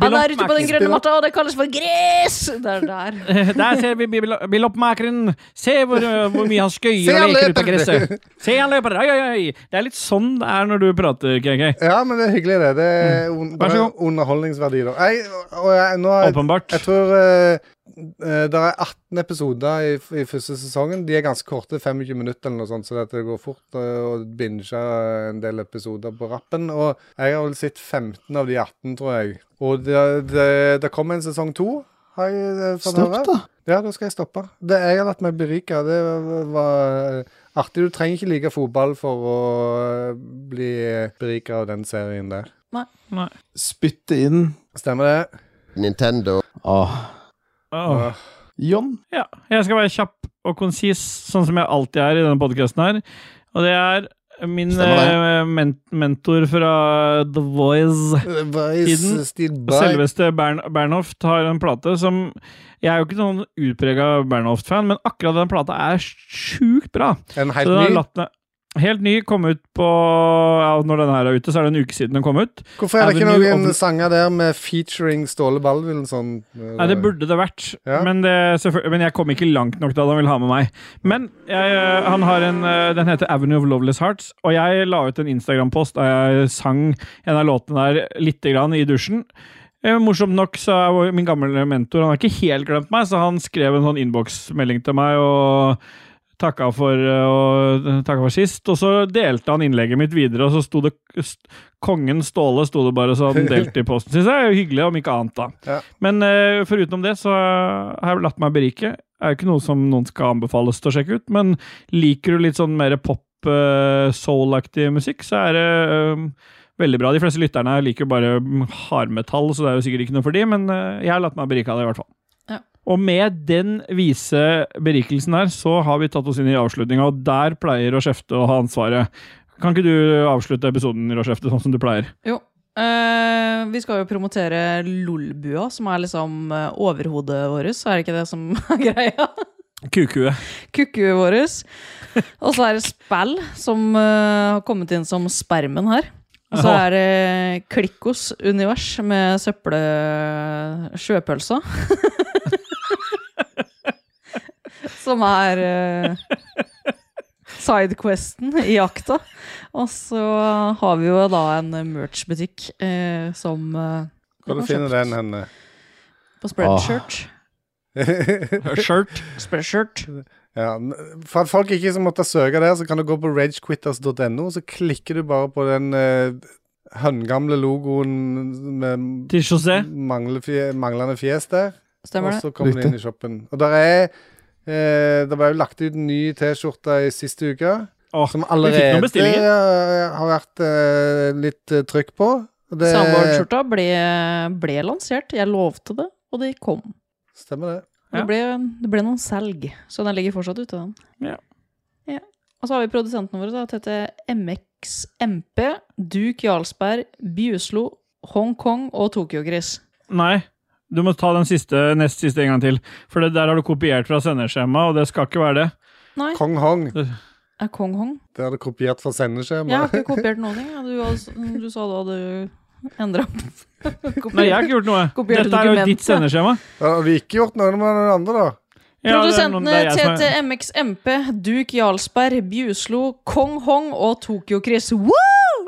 Speaker 6: Han er ute på den grønne matta, og det kalles for gress! Det er der.
Speaker 1: Der ser vi bil- biloppmakeren. Se hvor, hvor mye han skøyer
Speaker 2: Se,
Speaker 1: og
Speaker 2: han
Speaker 1: leker ut av
Speaker 2: løper.
Speaker 1: gresset. Se, han løper! Oi, oi, oi! Det er litt sånn det er når du prater, KK.
Speaker 2: Ja, men det er hyggelig, det. Det er un
Speaker 1: Mm. Vær så
Speaker 2: det er
Speaker 1: god.
Speaker 2: underholdningsverdi, da. Jeg, og jeg, nå har jeg,
Speaker 1: Åpenbart.
Speaker 2: Jeg tror det er 18 episoder i, i første sesongen. De er ganske korte, 25 minutter eller noe sånt, så dette går fort. eh, Og binge en del episoder på rappen. Og jeg har vel sett 15 av de 18, tror jeg. Og det, det, det kommer en sesong to, har jeg eh, fått
Speaker 12: Stopp,
Speaker 2: høre.
Speaker 12: da.
Speaker 2: Ja, da skal jeg stoppe. Det jeg har latt meg berike, det var eh, artig. Du trenger ikke like fotball for å eh, bli berika av den serien der.
Speaker 6: Nei.
Speaker 12: Spytte inn
Speaker 2: Stemmer det.
Speaker 3: Nintendo.
Speaker 1: Åh.
Speaker 12: John?
Speaker 1: Ja, jeg skal være kjapp og konsis, sånn som jeg alltid er i denne podkasten her. Og det er min
Speaker 2: Stemmer
Speaker 1: eh, men mentor fra The Voice. Tiden.
Speaker 2: Steve
Speaker 1: Og
Speaker 2: Vai-
Speaker 1: Selveste Bern Bernhoft har en plate som Jeg er jo ikke noen utprega Bernhoft-fan, men akkurat den plata er sjukt bra.
Speaker 2: En helt
Speaker 1: Så den har
Speaker 2: ny?
Speaker 1: latt meg- Helt ny, kom ut på ja, Når den her er ute, så er det en uke siden den kom ut.
Speaker 2: Hvorfor er det ikke
Speaker 1: Avenue
Speaker 2: noen
Speaker 1: of-
Speaker 2: sanger der med featuring Ståle sånn? Ballvillensson?
Speaker 1: Nei, det burde det vært, men, det, selvfø- men jeg kom ikke langt nok da han ville ha med meg. Men jeg, øh, han har en, øh, den heter Avenue of Loveless Hearts, og jeg la ut en Instagram-post da jeg sang en av låtene der lite grann i dusjen. Eh, Morsomt nok så er vår- min gamle mentor Han har ikke helt glemt meg, så han skrev en sånn innboksmelding til meg og takka for, eh, og, takka for sist. Og så delte han innlegget mitt videre, og så sto det st Kongen Ståle sto det bare så han delte i posten. Syns jeg er jo hyggelig, om ikke annet, da.
Speaker 2: Ja.
Speaker 1: Men eh, forutenom det så har jeg latt meg berike. Er jo ikke noe som noen skal anbefales til å sjekke ut, men liker du litt sånn mer pop, eh, soul-aktig musikk, så er det eh, veldig bra. De fleste lytterne liker jo bare mm, hardmetall, så det er jo sikkert ikke noe for de, men eh, jeg har latt meg berike av det, i hvert fall.
Speaker 6: Ja.
Speaker 1: Og med den vise berikelsen her, så har vi tatt oss inn i avslutninga, og der pleier Rochefte å ha ansvaret. Kan ikke du avslutte episoden, Rochefte, sånn som du pleier?
Speaker 6: Jo. Eh, vi skal jo promotere Lolbua, som er liksom eh, overhodet vårt. Er det ikke det som er greia?
Speaker 1: Kukue.
Speaker 6: Kukkuet vårt. Og så er det Spell, som eh, har kommet inn som spermen her. Og så er det Klikkos univers med eh, søple... sjøpølsa. Som er eh, sidequesten i jakta. Og så har vi jo da en merch-butikk eh, som eh,
Speaker 2: Hvor
Speaker 6: man
Speaker 2: finner
Speaker 6: kjøpt
Speaker 2: den henne?
Speaker 6: På Spreadshirt.
Speaker 1: Shirt.
Speaker 6: Spreadshirt.
Speaker 2: Ja, n- for at folk ikke som måtte søke der, så kan du gå på ragequitters.no, så klikker du bare på den eh, høngamle logoen med
Speaker 1: Til José.
Speaker 2: mangle fje, manglende fjes der.
Speaker 6: Stemmer
Speaker 2: og
Speaker 6: det.
Speaker 2: så kommer du inn i shoppen. Og der er eh, Det ble jo lagt ut en ny T-skjorte i siste uke, som
Speaker 1: noen
Speaker 2: allerede
Speaker 1: bestillinger.
Speaker 2: eh, har vært eh, litt eh, trykk på. Og det-
Speaker 6: Soundboard-skjorta ble, ble lansert. Jeg lovte det, og det kom.
Speaker 2: Stemmer det.
Speaker 6: Det, ble, det ble noen selg, så den ligger fortsatt ute, den.
Speaker 1: Ja.
Speaker 6: Ja. Og så har vi produsentene våre, da. Tete MXMP, Duke Jarlsberg, Bjuslo, Hongkong og Tokyo-gris.
Speaker 1: Nei. Du må ta den siste, nest siste en gang til. For det der har du kopiert fra sendeskjemaet, og det skal ikke være det.
Speaker 6: Nei.
Speaker 2: Kong Hong.
Speaker 6: Er Kong Hong?
Speaker 2: Det har du kopiert fra
Speaker 6: Jeg har
Speaker 2: sendeskjemaet.
Speaker 6: ikke kopiert noen ting. ja. Du, har- mm, du sa du hadde endra
Speaker 1: Nei, jeg har ikke gjort noe.
Speaker 6: Kopierte
Speaker 1: Dette er jo ditt
Speaker 6: dokumentet.
Speaker 1: sendeskjema.
Speaker 2: Ja, har vi ikke gjort noe med den andre, da?
Speaker 6: Produsentene TTMXMP, Duke Jarlsberg, Bjuslo, Kong Hong og Tokyo-Chris. Woo!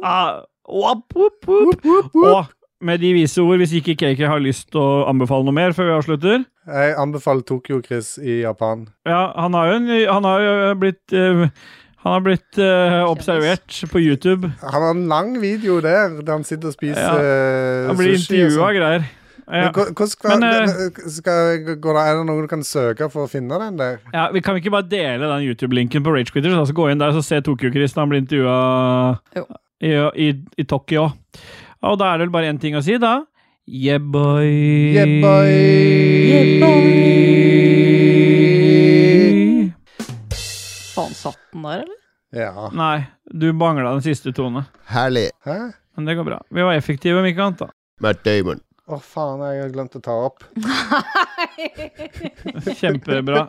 Speaker 1: Ah, wop, wop, wop. Og med de vise ord, hvis ikke KK har lyst til å anbefale noe mer før vi avslutter
Speaker 2: Jeg anbefaler Tokyo-Chris i Japan.
Speaker 1: Ja, han har jo en, han har jo blitt eh, Han har blitt eh, observert på YouTube.
Speaker 2: Han har en lang video der der han sitter og spiser
Speaker 1: Ja.
Speaker 2: eh,
Speaker 1: Han blir
Speaker 2: sushi og
Speaker 1: intervjua og
Speaker 2: sånn.
Speaker 1: greier. Ja.
Speaker 2: Men hva- hvordan skal,
Speaker 1: Men, eh,
Speaker 2: men, skal, går det, Er det noen du kan søke for å finne den der?
Speaker 1: Ja, vi Kan vi ikke bare dele den YouTube-linken på Ragequitters? Altså gå inn der så se Tokyo-Chris når han blir intervjua i, i, i Tokyo. Og da er det vel bare én ting å si, da. Yeah, boy.
Speaker 2: Yeah, boy.
Speaker 6: Faen, satt den der, eller?
Speaker 2: Ja.
Speaker 1: Nei, du mangla den siste tone.
Speaker 3: Herlig.
Speaker 1: Men det går bra. Vi var effektive, om ikke annet, da.
Speaker 3: Matt Damon.
Speaker 2: Å, faen, jeg har glemt å ta opp.
Speaker 1: Kjempebra.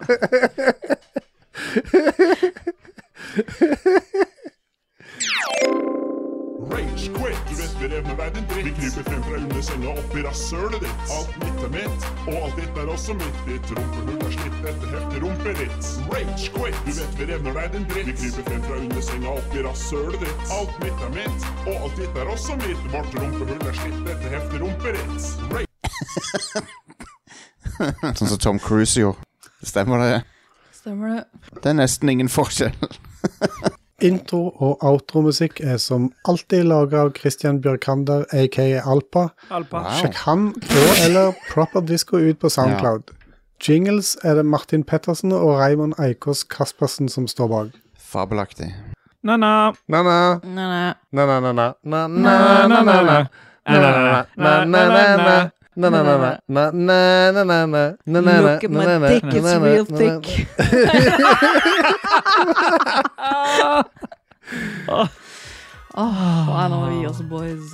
Speaker 13: Rage quit. Du vet vi revner verden dritt. Vi kryper frem fra under senga opp i rasshølet ditt. Alt mitt er mitt, og alt ditt er også mitt. Ditt rumpehull er slitt etter heftig rumpeditt. Rage quit. Du vet vi revner verden dritt. Vi kryper frem fra under senga opp i rasshølet ditt. Alt mitt er mitt, og alt ditt er også mitt. Vårt rumpehull er slitt etter heftig rumpeditt. Rage
Speaker 14: Sånn som Tom Cruise gjorde. Stemmer det?
Speaker 6: Stemmer det.
Speaker 14: Det er nesten ingen forskjell.
Speaker 2: Intro- og outromusikk er som alltid laga av Christian Bjørkander, aka Alpa.
Speaker 1: Alpa. Wow.
Speaker 2: Sjekk han og eller Proper Disco ut på Soundcloud. Jingles er det Martin Pettersen og Raymond Eikås Kaspersen som står bak.
Speaker 14: Fabelaktig.
Speaker 1: Na-na.
Speaker 2: Na-na.
Speaker 6: Na-na.
Speaker 2: Na-na-na-na.
Speaker 13: Na-na-na-na.
Speaker 2: Na-na-na-na.
Speaker 13: Na-na-na-na.
Speaker 2: Na-na-na-na.
Speaker 13: Look at my dick, it's real thick.
Speaker 6: Åh, nei, nå må vi gi oss, boys.